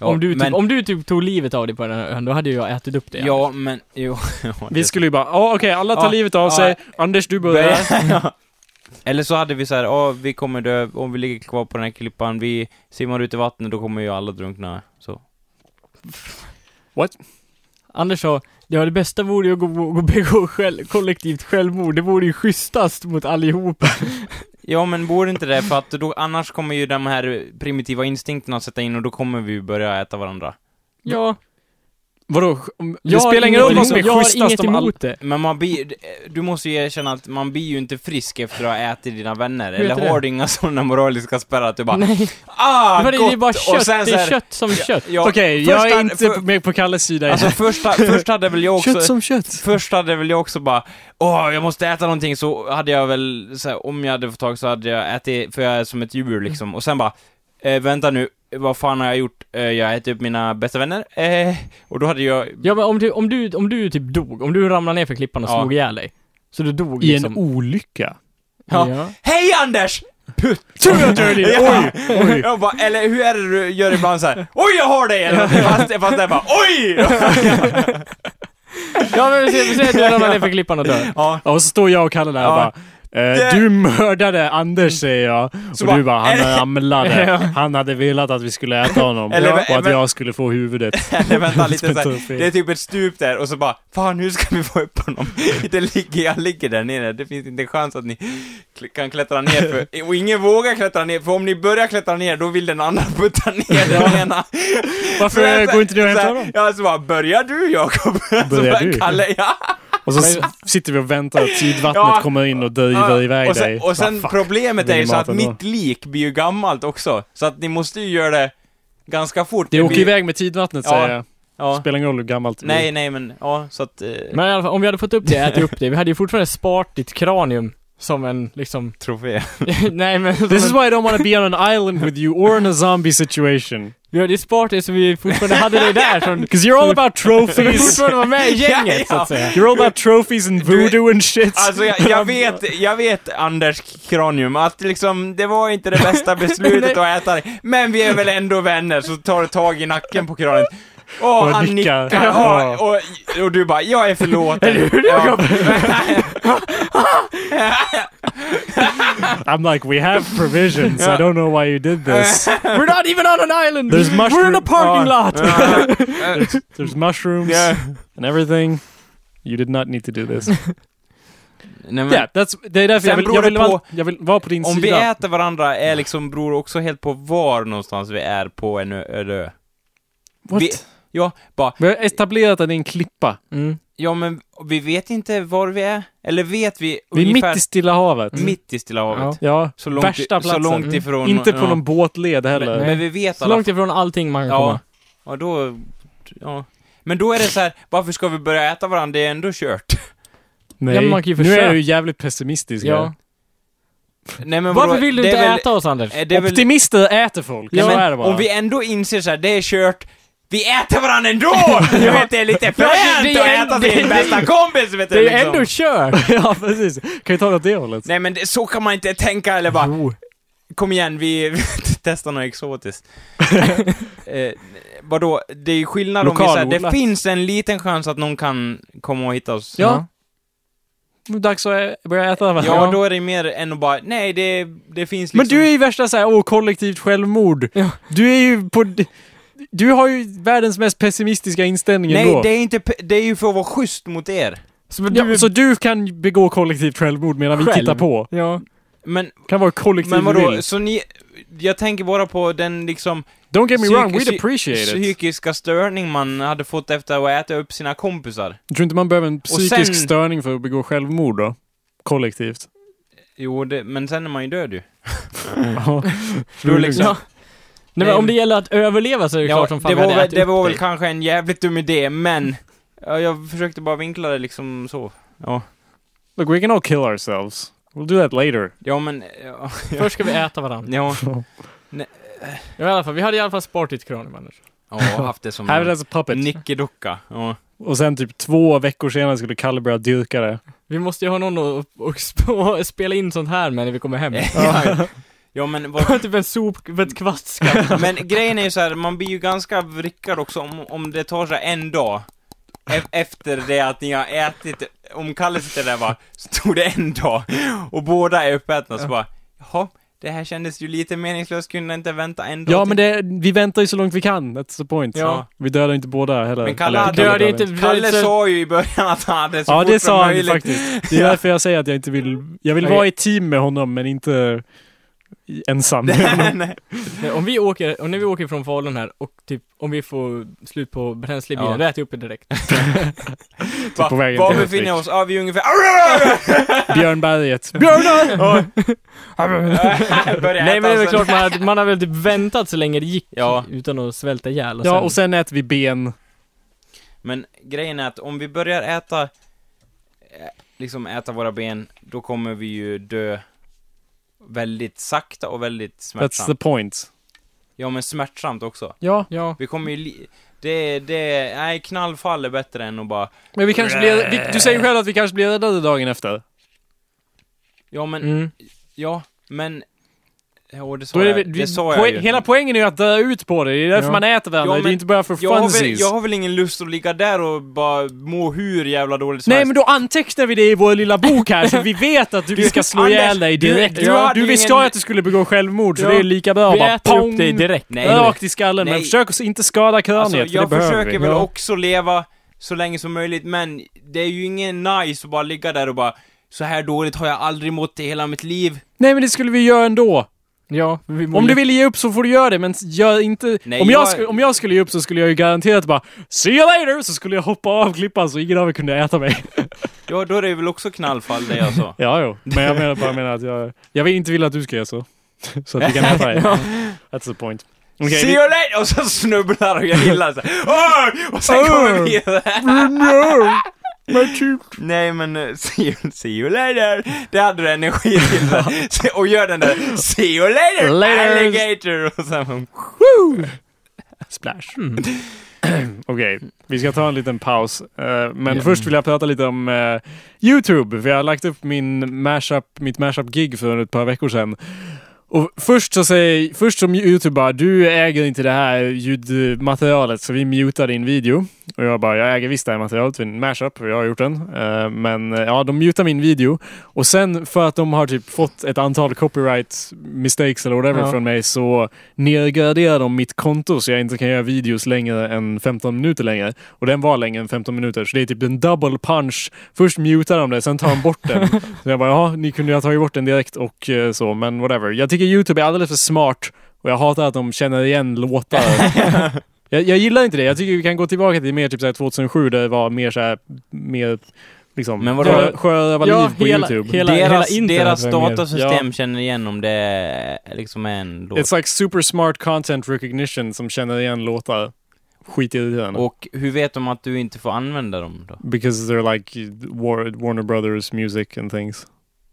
C: Ja,
B: om, du typ,
C: men,
B: om du typ tog livet av dig på den här ön, då hade ju jag ätit upp det.
C: Ja, men, jo.
A: Vi skulle ju bara, ja okej, alla tar
C: Ja,
A: livet av
C: ja.
A: sig. Anders, du börjar.
C: Ja. Eller så hade vi så här, ja, vi kommer dö, om vi ligger kvar på den här klippan, vi simmar ut i vattnet, då kommer ju alla drunkna. Så.
B: Anders sa, ja det bästa vore ju att gå, gå, begå själv, kollektivt självmord, det vore ju schysstast mot allihopa.
C: Ja, men borde inte det, för att då, annars kommer ju de här primitiva instinkterna att sätta in och då kommer vi börja äta varandra.
B: Ja,
A: Vadå? om- Det
B: jag har
A: spelar ingen roll
B: inget
A: vad som är
B: emot- jag har
A: schysstast
B: inget
A: om alla.
B: emot det.
C: Men man blir, du måste ju erkänna att man blir ju inte frisk efter att ha ätit dina vänner,
B: Hur vet
C: eller
B: du
C: har
B: det?
C: du inga sådana moraliska spärrar att du bara
B: Nej,
C: Ah,
B: men det, det är
C: gott!
B: bara
C: Och
B: kött,
C: sen
B: det
C: så
B: är
C: här-
B: kött som kött.
C: Ja,
A: Okej,
C: först
A: jag är
C: hade-
A: inte
C: för-
A: med på Kalles sida i det
C: Alltså
A: här.
C: första, först hade väl jag också...
A: Kött som kött.
C: Först hade väl jag också bara, åh, jag måste äta någonting, så hade jag väl, så här, om jag hade fått tag så hade jag ätit, för jag är som ett djur liksom, och sen bara, eh, vänta nu, vad fan har jag gjort? Eh, jag har ätit upp mina bästa vänner, eh, och då hade jag,
B: Ja men om du, om du, om du typ dog, om du ramlade ner för klippan och
C: Ja.
B: slog ihjäl dig. Så du dog
A: I en
B: liksom.
A: olycka.
C: Ja.
B: ja.
C: hej Anders!
A: Tur att jag är det.
C: Ja.
A: Oj, oj.
C: Jag bara, eller hur är det du gör ibland så här? oj jag har dig! Eller någonting, fast, fast det är bara, oj!
B: Ja men vi säger, vi säger att du ramlar ner för klippan och dör.
C: Ja,
A: Ja, och så står jag och Kalle där och
C: Ja.
A: bara Eh,
C: Det-
A: Du mördade Anders säger jag.
C: Så
A: och
C: bara,
A: du bara, han
C: eller-
A: ramlade. Han hade velat att vi skulle äta honom.
C: Eller-
A: och att
C: men-
A: jag skulle få huvudet.
C: Nej, vänta lite
A: Spänt
C: så
A: upp i.
C: här. Det är typ ett stup där och så bara Fan hur ska vi få upp honom? Det ligger, jag ligger där nere, det finns inte en chans att ni kl- kan klättra ner för, och ingen vågar klättra ner, för om ni börjar klättra ner då vill den andra putta ner den ena.
A: Varför
C: Så jag
A: går
C: så-
A: inte du och
C: så här,
A: hämtar honom?
C: Ja, så bara, börjar du Jakob?
A: Börjar
C: så bara,
A: du?
C: Kalle, ja.
A: Och så s- sitter vi och väntar att tidvattnet
C: Ja.
A: kommer in och driver
C: Ja,
A: iväg
C: och sen,
A: dig.
C: Och
A: Bara,
C: sen
A: fuck.
C: problemet
A: vill
C: är ju
A: ni
C: så att
A: mata då?
C: mitt lik blir ju gammalt också, så att ni måste ju göra det ganska fort.
A: Det åker
C: blir-
A: iväg med tidvattnet
C: Ja.
A: säger jag.
C: Ja.
A: Spelar ingen roll hur gammalt det
C: Nej, nej men, ja, så att... eh,
B: Men i alla fall, om vi hade fått upp det, ätit upp det, vi hade ju fortfarande sparat ditt kranium som en liksom,
C: Trofé.
B: nej men som
A: blir. This is
B: en,
A: why I don't want to be on an island with you or in a zombie situation.
B: vi hade ju sparat det så vi fortfarande hade det där som,
A: Because you're all about
B: så vi
A: trophies.
B: fortfarande var med i gänget
C: Ja,
B: så att säga.
A: You're all about trophies and
C: Du-
A: voodoo and shit.
C: Alltså jag, jag vet, jag vet Anders Kronium, att liksom, det var inte det bästa beslutet att äta det, men vi är väl ändå vänner, så tar du tag i nacken på kranen. Åh,
A: Och
C: han
A: nickar.
C: nickar. Ja, och, och du bara, jag är förlåten. Är du
A: I'm like, we have provisions. I don't know why you did this.
B: We're not even on an island!
A: There's
B: We're in a
A: mushroom-
B: parking lot!
A: There's mushrooms
C: Ja.
A: and everything. You did not need to do this.
C: Nej, men,
A: Yeah, that's, det är därför
C: Sen
A: jag vill,
C: beror
A: jag,
C: det
A: vill vara,
C: på-
A: jag vill vara på din
C: Om vi
A: sida.
C: äter varandra är liksom, beror också helt på var någonstans vi är på en ö. en ö.
A: What?
C: Vi, ja, bara,
A: Vi har etablerat att det är en klippa.
B: Mm.
C: ja men vi vet inte var vi är. Eller vet vi
A: Vi är
C: ungefär Mm.
A: mitt i Stilla havet.
C: mitt i Stilla havet?
A: Ja,
C: Så långt,
A: Värsta
C: så
A: platsen.
C: långt ifrån...
A: inte på
C: ja.
A: någon båtled heller.
C: Men, men vi vet
B: Så
C: alla
B: långt ifrån allting man kan
C: Ja.
B: komma.
C: Ja, då... Ja. Men då är det så här, varför ska vi börja äta varandra? Det är ändå kört.
A: Nej,
B: Ja, men man kan ju
A: nu är
B: försöka.
A: du ju jävligt pessimistisk.
B: Ja.
A: här.
C: Nej, men
B: Varför
C: vadå?
B: vill du
C: Det är
B: inte
C: väl-
B: äta oss Anders?
C: eh, Det är väl...
A: Optimister äter folk,
C: Ja,
A: så
C: men
A: är det bara.
C: Om vi ändå inser så här, det är kört, vi äter varandra ändå! Du vet, det är lite
B: Ja, det-
C: fränt
B: det
C: att
B: är-
C: äta
B: det-
C: sin bästa kompis, vet du!
B: Det är ju
C: liksom.
B: ändå kört!
A: ja, precis. Kan ju ta det åt det hållet.
C: Nej men det, så kan man inte tänka, eller bara, kom igen, vi testar något exotiskt. eh, vadå, det är ju skillnad om vi så här, det
A: Lokalodlat.
C: finns en liten chans att någon kan komma och hitta oss.
A: Ja. Nu är det dags att ä- börja äta varandra.
C: Ja, då är det mer än att bara, nej det, det finns liksom...
A: Men du är ju värsta såhär, åh, kollektivt självmord.
B: Ja.
A: Du är ju på... d- Du har ju världens mest pessimistiska inställning
C: Nej,
A: ändå.
C: det är inte, pe- det är ju för att vara schysst mot er.
B: Så men du...
A: Ja, så du kan begå kollektivt självmord medan vi
B: Själv.
A: tittar på.
B: ja.
C: Men,
A: Kan vara kollektiv
C: men vadå,
A: vill.
C: så ni, jag tänker bara på den liksom
A: Don't get me wrong,
C: psyk-
A: we'd
C: psy-
A: appreciate it.
C: psykiska störning man hade fått efter att äta upp sina kompisar.
A: Jag tror inte man behöver en psykisk
C: sen-
A: störning för att begå självmord då? Kollektivt.
C: Jo, det, men sen är man ju död ju.
A: Ja.
C: Då liksom-
B: Ja. Nej, men
C: Nej,
B: om
C: men-
B: det gäller att överleva så är det klart som fan
C: det
B: vi
C: var,
B: hade
C: väl,
B: ätit
C: det
B: upp
C: var
B: dig.
C: väl kanske en jävligt dum idé, men ja, jag försökte bara vinkla det liksom så. Ja,
A: Look, we can all kill ourselves. We'll do that later.
C: ja men, ja.
B: Först ska vi äta varandra.
C: ja.
B: Ja, i alla fall, vi hade i alla fall sparat ditt kranium Anders.
C: Ja, haft det som
A: Have it as a puppet.
C: nickedocka. Ja.
A: Och sen typ två veckor senare skulle Kalle börja dyrka det.
B: Vi måste ju ha någon att och sp- och spela in sånt här med när vi kommer hem.
C: ja. ja, men vad,
B: typ en sop, ett kvattskaft.
C: Men grejen är ju så här, man blir ju ganska vrickad också om, om det tar så här en dag e- efter det att ni har ätit, om Kalle sitter där bara, så tog det en dag och båda är uppätna så bara, jaha, det här kändes ju lite meningslöst, kunde inte vänta en dag
A: Ja,
C: till?"
A: men det, vi väntar ju så långt vi kan. That's the point.
C: Ja.
A: Vi dödar inte båda heller.
C: Men Kalle
A: Eller,
C: hade-
A: dödar
B: Döda inte...
C: Kalle
B: så-
C: sa ju i början att han hade så
A: Ja,
C: fort
A: det
C: som
A: sa han ju
C: möjligt.
A: faktiskt. Det är därför jag säger att jag inte vill... Jag vill
B: Okej.
A: vara i team med honom, men inte i- ensam.
C: Nej.
B: Nej, Om vi åker, om när vi åker från Falun här och typ, om vi får slut på bränsle i bilen,
C: Ja.
B: då äter jag upp det direkt.
C: Va,
A: Typ på vägen
C: var
A: till
C: befinner vi oss? Ja, vi är ungefär...
A: Björnberget.
C: Björnar!
B: Nej men det är väl
A: alltså.
B: klart, man, hade- man har väl typ väntat så länge det gick
C: Ja.
B: utan att svälta ihjäl.
A: Ja, och sen äter vi ben.
C: Men grejen är att om vi börjar äta, eh, liksom äta våra ben, då kommer vi ju dö väldigt sakta och väldigt
A: That's the
C: smärtsamt.
A: point.
C: Ja men smärtsamt också.
A: Ja,
B: Ja.
C: Vi kommer ju li- det, det, nej knallfall är bättre än att bara,
A: men vi kanske blir... Vi, du säger själv att vi kanske blir räddade dagen efter.
C: ja men,
B: Mm.
C: ja men, Ja, det sa
A: Mm. Då är det,
C: jag, det sa
A: poäng-
C: jag ju.
A: Hela poängen är ju att dö ut på det. Det är därför
B: Ja.
A: man äter varandra.
C: Ja, men
A: det är inte bara för
C: jag, har väl,
A: funsies.
C: jag har väl ingen lust att ligga där och bara må hur jävla dåligt som
A: Nej,
C: helst.
A: men då antecknar vi det i vår lilla bok här, så vi vet att du, vi ska slå
C: Anders,
A: ihjäl dig
C: du-
A: direkt. Du,
C: du hade
A: du visste
C: ingen-
A: ju att du skulle begå självmord, så
B: Ja.
A: det är lika bra.
B: Vi
A: Bara
B: äter upp
A: pong!
B: dig direkt.
C: Nej.
A: Rakt i skallen, men
C: Nej.
A: försök att inte skada kraniet,
C: Alltså,
A: för det
C: jag
A: behöver
C: försöker
A: vi.
C: väl
A: Ja.
C: också leva så länge som möjligt, men det är ju ingen nice att bara ligga där och bara så här dåligt har jag aldrig mått i hela mitt liv.
A: Nej, men det skulle vi göra ändå.
B: Ja, vi mår
A: Om du
B: ju-
A: vill ge upp så får du göra det, men gör inte...
C: Nej,
A: om, jag
C: jag-
A: sku- om jag skulle ge upp så skulle jag ju garanterat bara “See you later!” så skulle jag hoppa av klippan så ingen av er kunde äta mig.
C: Ja, då är det väl också knallfall det alltså. jag sa.
A: Ja, jo. Men jag menar bara menar att jag... Jag vill inte vill att du ska göra så. Så att vi kan äta dig. That's the point. Okej,
C: See
A: det-
C: you later! Och så snubblar och jag gillar så här, "Åh!" Och sen kommer vi Nej men, eh, see you, see you later! Det hade du energi till. så här. Se- Och gör den där, see you later,
A: Laters.
C: alligator! Och sen,
A: Splash. Mm. Okej, vi ska ta en liten paus. Eh, men först vill jag prata lite om eh, YouTube. För jag har lagt upp min mashup, mitt mashup-gig för ett par veckor sedan. Och först så säger, först som YouTube bara, du äger inte det här ljudmaterialet så vi mutar din video. Och jag bara, jag äger visst det här materialet, det är en mashup och jag har gjort den. Eh, men eh, ja, de mutar min video. Och sen för att de har typ fått ett antal copyright mistakes eller whatever
B: Ja.
A: från mig så nedgraderar de mitt konto så jag inte kan göra videos längre än 15 minuter längre. Och den var längre än 15 minuter, så det är typ en double punch. Först mutar de det, sen tar de bort den. Så jag bara, ja, ni kunde ju ha tagit bort den direkt och eh, så, men whatever. Jag tycker YouTube är alldeles för smart och jag hatar att de känner igen låtar. jag, jag gillar inte det. Jag tycker vi kan gå tillbaka till mer typ såhär 2007 där det var mer såhär, mer liksom
C: Men vadå?
A: sjö- sjörövarliv
B: Ja,
A: på
B: hela-
A: YouTube.
B: hela-
C: deras,
B: internet
C: deras
B: var med.
C: datasystem
A: Ja.
C: känner igen om det är liksom är en låt.
A: It's like super smart content recognition som känner igen låtar. Skit i den.
C: Och hur vet de att du inte får använda dem då?
A: Because they're like War- Warner Brothers music and things.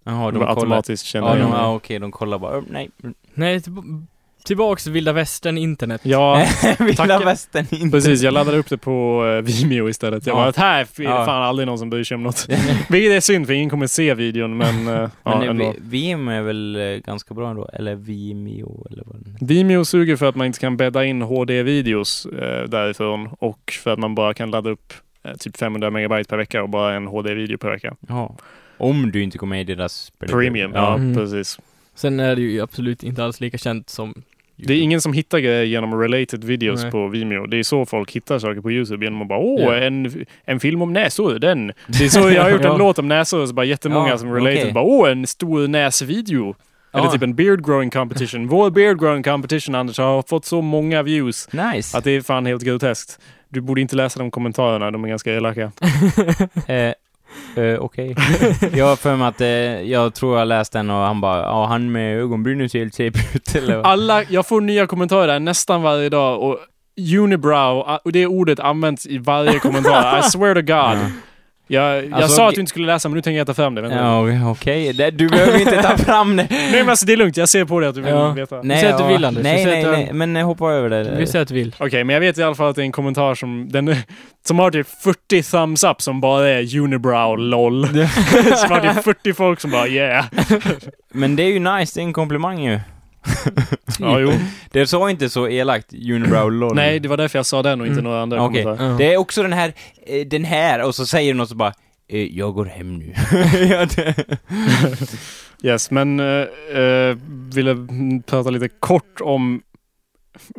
C: Jaha,
A: de
C: de kollar.
A: automatiskt känner
C: Ja, de,
A: igen det.
C: ja, okej, de kollar bara, "Oh, nej.
B: Nej, till- tillbaks till vilda västern internet.
A: Ja,
C: Vilda
A: Tackar.
C: västern inte.
A: precis. Jag laddade upp det på eh, Vimeo istället. Jag
C: Ja.
A: bara, att här är
C: Ja.
A: fan aldrig någon som bryr sig om något. Vilket är synd, för ingen kommer se videon, men... eh, ja,
C: Men eh,
A: ändå.
C: vi- Vimeo är väl eh, ganska bra ändå? Eller Vimeo eller vad den heter.
A: Vimeo suger för att man inte kan bädda in HD-videos eh, därifrån och för att man bara kan ladda upp eh, typ 500 megabyte per vecka och bara en HD-video per vecka.
C: Ja. Om du inte går med i deras...
A: Premium, ja,
B: Mm.
A: precis.
B: Sen är det ju absolut inte alls lika känt som
A: Det är ingen som hittar grejer genom related videos
B: Nej.
A: på Vimeo. Det är så folk hittar saker på Youtube genom att bara åh,
B: Ja.
A: en, en film om näsor, den. Det är så jag har gjort en
B: Ja.
A: låt om näsor och så bara jättemånga
C: Ja,
A: som related
C: okej.
A: bara åh, en stor näsvideo. Eller
C: Ja.
A: typ en beard growing competition. Vår beard growing competition Anders har fått så många views
C: Nice!
A: Att det är fan helt groteskt. Du borde inte läsa de kommentarerna, de är ganska elaka.
C: Eh, eh, Okej. jag har för mig att eh, jag tror jag läste den och han bara ja han med ögonbrynen ser helt shape ut eller vad?
A: Alla, jag får nya kommentarer där nästan varje dag och unibrow, och det ordet används i varje kommentar. I swear to God. Jag, jag
C: Alltså,
A: sa att du inte skulle läsa, men nu tänker jag ta fram det. Vänta.
C: Ja okej, Det- du behöver inte ta fram det.
A: Nej men alltså det är lugnt, jag ser på dig att du vill
B: Ja.
A: veta. Okej,
C: Nej,
B: säger att du
C: ja.
B: vill, Anders. Vi
C: Nej,
B: säger
C: nej,
B: att du-
C: nej, men eh, hoppa över det.
B: Vi säger att vi vill.
A: men jag vet i alla fall att det är en kommentar som, den, som har typ 40 thumbs up som bara är unibrow LOL. som har typ 40 folk som bara yeah.
C: Men det är ju nice, det är en komplimang ju.
A: Ja, jo.
C: Det sa inte så elakt, unibrow lol.
A: Nej, det var därför jag sa den och inte
B: Mm.
A: några andra
C: Okej.
A: kommentarer.
B: Ja.
C: Det är också den här, eh, den här, och så säger någon så bara eh, jag går hem nu. ja, det.
A: Yes, men eh, eh, ville mm, prata lite kort om...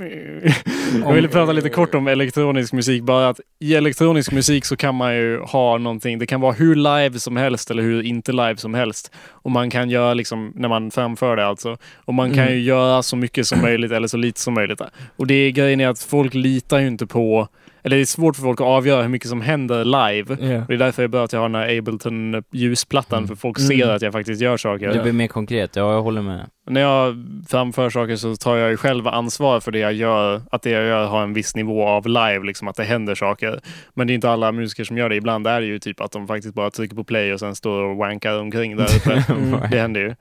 A: Jag ville prata lite kort om elektronisk musik, bara att i elektronisk musik så kan man ju ha någonting, det kan vara hur live som helst eller hur inte live som helst. Och man kan göra liksom, när man framför det alltså, och man kan
B: Mm.
A: ju göra så mycket som möjligt eller så lite som möjligt. Och det är grejen är att folk litar ju inte på, eller det är svårt för folk att avgöra hur mycket som händer live.
B: Ja.
A: Och det är därför det är bra att jag har den här Ableton-ljusplattan, för folk ser
B: Mm.
A: att jag faktiskt gör saker.
C: det blir mer konkret, ja jag håller med.
A: När jag framför saker så tar jag ju själv ansvar för det jag gör, att det jag gör har en viss nivå av live, liksom att det händer saker. Men det är inte alla musiker som gör det. Ibland är det ju typ att de faktiskt bara trycker på play och sen står och wankar omkring där uppe.
B: Mm.
A: Det händer ju.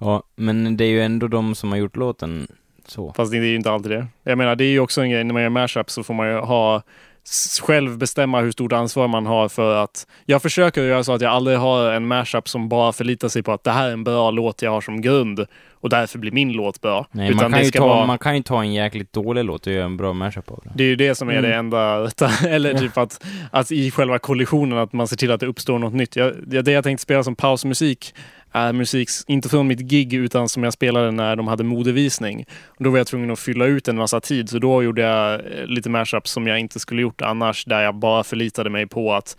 C: Ja, men det är ju ändå de som har gjort låten så.
A: Fast det är ju inte alltid det. Jag menar, det är ju också en grej, när man gör mashup så får man ju ha s- själv bestämma hur stort ansvar man har för att... Jag försöker göra så att jag aldrig har en mashup som bara förlitar sig på att det här är en bra låt jag har som grund och därför blir min låt bra.
C: Nej, man kan, ju ta, man kan ju ta en jäkligt dålig låt och göra en bra mashup av den.
A: Det är ju det som är det
B: Mm.
A: enda rätta. Eller typ att, att i själva kollisionen, att man ser till att det uppstår något nytt. Jag, jag- det jag tänkte spela som pausmusik är musik, s- inte från mitt gig, utan som jag spelade när de hade modevisning. Och då var jag tvungen att fylla ut en massa tid, så då gjorde jag eh, lite mashups som jag inte skulle gjort annars, där jag bara förlitade mig på att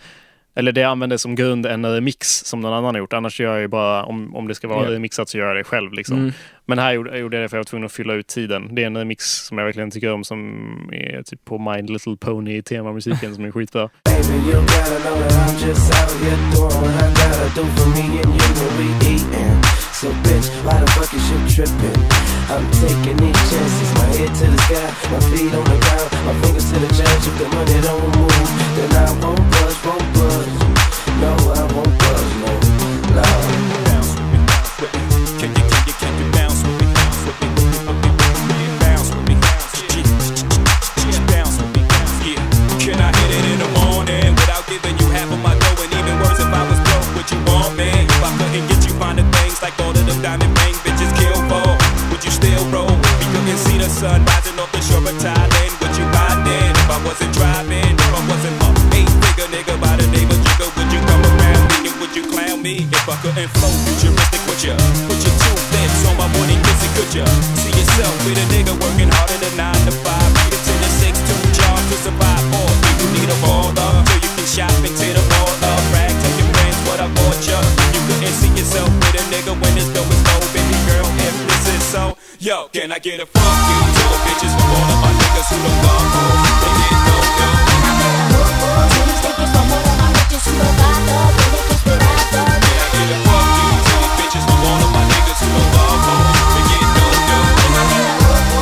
A: eller det jag använde som grund en remix som någon annan har gjort. Annars gör jag ju bara, om, om det ska vara
B: Ja.
A: remixat så gör jag det själv. Liksom.
B: Mm.
A: Men här gjorde, gjorde jag det för jag var tvungen att fylla ut tiden. Det är en mix som jag verkligen tycker om som är typ på My Little Pony temamusiken som är skitbra.
D: Baby, you gotta know that I'm just out here doing what I gotta do for me and you when we eatin'. So bitch, why the fuck is you trippin'? I'm taking these chances, my head to the sky, my feet on the ground, my fingers to the judge. If the money don't move, then I won't budge, won't budge. No, I won't budge, no, no.
E: bounce with me, bounce with me. Can you, can you, can you bounce with me, bounce with me, with me, with me, with me, yeah, bounce with me, bounce with me, yeah, yeah, bounce with me, bounce, yeah. Can I hit it in the morning without giving you half of my dough? And even worse, if I was broke, would you want me? If I couldn't get you finer things like all of them diamond rings bitches kill for, would you still roll with me? You can see the sun rising off the shore of Thailand. Would you ride then? If I wasn't driving, if I wasn't up eight figure nigga by the name of Jigga, would you come around me? And would you clown me if I couldn't flow futuristic with ya? Put your two lips on my morning kiss and could ya? See yourself with a nigga working harder than nine to five, eight to ten to six, two jobs to survive. Or do you need a baller so you can shop into the ball up rag? Tell your friends what I bought ya. You couldn't see yourself with a nigga when this dough is low, baby girl. If this is so, yo, can I get a fuck you to the bitches from all of my niggas who don't love me? They get no dough. Can I get a fuck you to the bitches from all of my niggas who don't love me? They get no dough.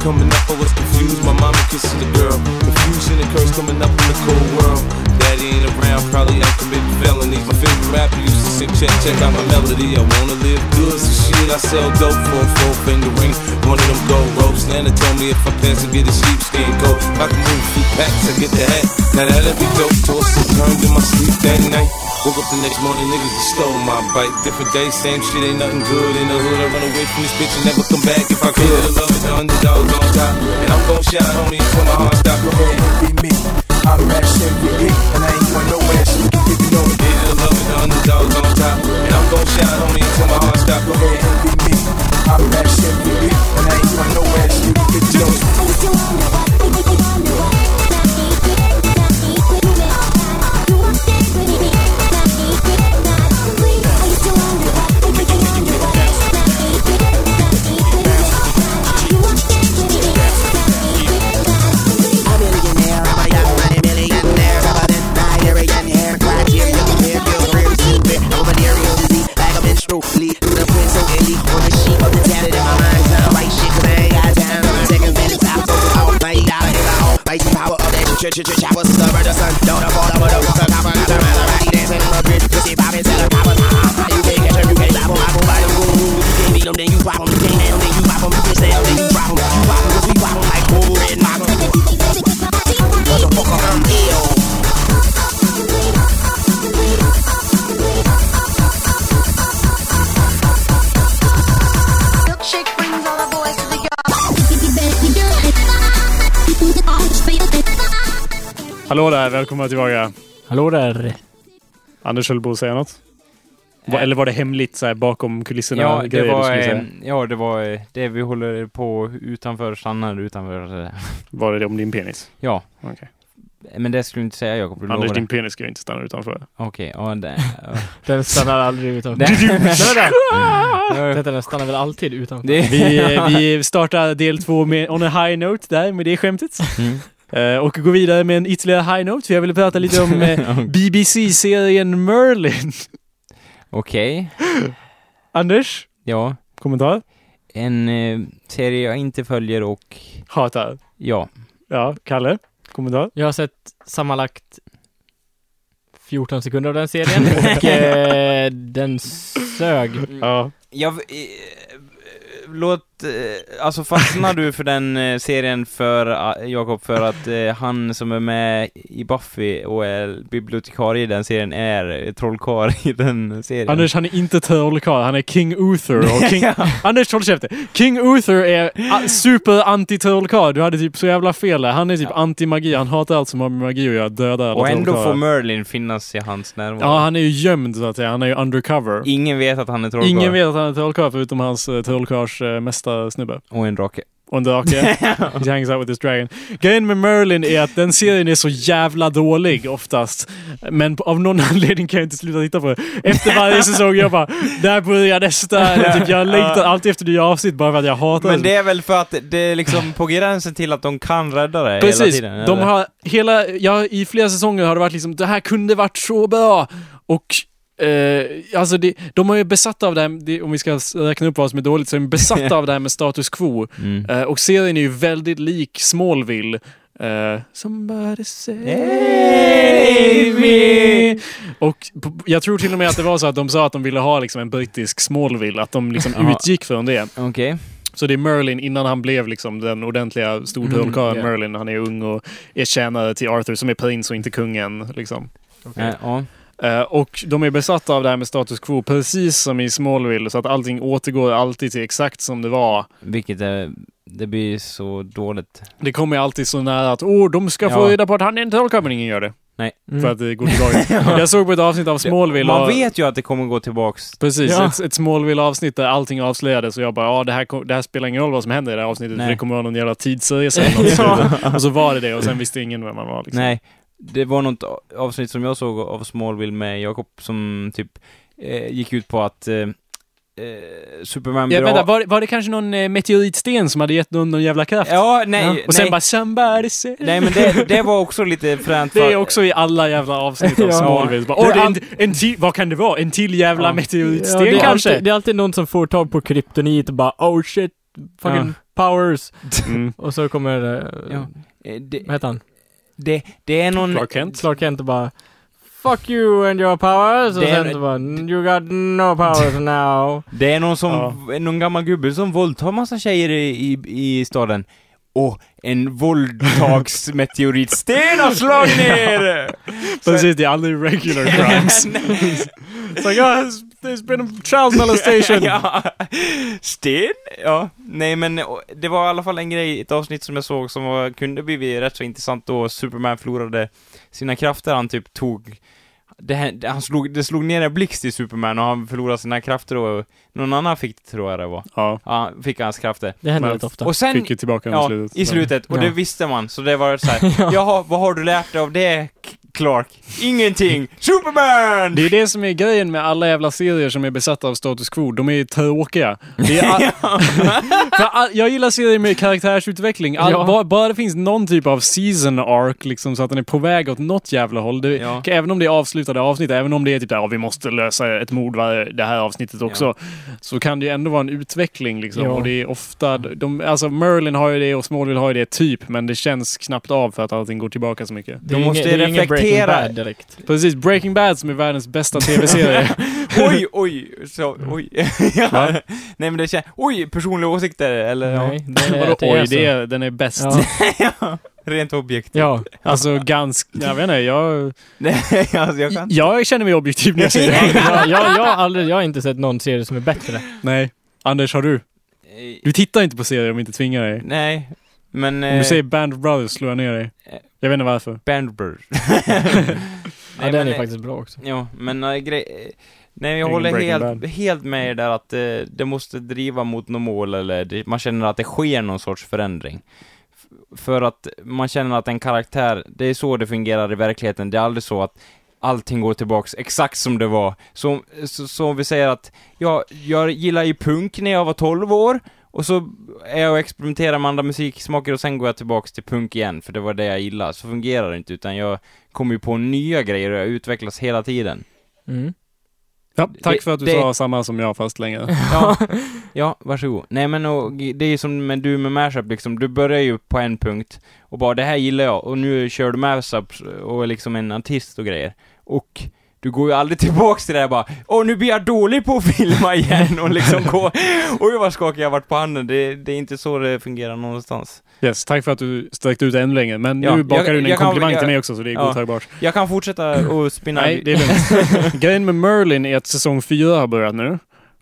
D: Coming up, I was confused. My mama kissing the girl. Confusion and curse coming up in the cold world. Daddy ain't around, probably I'm committing felonies. My favorite rapper used to sing, check, check out my melody. I wanna live good, so shit, I sell dope for a four finger ring. One of them gold ropes. Nana told me if I pass, I get a sheepskin coat. If I can move two packs, I get the hat. Now that'd be dope. Tossed and turned in my sleep that night. Woke up the next morning, niggas just stole my bike. Different day, same shit, ain't nothing good in the hood. I run away from this bitch and never come back if I could. The love is the underdog, don't stop. And I'm gon' shine, homie, until my heart stop.
F: be me. I rap shit with it, and I ain't going nowhere. So you can get to know it.
D: Yeah, the love is the underdog, don't stop. And I'm gon' shine, homie, until my heart stop.
F: Go ahead and be me. I rap shit with it, and I ain't going nowhere. So you can get to know it.
G: A millionaire, I'm a young money millionaire. I'm a Nigerian hair, criteria, clear, feel free, stupid, over there, you'll see. Like a menstrual bleed through the print, so illy on the sheet of the tablet in my mind's eye. White shit, cause I ain't got time. I'm taking better top, so it's all my dollar. It's all my power of that ch ch ch chopper, summer, the sun, don't a fall over the water, copper, got a man, I'm dancing on the bridge, pussy poppin', selling poppers. You can't catch 'em, you can't stop 'em, I go by them, boom, boom. You can't beat 'em, then you pop 'em. You can't handle 'em, then you pop 'em. You can't stand 'em, then you drop 'em. You pop 'em, 'cause we pop 'em like cool red models. Motherfucker, I'm ill.
H: Milkshake brings all the boys to the yard.
A: Hallå där, välkomna tillbaka.
B: Hallå där.
A: Anders höll på att säga något. Va-
C: Eh.
A: Eller var det hemligt så här, bakom kulisserna?
C: Ja, det
A: grejer du
C: var,
A: skulle
C: eh,
A: säga?
C: ja, det var eh, det vi håller på utanför, stannar utanför. eh,
A: Var det det om din penis?
C: Ja,
A: Okej.
C: men det skulle du inte säga Jakob. du
A: Anders,
C: lovade.
A: din penis ska ju inte stanna utanför.
C: Okej, ja det...
B: Den stannar aldrig utanför.
C: Nej.
B: Nej,
C: ja.
B: nej. Den stannar väl alltid utanför.
C: det...
A: Vi, eh, vi startar del två med on a high note där med det skämtet.
C: Mm.
A: Eh, och går vidare med en ytterligare high note. För jag ville prata lite om eh, BBC-serien Merlin.
C: Okej.
A: Anders,
C: Ja.
A: kommentar?
C: En eh, serie jag inte följer och
A: Hatar.
C: ja.
A: Ja, Kalle? Kommentar?
B: Jag har sett sammanlagt 14 sekunder av den serien och eh, den sög.
C: Mm.
A: Ja.
C: Jag... eh, Låt, eh, alltså fastnar du för den eh, serien för, eh, Jakob, för att eh, han som är med i Buffy och är bibliotekarie i den serien är eh, trollkarl i den serien?
A: Anders, han är inte trollkarl, han är King Uther. Och King...
C: Ja.
A: Anders, håll käften! King Uther är a- super-anti-trollkarl. Du hade typ så jävla fel där. Han är typ anti-magi, han hatar allt som har med magi att göra. Döda alla
C: Och ändå får
A: trollkarlar.
C: Merlin finnas i hans närvaro.
A: Ja, han är ju gömd så att säga. Han är ju undercover.
C: Ingen vet att han är trollkarl.
A: Ingen vet att han är trollkarl förutom hans eh, trollkarls eh, mästarsnubbe.
C: Och en drake.
A: Och en drake. He hangs out with this dragon. Grejen med Merlin är att den serien är så jävla dålig oftast. Men på- av någon anledning kan jag inte sluta titta på det. Efter varje säsong jag bara, där börjar nästa. Eller typ, jag längtar alltid efter nya avsnitt bara för att jag hatar
C: Men det är väl för att det är liksom på gränsen till att de kan rädda det hela
A: Precis.
C: tiden?
A: de
C: eller?
A: har hela, ja, i flera säsonger har det varit liksom, det här kunde varit så bra. Och eh, alltså det, de har ju besatta av det här, det, om vi ska s- räkna upp vad som är dåligt, så är de besatta av det här med status quo.
C: Mm.
A: Eh, och serien är ju väldigt lik Smallville. Eh, somebody save
C: Save
A: me.
C: me.
A: Och p- jag tror till och med att det var så att de sa att de ville ha liksom en brittisk Smallville, att de liksom
C: Jaha.
A: utgick från det.
C: Eh, Okej.
A: Så det är Merlin innan han blev liksom den ordentliga stortrollkarlen
B: Mm, ja.
A: Merlin. Han är ung och är tjänare till Arthur som är prins och inte kungen. Liksom.
C: Ja, ja.
A: Eh, och de är besatta av det här med status quo, precis som i Smallville. Så att allting återgår alltid till exakt som det var.
C: Vilket är, det blir så dåligt.
A: Det kommer alltid så nära att åh, de ska få
C: Ja.
A: reda på att han är en trollkarl, men ingen gör det.
C: Nej. Mm.
A: För att det går tillbaka. Jag såg på ett avsnitt av Smallville.
C: Man
A: och-
C: vet ju att det kommer gå tillbaks.
A: Precis,
B: Ja.
A: ett, ett Smallville-avsnitt där allting avslöjades och jag bara ja, det här, kom- det här spelar ingen roll vad som händer i det här avsnittet
C: Nej.
A: för det kommer vara någon jävla tidsresa eller något. Och så var det det och sen visste ingen vem man var. Liksom.
C: Nej. Det var något avsnitt som jag såg av Smallville med Jakob som typ eh, gick ut på att eh, eh, Superman
A: Ja,
C: blir
A: vänta,
C: av-
A: var, var det kanske någon eh, meteoritsten som hade gett någon någon jävla kraft?
C: Ja, nej,
A: Ja.
C: nej.
A: Och sen bara somebody say...
C: Nej men det, det var också lite fränt
A: Det
C: för-
A: är också i alla jävla avsnitt av
C: Ja.
A: Smallville. Bara,
B: Det
A: Åh,
B: är
A: det är en,
B: allt-
A: en till, vad kan det vara? En till jävla
C: Ja.
A: meteoritsten
B: det, är
A: kanske?
B: Alltid, det är alltid någon som får tag på kryptonit och bara oh shit, fucking powers.
A: Mm.
B: Och så kommer, eh,
C: Ja. Eh, det,
B: vad heter han?
C: det, det är någon...
A: Clark Kent?
B: Clark Kent och bara Fuck you and your powers och
C: Det är-
B: sen så bara You got no powers now.
C: Det är någon som, någon gammal gubbe som våldtar massa tjejer i, i, i staden. Och en våldtagsmeteoritsten har slagit ner!
A: Precis, det är aldrig regular crimes. It's like, oh, there's- there's been a child molestation.
C: ja. Sten? Ja. Nej men och, det var i alla fall en grej, ett avsnitt som jag såg som var, kunde blivit rätt så intressant då Superman förlorade sina krafter, han typ tog det, här- det- han slog, det slog ner en blixt i Superman och han förlorade sina krafter och någon annan fick det tror jag det var.
A: Ja,
C: Ja, fick hans krafter.
B: Det händer
A: Men-
B: rätt ofta.
C: Och sen,
A: fick ju tillbaka den
C: ja,
A: i slutet.
C: i slutet. Och det
B: Ja.
C: visste man, så det var så här. Jaha, vad har du lärt dig av det, K- Clark? Ingenting! Superman!
A: Det är det som är grejen med alla jävla serier som är besatta av status quo. De är tråkiga. Det är all... För all... Jag gillar serier med karaktärsutveckling. All...
B: Ja.
A: Bara, bara det finns någon typ av season arc, liksom, så att den är på väg åt något jävla håll. Det...
C: Ja.
A: Även om det är avslutade avsnitt, även om det är typ där, "Ja, vi måste lösa ett mord varje... det här avsnittet också, så kan det ju ändå vara en utveckling. Liksom.
B: Ja.
A: Och det är ofta... De... Alltså, Merlin har ju det och Smallville har ju det, typ, men det känns knappt av för att allting går tillbaka så mycket.
B: Det är ju
C: måste
B: inget- det är ju inget Breaking
C: reflektera.
B: Bad direkt.
A: Precis, Breaking Bad som är världens bästa tv-serie.
C: Oj, oj, så, oj. ja.
A: Va?
C: Nej men det känns, oj, personliga åsikter eller ja,
B: Nej, det,
A: Vadå
B: är
A: oj,
B: så.
A: det är, den är bäst.
B: Ja.
C: rent objekt.
B: ja.
A: Alltså ganska, jag vet inte, jag,
C: Nej, alltså jag kan
A: jag känner mig objektiv när jag säger det.
B: jag, jag, jag, har aldrig, jag har inte sett någon serie som är bättre.
A: Nej. Anders, har du? Du tittar inte på serier om jag inte tvingar dig.
C: Eh, Nej, men... eh,
A: Om du säger Band of Brothers slår jag ner dig. Jag vet inte varför.
C: Bandbird.
B: Ja, den är faktiskt bra också.
C: eh, Ja, men äh, grej... Nej, jag
A: Ingen
C: håller
A: Breaking
C: helt,
A: Bad.
C: helt med er där att eh, det måste driva mot något mål eller det, man känner att det sker någon sorts förändring. F- För att man känner att en karaktär, det är så det fungerar i verkligheten, det är aldrig så att allting går tillbaks exakt som det var. Så, så, så om vi säger att, ja, jag gillar ju punk när jag var 12 år, och så är jag och experimenterar med andra musiksmaker och sen går jag tillbaks till punk igen, för det var det jag gillade. Så fungerar det inte, utan jag kommer ju på nya grejer och jag utvecklas hela tiden.
B: Mm.
A: Ja, tack
C: Det-
A: för att du
C: det-
A: sa samma som jag fast längre.
C: Ja, ja varsågod. Nej men och, det är ju som med du med Mashup liksom, du börjar ju på en punkt och bara det här gillar jag och nu kör du Mashup och är liksom en artist och grejer. Och du går ju aldrig tillbaks till det här bara Åh nu blir jag dålig på att filma igen och liksom gå Oj vad skakig jag varit på handen, det, det är inte så det fungerar någonstans.
A: Yes, tack för att du sträckte ut ännu längre. Men
C: Ja,
A: nu bakar
C: jag-
A: du in en
C: jag kan-
A: komplimang
C: jag-
A: till mig också så det är
C: Ja.
A: godtagbart.
C: Jag kan fortsätta och spinna
A: Nej, det är lugnt. Grejen med Merlin är att säsong 4 har börjat nu.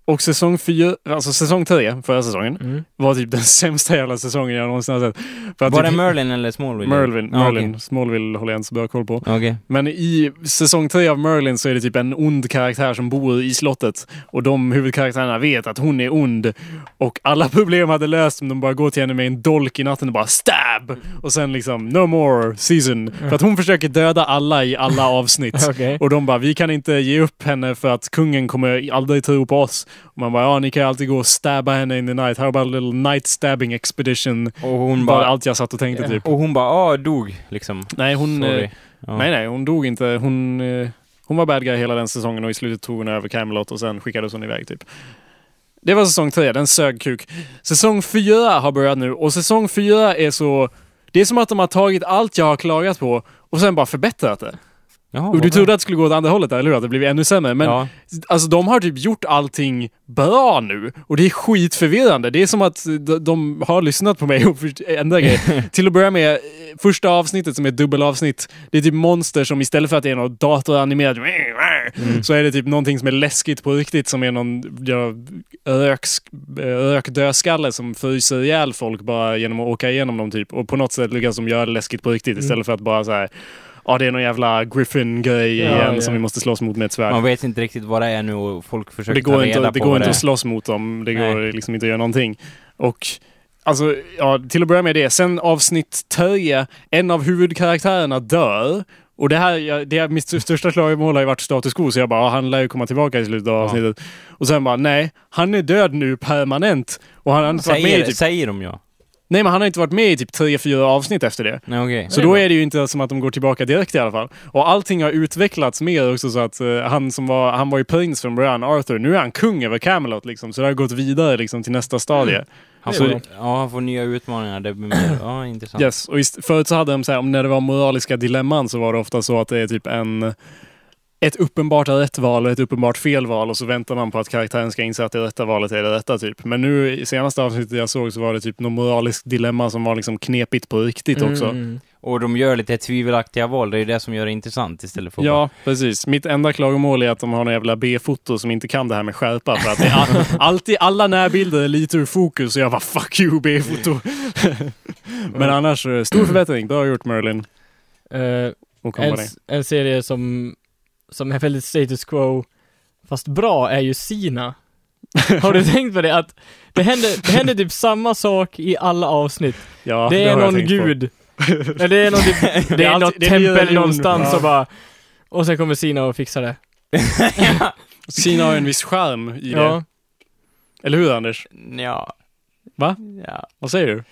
A: Och säsong 4, alltså säsong 3, förra säsongen,
B: Mm.
A: var typ den sämsta jävla säsongen jag någonsin har sett. För att
C: Var det
A: typ-
C: Merlin eller Smallville?
A: Merlin,
C: Ja,
A: Merlin. Smallville håller jag inte så bra koll på.
C: Okej. Okej.
A: Men i säsong tre av Merlin så är det typ en ond karaktär som bor i slottet. Och de huvudkaraktärerna vet att hon är ond. Och alla problem hade löst om de bara går till henne med en dolk i natten och bara stab! Och sen liksom no more season. För att hon försöker döda alla i alla avsnitt.
B: Okej.
A: Och de bara, vi kan inte ge upp henne för att kungen kommer aldrig tro på oss. Och man bara, ja ni kan ju alltid gå och stabba henne in the night. How about a little night stabbing expedition?
C: Och hon
A: Bara
C: bara,
A: allt jag satt och tänkte typ.
C: och hon bara, ah dog liksom.
A: Nej, hon... eh,
C: Sorry. Ja.
A: Nej, nej, hon dog inte. Hon, eh, hon var bad guy hela den säsongen och i slutet tog hon över Camelot och sen skickades hon iväg typ. Det var säsong tre, den sög kuk. Säsong fyra har börjat nu och säsong fyra är så... Det är som att de har tagit allt jag har klagat på och sen bara förbättrat det.
C: Jaha,
A: och
C: vad
A: du
C: bra.
A: trodde att det skulle gå åt andra hållet, där, eller hur? Att det blev ännu sämre. Men
C: Ja.
A: alltså, de har typ gjort allting bra nu och det är skitförvirrande. Det är som att de, de har lyssnat på mig och först- ändrat grejer. Till att börja med, eh, första avsnittet som är ett dubbelavsnitt, det är typ monster som istället för att det är något datoranimerat
B: Mm.
A: så är det typ någonting som är läskigt på riktigt som är någon ja, röksk- eh, rökdödskalle som fryser ihjäl folk bara genom att åka igenom dem typ. Och på något sätt lyckas de göra det läskigt på riktigt
B: Mm.
A: istället för att bara så här. Ja, det är någon jävla Griffin-grej
B: Ja,
A: igen
B: ja.
A: som vi måste slåss mot med ett svärd.
C: Man vet inte riktigt vad det är nu och folk försöker
A: Det
C: ta
A: går,
C: reda
A: inte, det
C: på
A: går
C: vad
A: inte
C: det
A: att
C: är.
A: slåss mot dem. Det
C: Nej.
A: går liksom inte att göra någonting. Och alltså, ja, till att börja med det. Sen avsnitt tre, en av huvudkaraktärerna dör. Och det här, jag, det är mitt största klagomål har ju varit status quo, så jag bara, "Ah, han lär ju komma tillbaka i slutet av avsnittet. Och sen bara, nej, han är död nu permanent. Och han har inte varit med i
C: Säger,
A: typ,
C: säger de ja?
A: nej men han har inte varit med i typ tre, fyra avsnitt efter det.
C: Nej okej.
A: Så då är det ju inte som att de går tillbaka direkt i alla fall. Och allting har utvecklats mer också så att eh, han som var, han var ju prins från början, Arthur, nu är han kung över Camelot liksom. Så det har gått vidare liksom till nästa stadie.
C: Han
A: det
C: får,
A: är bra.
C: ja, han får nya utmaningar. Det blir mer, ja intressant.
A: Yes, och just, förut så hade de så här, om när det var moraliska dilemman så var det ofta så att det är typ en ett uppenbart rätt val och ett uppenbart fel val och så väntar man på att karaktären ska inse att det rätta valet är det rätta typ. Men nu i senaste avsnittet jag såg så var det typ något moraliskt dilemma som var liksom knepigt på riktigt också.
B: Mm.
C: Och de gör lite tvivelaktiga val, det är ju det som gör det intressant istället för att
A: Ja, precis. Mitt enda klagomål är att de har en jävla B-foto som inte kan det här med skärpa. För att det är all, alltid, alla närbilder är lite ur fokus och jag bara fuck you B-foto. Men annars, eh, stor förbättring. Bra gjort Merlin
B: Eh,
A: och
B: en,
A: company.
B: en serie som, som är väldigt status quo, fast bra, är ju Sina. Har du tänkt på det? Att det händer, det händer typ samma sak i alla avsnitt.
A: Ja,
B: det är
A: har jag
B: någon
A: tänkt på.
B: gud. Eller det är, någon typ, det
A: Det är
B: är
A: alltid-
B: något
A: det är
B: tempel
A: religion.
B: någonstans
A: Ja.
B: och bara... Och sen kommer Sina och fixar det.
A: Sina har ju en viss charm i det.
B: Ja.
A: Eller hur Anders?
C: Ja.
A: Va?
C: Ja.
A: Vad säger du?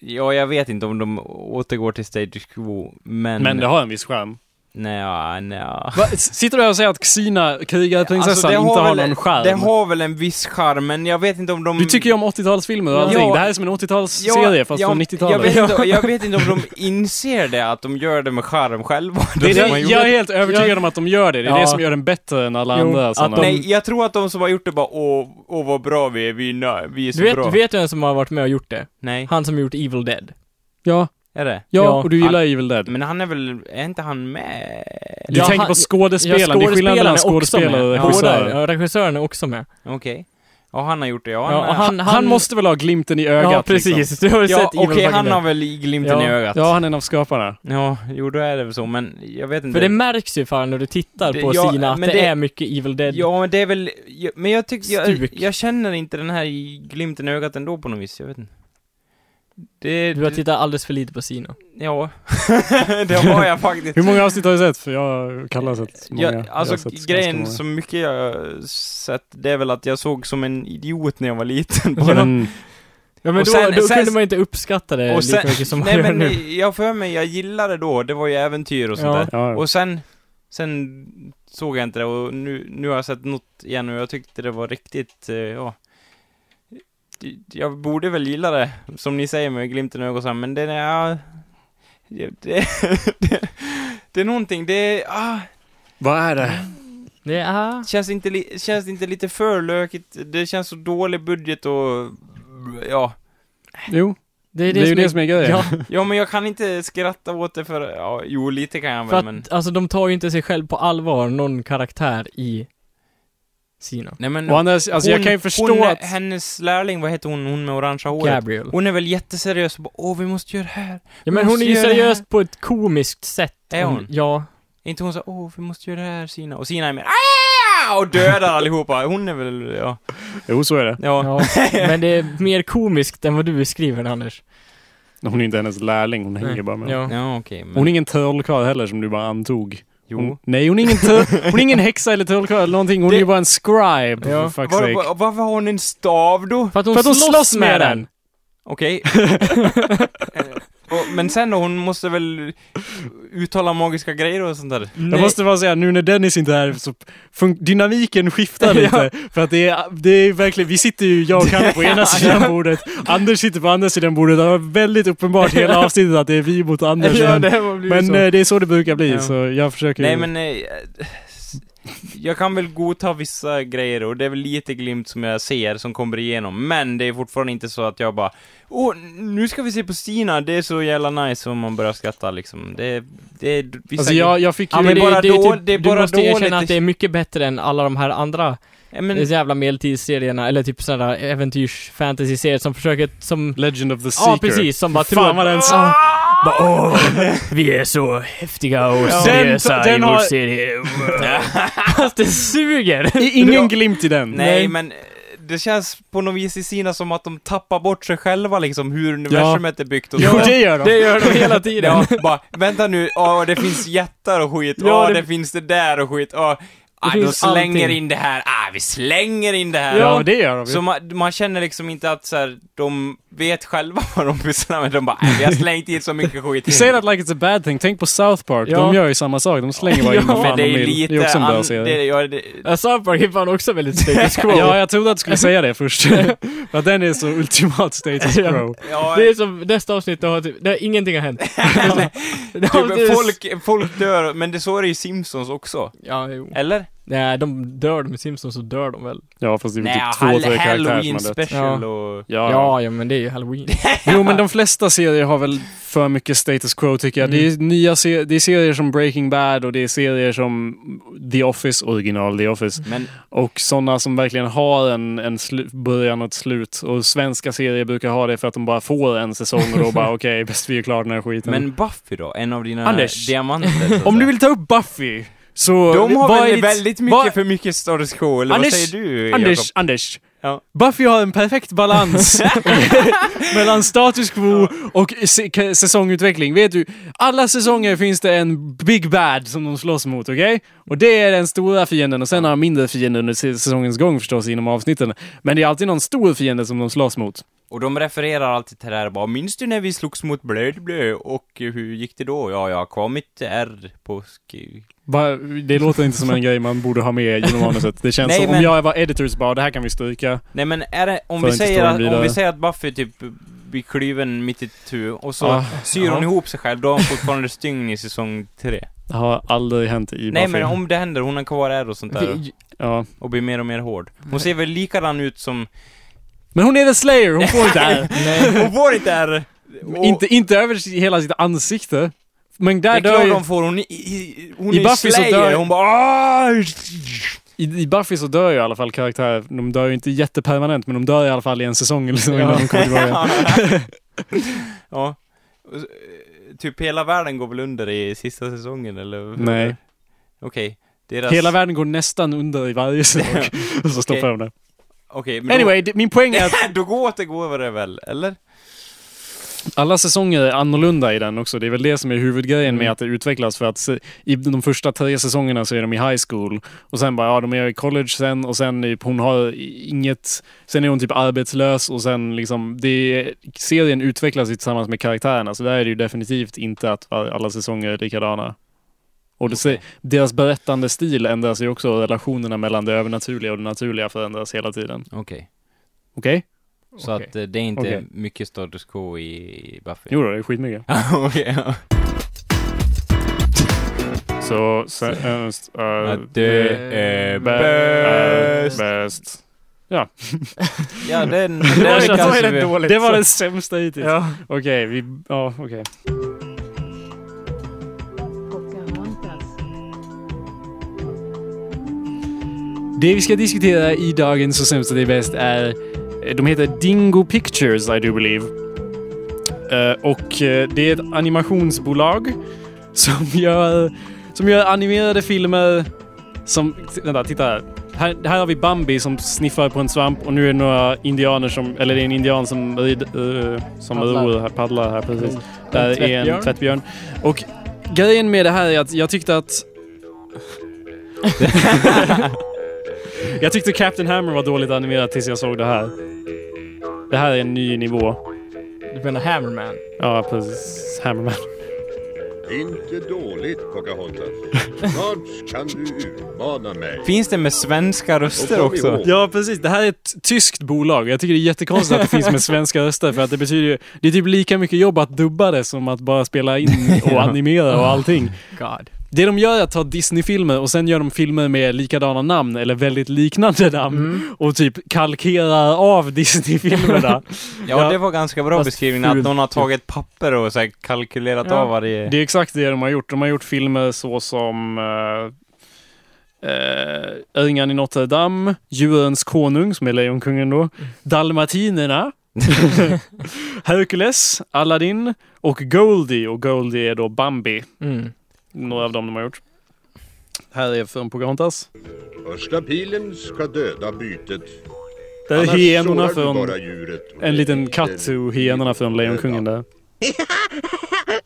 C: ja, jag vet inte om de återgår till status quo, men...
A: Men det har en viss charm.
C: Nja, nja.
A: Va? S- Sitter du här och säger att Xina, krigarprinsessan,
C: Alltså, det
A: inte har
C: väl-
A: någon charm?
C: Det har väl en viss charm, men jag vet inte om de...
A: Du tycker ju om 80-talsfilmer och
C: Ja.
A: allting. Det här är som en 80-talsserie fast från
C: jag,
A: 90-talet.
C: vet inte, jag vet inte om de inser det, att de gör det med charm själva.
A: Det är
C: De som
A: det,
C: har gjort
A: jag är helt övertygad om att de gör det. Det är
B: Ja.
A: det som gör den bättre än alla
B: Jo,
A: andra.
B: att
A: sådana.
B: de-
C: Nej, jag tror att de som har gjort det bara åh, åh vad bra vi är, vi är, nö, vi är så
B: Du
C: bra.
B: vet, vet du vem som har varit med och gjort det?
C: Nej,
B: Han som har gjort Evil Dead.
A: Ja,
C: är det?
A: ja,
B: Ja.
A: och du gillar Evil Dead.
C: Men han är väl, är inte han med?
A: Du
B: Ja,
A: tänker
B: han-
A: på skådespelaren. det är skillnad mellan skådespelare och regissör.
B: regissör. Ja, regissören är också med.
C: Okej. Ja, han har gjort det, ja.
B: Ja, och
C: är-
B: han-
A: Han, måste väl ha glimten i ögat?
B: Ja, precis.
A: Liksom.
B: Du har ju
C: ja
B: sett
C: okej,
B: Evil Dead.
C: han har väl glimten
B: Ja,
C: i ögat.
A: Ja,
C: Ja.
A: han är en av skaparna.
C: ja, jo då är det väl så, men jag vet inte.
B: För det märks ju fan när du tittar
C: Det-
B: på
C: ja,
B: Sina att det,
C: men det-
B: är mycket Evil Dead.
C: Ja, men det är väl, jag- men jag tycker, jag,
B: Stuk.
C: jag känner inte den här glimten i ögat ändå på något vis, jag vet inte. Det,
B: Du har tittat alldeles för lite på Sina.
C: ja. det har jag faktiskt.
A: Hur många avsnitt har du sett? För jag kallar sett många.
C: Ja,
A: Jag har
C: alltså
A: sett ganska
C: grejen
A: många.
C: så mycket jag har sett, det är väl att jag såg som en idiot när jag var liten på
B: Ja,
C: den.
A: Mm.
B: Ja men
C: Och
B: då,
C: sen-
B: då
C: sen-
B: kunde man ju inte uppskatta det
C: Och sen,
B: lika mycket som man
C: nej
B: gör
C: men
B: nu.
C: jag har för mig, jag gillade det då, det var ju äventyr och sånt
B: Ja.
C: där.
A: Ja.
C: Och sen, Sen såg jag inte det och nu, nu har jag sett något igen och jag tyckte det var riktigt, eh, ja. Jag borde väl gilla det, som ni säger med glimten i ögat och så här, men det är, ja, det, det, det, det är någonting, det är, ah,
A: Vad är det?
B: Det är, ah. aha.
C: Känns inte, li- känns inte lite för lökigt? Det känns så dålig budget och... Ja.
A: Jo,
B: Det
A: det
B: är
A: är ju det som är grejen.
B: Ja,
C: Ja, men jag kan inte skratta åt det för... Ja, jo, lite kan jag
B: för
C: väl,
B: att,
C: men...
B: alltså de tar ju inte sig själv på allvar, någon karaktär i Sina.
C: Nej, men...
A: Och annars, alltså jag kan ju förstå
C: hon,
A: att...
C: Hennes lärling, vad heter hon? Hon med orangea håret?
B: Gabriel.
C: Hon är väl jätteseriös och bara, åh, vi måste göra det här.
B: Ja men
C: Hon
B: hon är ju
C: ser det här.
B: seriös på ett komiskt sätt.
C: Är
B: Om-
C: hon?
B: Ja.
C: Är inte hon så åh, vi måste göra det här, Sina. Och Sina är mer, "Aah!" och dödar allihopa. Hon är väl, ja.
A: Jo, så är det.
C: Ja.
B: ja. Men det är mer komiskt än vad du beskriver Anders.
A: Hon är inte hennes lärling, hon hänger
B: Nej.
A: bara med.
B: Ja.
C: Ja, okej. men...
A: Hon är ingen trollkarl heller som du bara antog. Hon,
C: Jo.
A: nej, hon är ingen, tör, hon är ingen häxa eller trollkarl eller någonting. Hon
C: Det-
A: är ju bara en scribe,
B: Ja.
A: for fuck's
C: Var,
A: sake.
C: var, varför har hon en stav då?
B: För att hon,
A: För att hon slåss med den!
C: Okej. Och- Men sen då, hon måste väl uttala magiska grejer och sånt där?
A: Jag måste bara säga, nu när Dennis inte är här så fun- dynamiken skiftar lite. För att det är, det är verkligen, vi sitter ju, jag och Kalle på ena sidan bordet, Anders sitter på andra sidan bordet. Det var väldigt uppenbart hela avsnittet att det är vi mot Anders. men men eh, det är så det brukar bli,
C: Ja.
A: så jag försöker
C: Nej
A: ju-
C: men... eh, Jag kan väl godta vissa grejer och det är väl lite glimt som jag ser som kommer igenom. Men det är fortfarande inte så att jag bara Åh, nu ska vi se på Stina, det är så jävla nice om man börjar skratta liksom. Det, det är vissa
A: Alltså jag, jag fick ju...
C: Ja, men
B: det,
C: bara
B: det, är
C: då-
B: typ,
C: det är
B: du
C: bara
B: måste
C: dåligt.
B: erkänna att det är mycket bättre än alla de här andra eh,
C: Ja, men,
B: jävla medeltidsserierna, eller typ sådana äventyrs fantasy-serier som försöker, som...
A: Legend of the Seeker.
B: Ja precis, som bara
A: Fan vad den-
B: Ah, bara, åh, vi är så häftiga och
A: Ja.
B: seriösa
A: Den- den
B: i vår
A: har-
B: serie. Fast det suger!
A: I- Ingen glimt i den.
C: nej men... eh, Det känns på något vis i Stina som att de tappar bort sig själva liksom, hur universumet är byggt och
A: Jo,
C: så.
A: det gör de.
B: Det gör de hela tiden.
C: Ja, bara, vänta nu, ja det finns jättar och skit, ja
B: Ja,
C: det...
B: det-
C: finns det där och skit, ja. Ah, de
B: finns
C: slänger
B: allting.
C: in det här, ah, vi slänger in det här.
A: Ja, men det gör de ju.
C: Så man, man känner liksom inte att så här, de vet själva vad de pysslar med, de bara, "Nej, vi har slängt in så mycket
A: You
C: skit.
A: say that like it's a bad thing. Tänk på South Park.
B: Ja.
A: De gör ju samma sak. De slänger bara in vad
C: Men
A: fan
C: det
A: de
C: är
A: vill.
C: lite,
A: Det är också en bra
C: an-
A: serie.
C: det, ja, det,
B: Ja, South Park är fan också väldigt status quo.
A: Ja, jag trodde att du skulle säga det först. För att den är så ultimat status
B: Ja.
A: quo.
C: ja,
B: Det är som nästa avsnitt, då har typ, där ingenting har hänt. Det har
C: typ,
B: typ-
C: folk, folk dör, men det, så är det ju Simpsons också.
B: Ja, jo.
C: Eller?
B: Nej, de dör med Simpsons så dör de väl?
A: Ja, fast det är väl typ två,
C: hall-
A: tre karaktärer som
C: Halloween
A: har dött.
C: special
B: Ja.
C: och...
A: Ja.
B: Ja, ja men det är ju halloween.
A: Jo, men de flesta serier har väl för mycket status quo tycker jag. Det, är nya se- det är serier som Breaking Bad och det är serier som The Office, original The Office.
C: Men
A: Och sådana som verkligen har en, en slu- början och ett slut. Och svenska serier brukar ha det för att de bara får en säsong och då bara okej, bäst vi är klara den här skiten.
C: Men Buffy då? En av dina
A: Anders,
C: diamanter? så att
A: Om du
C: säga.
A: vill ta upp Buffy, så...
C: De har
A: vad
C: väl
A: är ditt-
C: väldigt mycket
A: vad-
C: för mycket status quo, eller
A: Anders,
C: vad säger du
A: Anders,
C: Jakob?
A: Anders.
C: Ja.
A: Buffy har en perfekt balans mellan status quo och se- k- säsongutveckling. Vet du, alla säsonger finns det en big bad som de slåss mot, okej? Och det är den stora fienden och sen har de mindre fiender under se- säsongens gång förstås inom avsnitten. Men det är alltid någon stor fiende som de slåss mot.
C: Och de refererar alltid till det här bara, minns du när vi slogs mot blöd, blöd och hur gick det då? Ja, jag har kvar mitt R på sk...
A: Bara- Det låter inte som en grej man borde ha med genom manuset. Det känns
C: Nej,
A: som
C: men-
A: om jag var editor så bara, det här kan vi stryka.
C: Nej men är det, om,
A: För
C: vi
A: inte
C: säger,
A: storyn
C: att, om
A: vidare.
C: vi säger att Buffy typ blir kluven mitt i tu och så
A: Ah,
C: syr
A: ja.
C: hon ihop sig själv, då har hon fortfarande stygn i säsong tre.
A: Det har aldrig hänt i Buffy.
C: Nej men om det händer, hon har kvar R och sånt där
A: Ja.
C: och blir mer och mer hård. Hon ser väl likadan ut som...
A: Men hon är the slayer, hon får inte R.
C: Hon får inte R! Och-
A: Inte, inte över si- hela sitt ansikte. Men
C: Det
A: där
C: är klart
A: dör ju,
C: de får, hon, i, i, hon
A: I
C: är
A: Buffy så
C: slayer,
A: dör-
C: hon bara "Ah!"
A: i, i Buffy så dör ju i alla fall karaktärer. De dör ju inte jättepermanent, men de dör i alla fall i en säsong eller så innan de kommer tillbaka.
C: Ja. Och så, eh, Typ hela världen går väl under i sista säsongen eller?
A: Nej.
C: Okej. Deras...
A: Hela världen går nästan under i varje säsong. Och så stoppar
C: Okej.
A: de det.
C: Okej, men
A: Anyway, d- min poäng är att
C: då... då går återgår det väl, eller?
A: alla säsonger är annorlunda i den också. Det är väl det som är huvudgrejen med att det utvecklas. För att se- i de första tre säsongerna så är de i high school. Och sen bara, ja de är i college sen och sen är- hon har inget... Sen är hon typ arbetslös och sen liksom... Det, serien utvecklas ju tillsammans med karaktärerna. Så där är det ju definitivt inte att alla säsonger är likadana. Och det, se- deras berättande stil ändras ju också och relationerna mellan det övernaturliga och det naturliga förändras hela tiden.
C: Okej.
A: Okej?
C: Så
A: Okej.
C: att eh, det är inte
A: Okej.
C: mycket status quo i i Buffy?
A: Jo då, det är skitmycket.
C: Okej, ja.
A: Så eh, seriöst
C: Att det är bäst.
A: bäst.
C: Ja,
A: Det var,
C: den, den
A: det,
C: kanske vi-
A: dåligt, det var den sämsta hittills. Okej, vi... Ja, okej. Det vi ska diskutera i dagens och sämsta det är bäst är... eh, De heter Dingo Pictures, I do believe. Eh, och eh, det är ett animationsbolag som gör, som gör animerade filmer som... Vänta, titta här. Här, här har vi Bambi som sniffar på en svamp och nu är det några indianer som... Eller det är en indian som, rid, eh, som
B: Paddlar. Mm.
A: ror här, paddlar här precis. Där är en
B: tvättbjörn.
A: tvättbjörn. Och grejen med det här är att jag tyckte att... jag tyckte Captain Hammer var dåligt animerat tills jag såg det här. Det här är en ny nivå.
B: Du menar Hammerman?
A: Ja, precis. Hammerman.
I: Inte dåligt, Pocahontas. Snart kan du utmana mig.
C: Finns det med svenska röster
I: Och kom
C: också?
I: ihåg-
A: Ja, precis. Det här är ett tyskt bolag. Jag tycker det är jättekonstigt att det finns med svenska röster för att det betyder ju... Det är typ lika mycket jobb att dubba det som att bara spela in och animera och allting.
B: God.
A: Det de gör är att ta Disney-filmer och sen gör de filmer med likadana namn eller väldigt liknande
B: Mm.
A: namn och typ kalkerar av Disney-filmerna.
C: Ja,
A: Ja.
C: det var ganska bra
B: Fast
C: beskrivning att
B: fult.
C: någon har tagit papper och så här kalkylerat
A: Ja.
C: av varje...
A: Det är exakt det de har gjort. De har gjort filmer så som uh, uh, Ängan i Notre Dame, Djurens konung, som är Lejonkungen då, Dalmatinerna, Hercules, Aladdin och Goldie. Och Goldie är då Bambi.
B: Mm.
A: Några av dem de har gjort. Här är från Pocahontas.
I: Första pilen ska döda bytet.
A: Där är
I: Annars
A: hyenorna
I: sårar du
A: från...
I: bara djuret.
A: En liten katt och hyenorna från Lejonkungen där.
G: Det här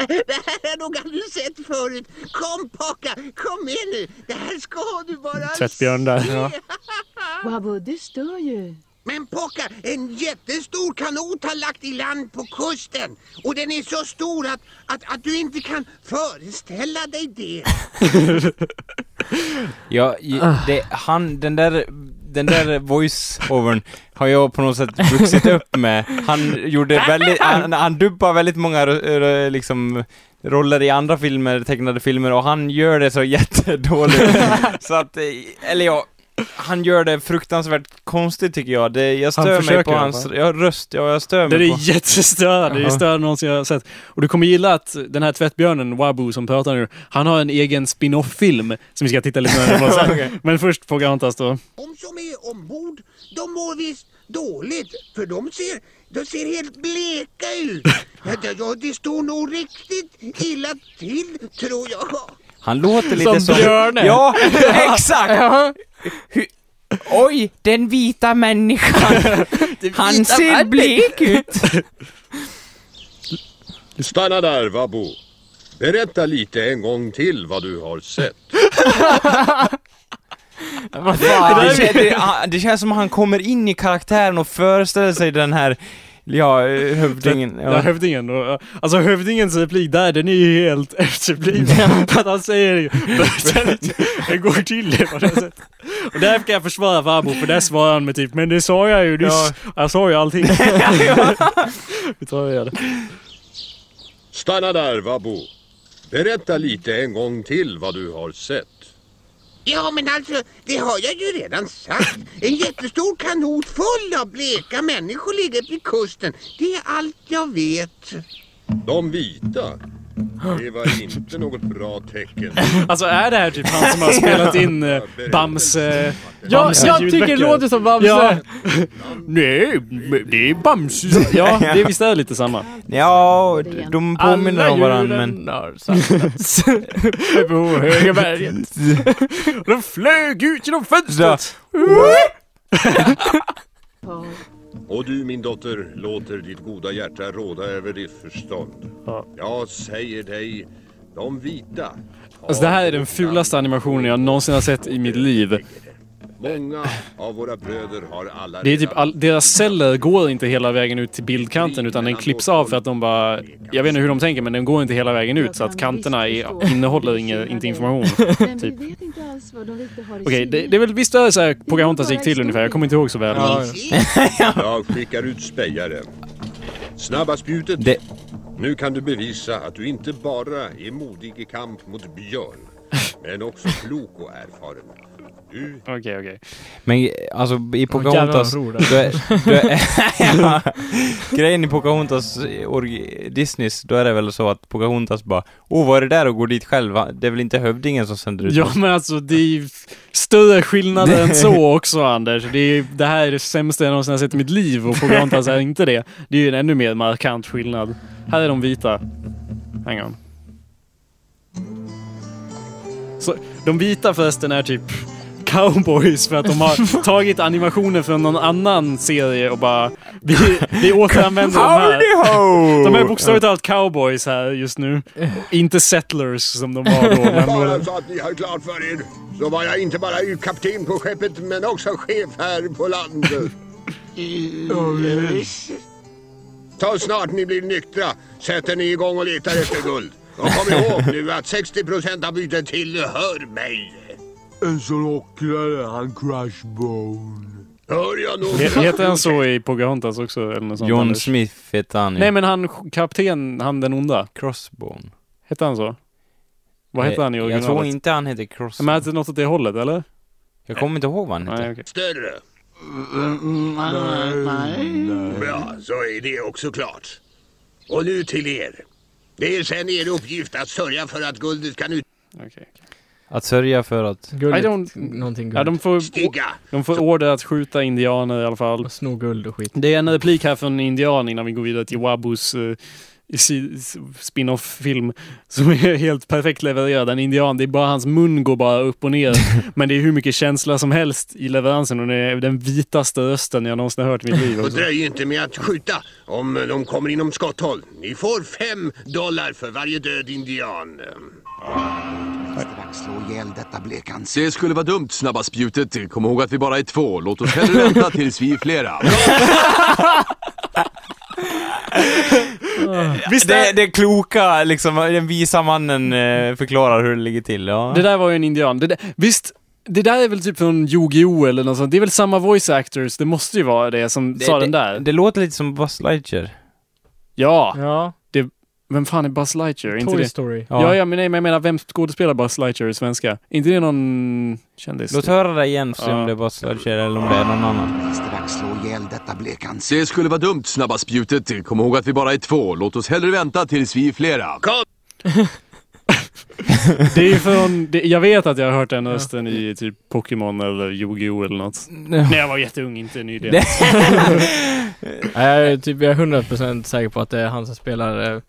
G: har jag nog aldrig sett förut. Kom Paka, kom med nu. Det här ska du bara
A: Tvättbjörn där.
J: Wabo, det stör ju.
G: Men Pocka, en jättestor kanot har lagt i land på kusten. Och den är så stor att, att, att du inte kan föreställa dig det.
C: Ja, ju- det, han, den där, den där voice-overn har jag på något sätt vuxit upp med. Han gjorde väldigt, han, han dubbar väldigt många ro- ro- liksom roller i andra filmer, tecknade filmer, och han gör det så jättedåligt. så att, eh, eller ja, han gör det fruktansvärt konstigt tycker jag. Det, jag
A: Han
C: stör mig
A: försöker
C: på
A: i alla
C: hans,
A: fall.
C: ja, röst, ja, jag stör
A: Den
C: mig på.
A: är jättestörande. Det är
C: Jaha.
A: större än någonsin jag har sett. Och du kommer gilla att den här tvättbjörnen, Wabu, som pratar nu, han har en egen spin-off-film som vi ska titta lite närmare på sen. Men först Pocahontas då.
G: De som är ombord, de mår visst dåligt. För de ser, de ser helt bleka ut. Ja, det, ja, det står nog riktigt illa till, tror jag.
C: Han låter lite
B: Som
C: som...
B: björnen.
C: Ja, exakt! Hu- Oj, den vita människan. Han ser blek ut.
I: Stanna där, Vabo. Berätta lite en gång till vad du har sett.
B: Vad fan?
C: Det, kän- det, ah, det känns som att han kommer in i karaktären och föreställer sig den här, ja, eh, hövdingen.
A: Ja,
C: Ja.
A: hövdingen. Och, Alltså hövdingens replik där, den är ju helt efterbliven. För att han säger ju... Det går till det på det sättet. Och därför kan jag försvara Wabu, för där svarar han med typ Men det sa jag ju nyss. Jag sa ju allting. Vi tar och gör det.
I: Stanna där, Vabo. Berätta lite en gång till vad du har sett.
G: Ja, men alltså, det har jag ju redan sagt. En jättestor kanot full av bleka människor ligger vid kusten. Det är allt jag vet.
I: De vita. Det var inte något bra tecken.
A: Alltså är det här typ han som har spelat in eh, Bamse...
B: Ja,
A: Bamse
B: jag tycker det
A: ljudböcker?
B: låter som Bamse!
A: Ja. Nej, men det är Bamse. Ja, det visst är det lite samma.
C: ja, d- de påminner om varandra men...
B: har samlats på Högaberget.
A: De flög ut genom
C: Ja.
A: fönstret!
J: Ja.
I: Och du min dotter låter ditt goda hjärta råda över ditt förstånd.
A: Ja.
I: Jag säger dig, de vita.
A: Alltså det här är den fulaste animationen jag någonsin har sett i mitt liv.
I: Många av våra bröder har alla
A: Det är typ all, deras celler går inte hela vägen ut till bildkanten utan den klipps av för att de bara... Jag vet inte hur de tänker men den går inte hela vägen ut så att kanterna är, innehåller inge, inte information.
J: Men
A: Typ.
J: vi vet inte alls vad de riktigt har i
A: Okej, det,
J: kylen.
A: det är väl visst är det så här Pocahontas gick till ungefär. Jag kommer inte ihåg så väl.
I: Ja,
A: men-
I: Jag skickar ut spejaren. Snabba spjutet. Nu kan du bevisa att du inte bara är modig i kamp mot björn, men också klok och erfaren. Du
A: Okej, okej.
C: Men alltså i Pocahontas...
A: jävlar vad
C: då
A: tror
C: är, då är, ja, grejen i Pocahontas eh, orgi- Disneys, då är det väl så att Pocahontas bara Åh, vad är det där och går dit själva? Det är väl inte hövdingen som sänder ut
A: Ja
C: oss?"
A: men alltså det är ju större skillnader än så också Anders. Det, är, det här är det sämsta jag någonsin har sett i mitt liv och Pocahontas är inte det. Det är ju en ännu mer markant skillnad. Här är de vita. Hang on. Så, de vita förresten är typ cowboys för att de har tagit animationer från någon annan serie och bara vi, vi återanvänder de
C: Howdy
A: här.
C: ho!
A: De är bokstavligt talat cowboys här just nu. Inte settlers som de var då. Men,
I: Bara så att ni har klart för er, så var jag inte bara kapten på skeppet, men också chef här på landet. Ta snart ni blir nyktra, sätter ni igång och letar efter guld. Och kom ihåg nu att 60 procent av bytet tillhör mig.
K: En sån åkrare, han crashbone.
I: Hör jag nog?
A: He- Heter han så i Pocahontas också? Eller något sånt,
C: John
A: Anders?
C: Smith heter han ju.
A: Nej men han sk- kapten, han den onda.
C: Crossbone.
A: Hette han så? Vad hette
C: Eh,
A: han i
C: jag
A: originalet?
C: tror inte han hette Cross.
A: Men hette något åt det hållet eller?
C: Jag kommer inte ihåg vad han
A: Nej,
C: heter.
A: okej.
I: Större. Bra, så är det också klart. Och nu till er. Det är sen er uppgift att sörja för att guldet kan ut...
C: Mm. Att sörja för att...
A: I don't... Ja, de får,
I: Stiga.
A: de får order att skjuta indianer i alla fall. Och
B: sno guld och skit.
A: Det är en replik här från en indian innan vi går vidare till Wabus eh, si- spin-off-film som är helt perfekt levererad. En indian, det är bara hans mun går bara upp och ner. Men det är hur mycket känsla som helst i leveransen och det är den vitaste rösten jag någonsin har hört i mitt liv.
I: Och
A: också.
I: dröj inte med att skjuta om de kommer inom skotthåll. Ni får fem dollar för varje död indian.
L: Slå ihjäl detta blekan.
M: Det skulle vara dumt, snabba spjutet. Kom ihåg att vi bara är två. Låt oss hellre vänta tills vi är flera.
C: det, det kloka, liksom, den visa mannen eh, förklarar hur det ligger till. Ja.
A: Det där var ju en indian. Det där, visst, det där är väl typ från Yu-Gi-Oh! eller något sånt. Det är väl samma voice actors, det måste ju vara det som
C: Det-
A: sa
C: det-
A: den där.
C: det låter lite som Buzz Lightyear.
A: Ja!
B: ja.
A: Det, vem fan är Buzz Lightyear? Inte
B: Toy
A: det.
B: Story.
A: Ja,
B: Ja.
A: ja, men nej, men jag menar vem skådespelar Buzz Lightyear i svenska? inte det någon kändis?
C: Låt höra det igen, se
A: Ja.
C: om det är Buzz Lightyear eller om det är någon annan.
L: Strax slå ihjäl detta blekan.
M: Det skulle vara dumt, snabba spjutet. Kom ihåg att vi bara är två. Låt oss hellre vänta tills vi är flera.
A: Det är ju från, det, jag vet att jag har hört den rösten i typ Pokémon eller Yu-Gi-Oh! eller något. När jag var jätteung, inte ny del.
B: Nej, jag är typ jag är 100% säker på att det är han som spelar eh,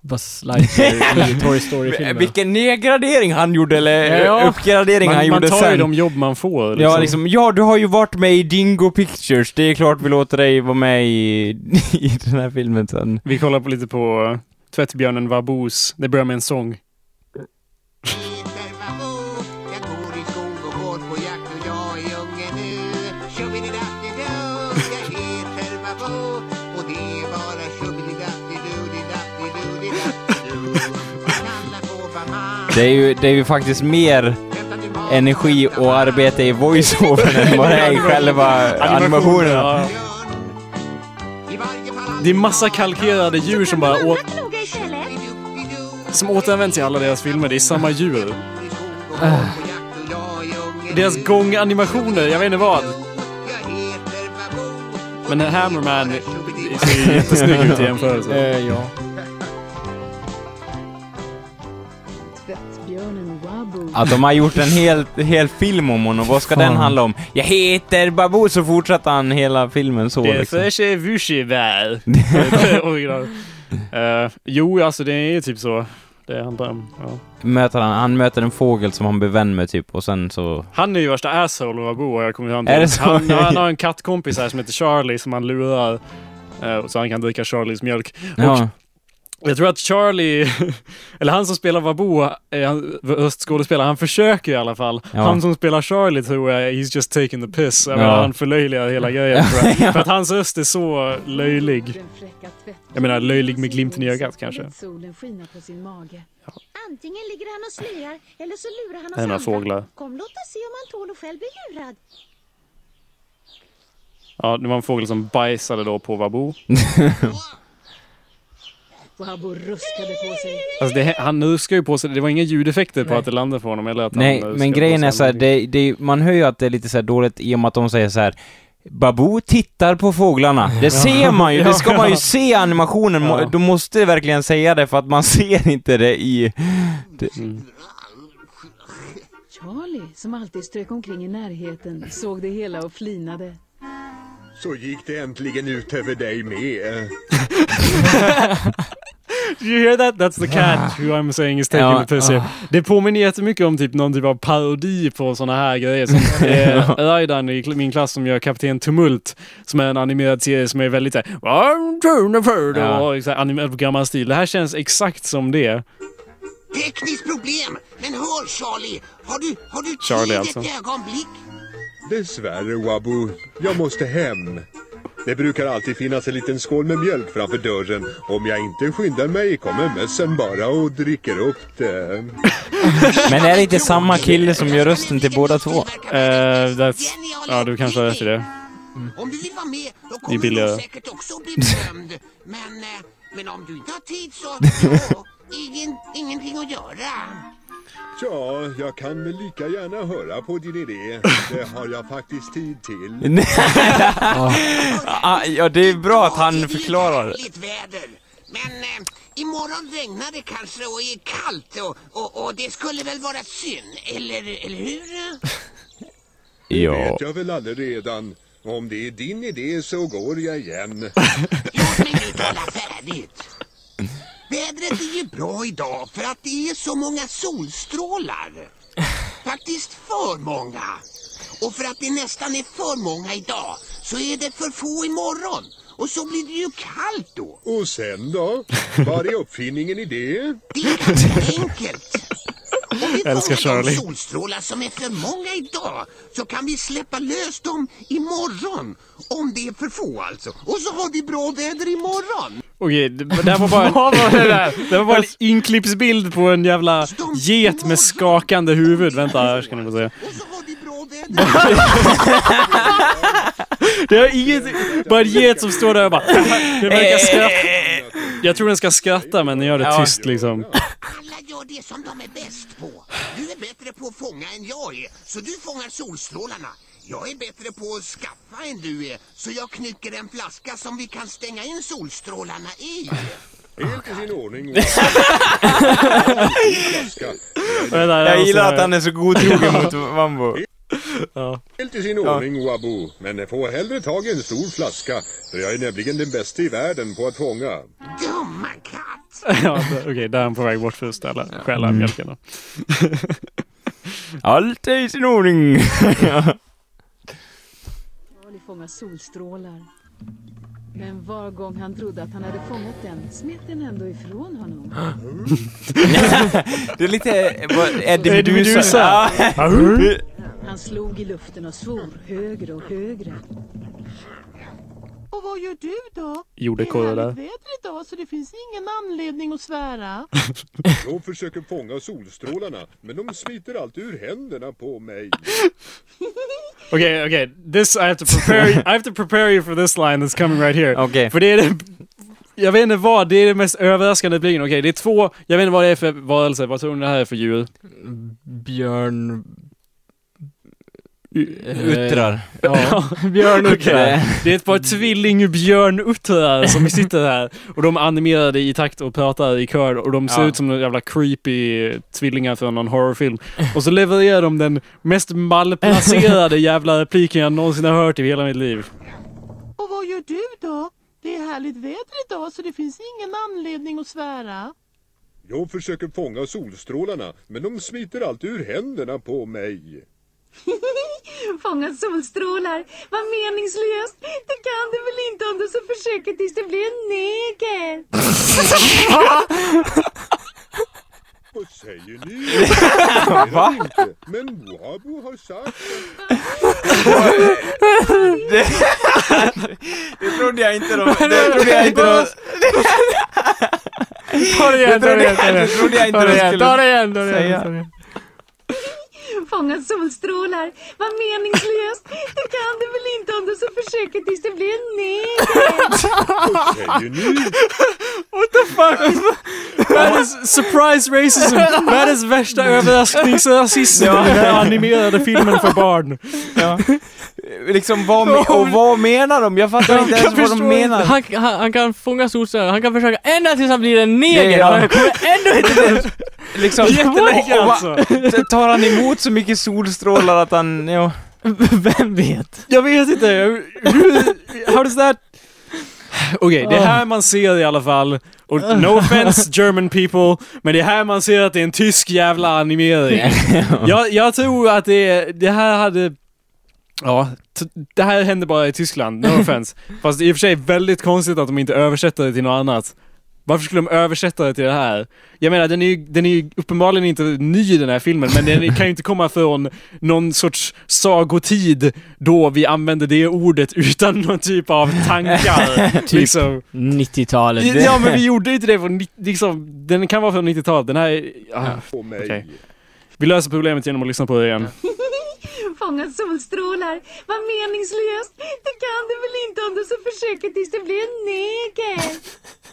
B: Buzz Lightyear i Toy Story-filmerna.
C: Vilken nedgradering han gjorde, eller
B: Ja.
C: uppgradering
A: Man-
C: han
A: man
C: gjorde
A: tar ju
C: sen.
A: de jobb man får,
C: Ja,
A: liksom.
C: liksom, ja, du har ju varit med i Dingo Pictures. Det är klart vi låter dig vara med i, i den här filmen sen.
A: Vi kollar på lite på eh, Tvättbjörnen Vaboos. Det börjar med en sång.
C: Det är ju, det är ju faktiskt mer energi och arbete i voice-overn än vad det är i själva animationerna.
A: Ja. Det är massa kalkerade djur som bara å- som återanvänds i alla deras filmer. Det är samma djur. Äh. Deras gånganimationer, jag vet inte vad. Men den Hammerman ser ju jättesnygg ut i jämförelse.
B: Eh, ja.
J: Tvättbjörnen Wabo.
C: Att de har gjort en hel, hel film om honom, vad ska den handla om? Jag heter Babu, så fortsätter han hela filmen så
A: Det är
C: liksom.
A: för sig vushivär. Original. Eh, Jo, alltså det är typ så. Det handlar om. Ja.
C: Möter han, han möter en fågel som han blir vän med typ, och sen så...
A: Han är ju värsta asshole och Abo har jag kommit fram till.
C: Är det så?
A: Han, han har en kattkompis här som heter Charlie som han lurar. eh, Så han kan dricka Charlies mjölk. Och
C: Ja.
A: Jag tror att Charlie, eller han som spelar Babu, eh, han- röstskådespelare, han försöker i alla fall.
C: Ja.
A: Han som spelar Charlie tror jag, he's just taking the piss. Jag
C: Ja.
A: menar, han förlöjligar hela grejen tror jag. För att hans röst är så löjlig. Jag menar löjlig med glimten i ögat kanske.
J: Solen skiner på sin mage.
N: Antingen ligger han och slöar eller så lurar han oss
A: Denna
N: andra.
A: fåglar.
N: Kom, låt oss se om han tål att själv bli lurad.
A: Ja, det var en fågel som bajsade då på Babu.
J: Wabo ruskade på sig.
A: Alltså det, han ruskar ju på sig, det var inga ljudeffekter på att det landade på honom eller att
C: Nej,
A: han
C: men grejen är såhär, det, det, man hör ju att det är lite såhär dåligt i och med att de säger såhär Babu tittar på fåglarna. Det
A: Ja.
C: ser man ju,
A: Ja,
C: det ska man ju
A: ja.
C: se i animationen. Må-
A: Ja.
C: De måste verkligen säga det för att man ser inte det i... Det,
J: Charlie, som alltid strök omkring i närheten, såg det hela och flinade.
I: Så gick det äntligen ut över dig med.
A: Did you hear that? That's the cat who I'm saying is taking
C: Ah. Ja,
A: the piss here.
C: ah.
A: Det påminner jättemycket om typ någon typ av parodi på sådana här grejer. Som eh, Raidan i kl- min klass som gör Kapten Tumult, som är en animerad serie som är väldigt såhär "One, two, the third",
C: Ja.
A: och så här animerad på gammal stil. Det här känns exakt som det.
E: Tekniskt problem! Men hör Charlie, har du, har du
I: Charlie
E: tid
I: alltså.
E: ett ögonblick?
I: Dessvärre, Wabu. Jag måste hem. Det brukar alltid finnas en liten skål med mjölk framför dörren. Om jag inte skyndar mig kommer mössen bara och dricker upp den.
C: men är det inte samma kille som gör rösten till båda två?
A: Eh, ja, du kanske har rätt i det.
E: Om du vill vara med, då
A: Det är
E: kommer
A: billigare.
E: du säkert också bli berömd. Men, eh, men om du inte har tid så, ja, ingen, ingenting att göra.
I: Ja, jag kan väl lika gärna höra på din idé. Det har jag faktiskt tid till.
C: Nej. Ah, ja, det är bra att han förklarar.
E: Härligt väder. Men eh, imorgon regnar det kanske och är kallt och, och, och det skulle väl vara synd, eller, eller hur?
I: Det
C: Ja.
I: vet jag väl aldrig redan. Om det är din idé så går jag igen.
E: Färdigt. Vädret är ju bra idag för att det är så många solstrålar. Faktiskt för många. Och för att det nästan är för många idag så är det för få imorgon. Och så blir det ju kallt då.
I: Och sen då? Var är uppfinningen i det?
E: Enkelt. Om vi
I: Älskar
E: fångar de
I: Charlie.
E: solstrålar som är för många idag så kan vi släppa lös dem imorgon. Om det är för få alltså. Och så har vi bra väder imorgon.
A: Okej, det, det här var bara, en,
E: Vad var det där?
A: det var bara en inklippsbild på en jävla get med skakande huvud. Vänta, här ska ni få se. Det är inget, bara en get som står där och bara... Den
C: Eh.
A: verkar skratta. Jag tror den ska skratta men den gör det
E: Ja.
A: tyst liksom.
E: Alla gör det som de är bäst på. Du är bättre på att fånga än jag är, så du fångar solstrålarna. Jag är bättre på att skaffa än du är, så jag knycker en flaska som vi kan stänga in solstrålarna i.
I: Helt i sin ordning.
C: Jag gillar att han är så godtrogen mot Mambo.
I: Helt i sin ordning, Wabu. Men få hellre tag i en stor flaska. För jag är nämligen den bästa i världen på att fånga.
E: Dumma
A: Ja, det- Okej, där är han på väg bort för att ställa, stjäla
C: Mm.
A: mjölken då.
C: Allt är i sin ordning.
J: Charlie fångar solstrålar. Men var gång han trodde att han hade fångat den smet den ändå ifrån honom.
C: det är lite... vad- Eddie
J: Eddie
C: Meduza.
J: Meduza.
C: Ja.
J: Han slog i luften och svor högre och högre.
O: Och vad gör du då?
A: Gjorde
O: det är
A: korre
O: härligt
A: där.
O: väder idag så det finns ingen anledning att svära.
I: De försöker fånga solstrålarna, men de smiter alltid ur händerna på mig.
A: Okej, okej. This I have to prepare I have to prepare you for this line that's coming right here.
C: Okej.
A: För det är det, jag vet inte vad, det är det mest överraskande repliken. Okej, det är två, jag vet inte vad det är för varelse, vad tror ni det här är för djur?
B: Björn... Eh,
C: Uttrar.
A: Ja, björnuttrar.
C: Okej.
A: Det är ett par tvillingbjörnuttrar som sitter här och de är animerade i takt och pratar i kör och de ser
C: Ja.
A: ut som några jävla creepy tvillingar från någon horrorfilm. Och så levererar de den mest malplacerade jävla repliken jag någonsin har hört i hela mitt liv.
O: Och vad gör du då? Det är härligt väder idag så det finns ingen anledning att svära.
I: Jag försöker fånga solstrålarna, men de smiter alltid ur händerna på mig.
N: Fånga solstrålar. Vad meningslöst. Det kan du väl inte om du så försöker tills det blir en neger.
I: Vad säger ni?
C: Va?
I: Men Wabo har sagt
C: Det, det trodde jag inte de... Det trodde jag inte de...
B: Ta det igen,
C: Det
B: ta det
C: trodde
B: igen,
C: jag-
B: ta det igen. Ta det
C: det trodde jag inte de
B: igen,
C: skulle
B: ta det igen, ta det igen,
C: säga.
B: ta det igen.
N: Fånga solstrålar. Vad meningslöst. Det kan du väl inte om du så försöker tills det blir en neger.
A: What the fuck? That is surprise racism! Världens värsta överraskningsrasism
C: Ja.
A: i den här animerade filmen för barn.
C: Ja. Liksom, vad, me- och vad menar de? Jag fattar inte ens vad de menar.
B: Han, han, han kan fånga solstrålar, han kan försöka ända tills han blir en
C: Nej,
B: neger.
C: ja.
B: Han kommer ändå inte bli
C: Liksom,
B: Jätteläcker
C: och- och va-
B: alltså.
C: Tar han emot så mycket solstrålar att han, ja.
B: Vem vet?
A: Jag vet inte. Hur- How does that... Okej, det är här man ser i alla fall. Och no offense German people, men det är här man ser att det är en tysk jävla animering. jag, jag tror att det, är- det här hade... Ja, t- det här hände bara i Tyskland, no offense. Fast i och för sig väldigt konstigt att de inte översätter det till något annat. Varför skulle de översätta det till det här? Jag menar, den är ju, den är ju uppenbarligen inte ny den här filmen, men den kan ju inte komma från någon sorts sagotid då vi använde det ordet utan någon typ av tankar.
B: Typ
A: liksom.
B: 90-talet.
A: Ja, men vi gjorde ju inte det på nitt- liksom, den kan vara från 90-talet, den här... är- Ah,
I: mig.
A: okej. Vi löser problemet genom att lyssna på det igen.
N: Fånga solstrålar. Vad meningslöst. Det kan du väl inte om du så försöker tills det blir en neger.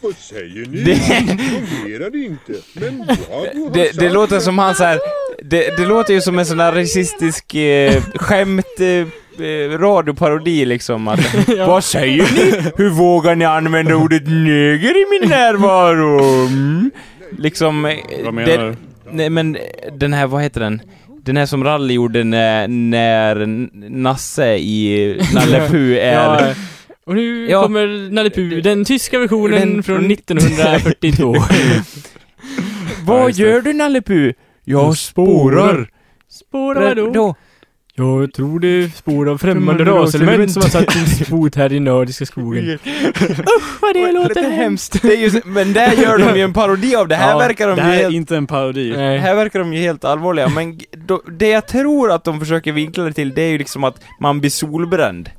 I: Vad säger ni?
C: Det-
I: Fungerar inte. Men Wabo har
C: Det,
I: sagt
C: det låter som han så här. Det, det låter ju som en sån där rasistisk eh, skämt eh, eh, radioparodi liksom att, Vad säger ni? Hur vågar ni använda ordet neger i min närvaro? Mm. Liksom... eh,
A: Vad menar
C: det-
A: du?
C: Nej men eh, den här, vad heter den? Den här som Rally gjorde när, när N- Nasse i eh, Nalle Puh är...
B: Ja. Och nu
C: Ja.
B: kommer Nalle Puh, den tyska versionen
C: Den-
B: från 1942.
C: Vad gör du Nalle Puh? Jag spårar!
B: Spårar vadå? Jag tror det är spår av främmande raselement som har satt sin fot här i nordiska skogen.
C: Usch vad det låter hemskt! Det är ju, men där gör de ju en parodi av det. Här
A: Ja,
C: verkar de
A: det
C: ju
A: här är
C: helt...
A: inte en parodi.
B: Nej.
C: Här verkar de ju helt allvarliga, men g- då, det jag tror att de försöker vinkla det till, det är ju liksom att man blir solbränd.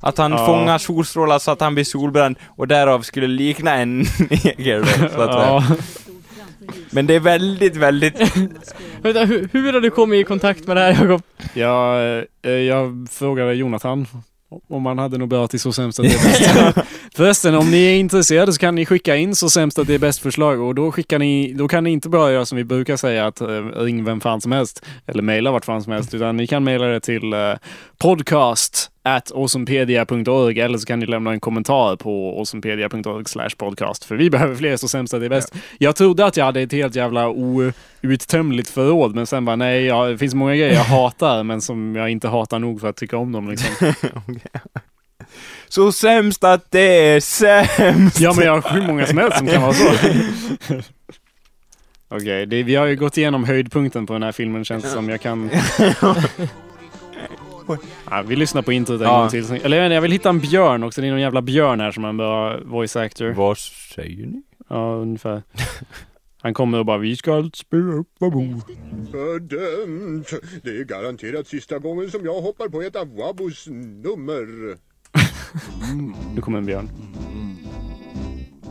C: Att han
A: Ja.
C: fångar solstrålar så att han blir solbränd och därav skulle likna en neger då, så att
A: Ja.
C: säga. Men det är väldigt, väldigt...
B: Vänta, hur, hur har du kommit i kontakt med det här Jakob?
A: Jag, eh, jag frågade Jonathan om han hade något bra till Så sämst att det är bäst. Förresten, om ni är intresserade så kan ni skicka in Så sämst att det är bäst förslag och då, skickar ni, då kan ni inte bara göra som vi brukar säga att eh, ring vem fan som helst eller mejla vart fan som helst utan ni kan mejla det till eh, podcast at awesomepedia.org eller så kan ni lämna en kommentar på awesomepedia.org slash podcast för vi behöver fler Så sämst att det är bäst. Jag trodde att jag hade ett helt jävla outtömligt förråd men sen bara nej, ja, det finns många grejer jag hatar men som jag inte hatar nog för att tycka om dem liksom.
C: Så sämst att det är sämst!
A: Ja men jag har hur många som helst som kan vara så. Okej, det- vi har ju gått igenom höjdpunkten på den här filmen känns det som. Jag kan... Ja, vi lyssnar på introt en
C: Ja.
A: gång till. Eller jag, vet inte, jag vill hitta en björn också. Det är någon jävla björn här som är en bra voice actor.
C: Vad säger ni?
A: Ja, ungefär. Han kommer och bara vi ska spela upp Wabo.
I: Fördömt. Det är garanterat sista gången som jag hoppar på ett av Wabos nummer.
A: Nu kommer en björn.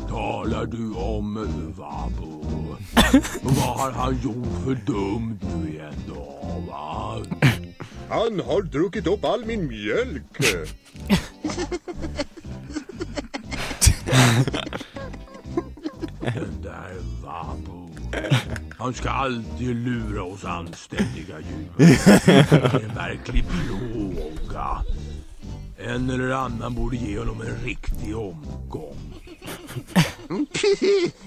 K: Talar du om Vabo? Vad har han gjort för dumt nu igen då, va?
I: Han har druckit upp all min mjölk.
K: Den där Vabo. Han ska alltid lura oss anständiga djur. Det är en verklig plåga. En eller annan borde ge honom en riktig omgång.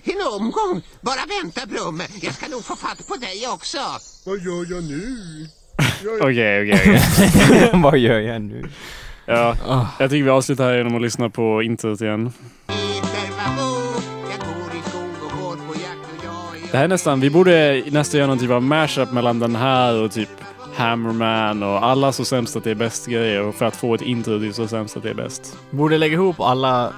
E: en omgång. Bara vänta Brum. Jag ska nog få fatt på dig också.
I: Vad gör jag nu?
A: Okej, okej, okej.
C: Vad gör jag nu?
A: Ja, jag tycker vi avslutar här genom att lyssna på introt igen. Det här är nästan, vi borde nästan göra någon typ av mashup mellan den här och typ Hammerman och alla så sämst att det är bäst-grejer. Och för att få ett intro till så sämst att det är bäst.
B: Borde lägga ihop alla...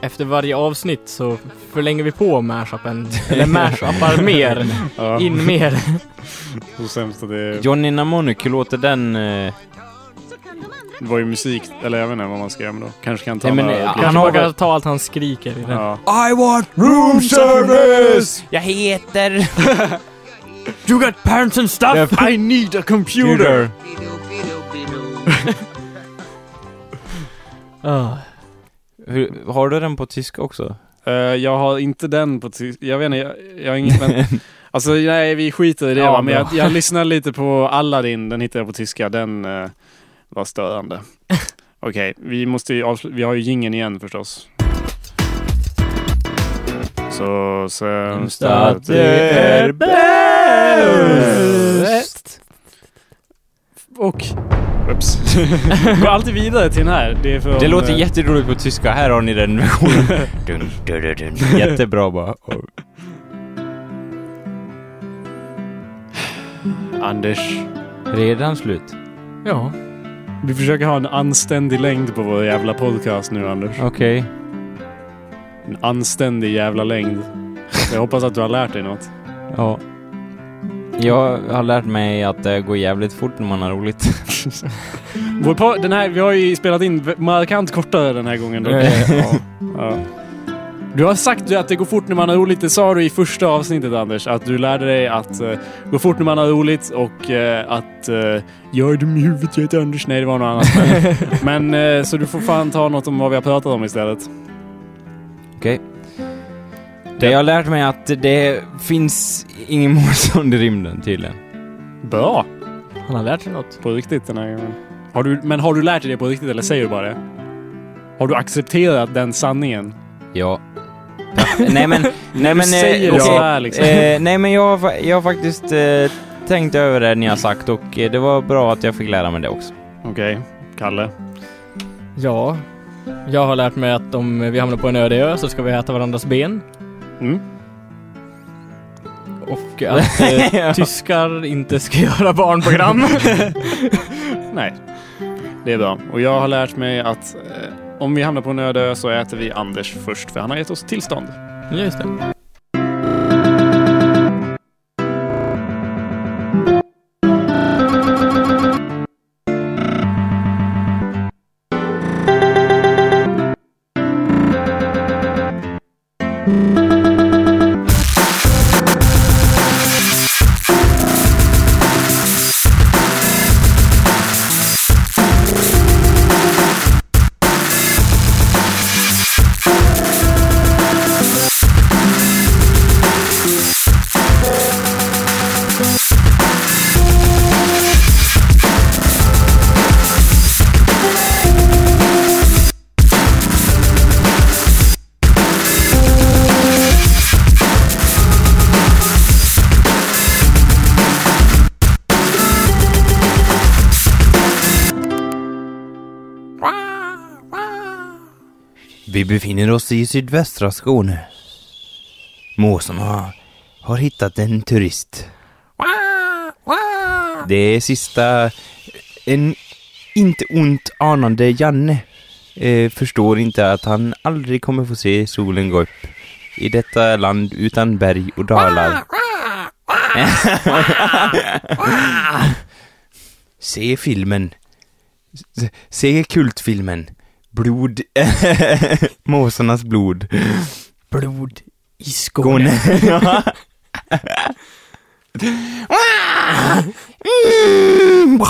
B: Efter varje avsnitt så förlänger vi på mashupen. Eller mashuppar mer.
A: Ja.
B: In mer.
A: Så sämst att det är...
C: Johnny Monique låter den... eh,
A: Det var ju musik, eller jag vet inte vad man ska göra med då. Kanske kan ta
C: Nej, men,
A: några...
C: han
B: Han
A: har
B: har bara ta allt han skriker i den.
A: Ja.
C: I want room service! Jag heter...
B: You got parents and stuff?
A: I need a computer!
B: Ah.
C: Hur, har du den på tyska också?
A: Eh, jag har inte den på ty- Jag vet inte, jag, jag har ingen... Men, alltså nej, vi skiter i det
B: Ja,
A: va. Men jag,
B: bra.
A: jag lyssnade lite på Aladdin, den hittade jag på tyska. Den eh, var störande. Okej, vi måste ju avslu- Vi har ju gingen igen förstås. Så sämst att det är bäst! Och... Ups. Gå alltid vidare till den här. Det, är från,
C: Det låter
A: eh,
C: jätteroligt på tyska, här har ni den versionen. Dun, dun, dun, dun. Jättebra bara. Och-
A: Anders.
C: Redan slut?
B: Ja.
A: Vi försöker ha en anständig längd på vår jävla podcast nu, Anders.
C: Okej.
A: En anständig jävla längd. Jag hoppas att du har lärt dig något.
C: Ja. Jag har lärt mig att det går jävligt fort när man har roligt.
A: Vår po- den här, vi har ju spelat in v- markant kortare den här gången. Då.
C: Ja, ja,
A: ja. Ja. Du har sagt ju att det går fort när man har roligt. Det sa du i första avsnittet, Anders. Att du lärde dig att eh, gå fort när man har roligt och eh, att eh, jag är dum i huvudet, jag heter Anders. Nej, det var något annat. Men, men eh, så du får fan ta något om vad vi har pratat om istället.
C: Okej. Det jag har lärt mig att det finns ingen motstånd i rymden tydligen.
A: Bra!
B: Han har lärt sig något.
A: På riktigt den här gången. Har du, men har du lärt dig det på riktigt eller säger du bara det? Har du accepterat den sanningen?
C: Ja. nej men, nej men... eh,
A: säger det
C: okej.
A: så här, liksom.
C: Eh, nej men jag, har fa- jag har faktiskt eh, tänkt över det ni har sagt och eh, det var bra att jag fick lära mig det också.
A: Okej, Kalle.
B: Ja. Jag har lärt mig att om vi hamnar på en öde ö så ska vi äta varandras ben.
A: Mm.
B: Och att eh, tyskar inte ska göra barnprogram.
A: Nej, det är bra. Och jag har lärt mig att eh, om vi hamnar på en öde ö så äter vi Anders först för han har gett oss tillstånd.
B: Just det.
C: Vi befinner oss i sydvästra Skåne. Måsarna har hittat en turist. Det är sista... En inte ont anande Janne eh, förstår inte att han aldrig kommer få se solen gå upp i detta land utan berg och dalar. se filmen. Se- Se kultfilmen. Blod... Måsarnas blod. Blod
B: i
C: Skåne. Mm.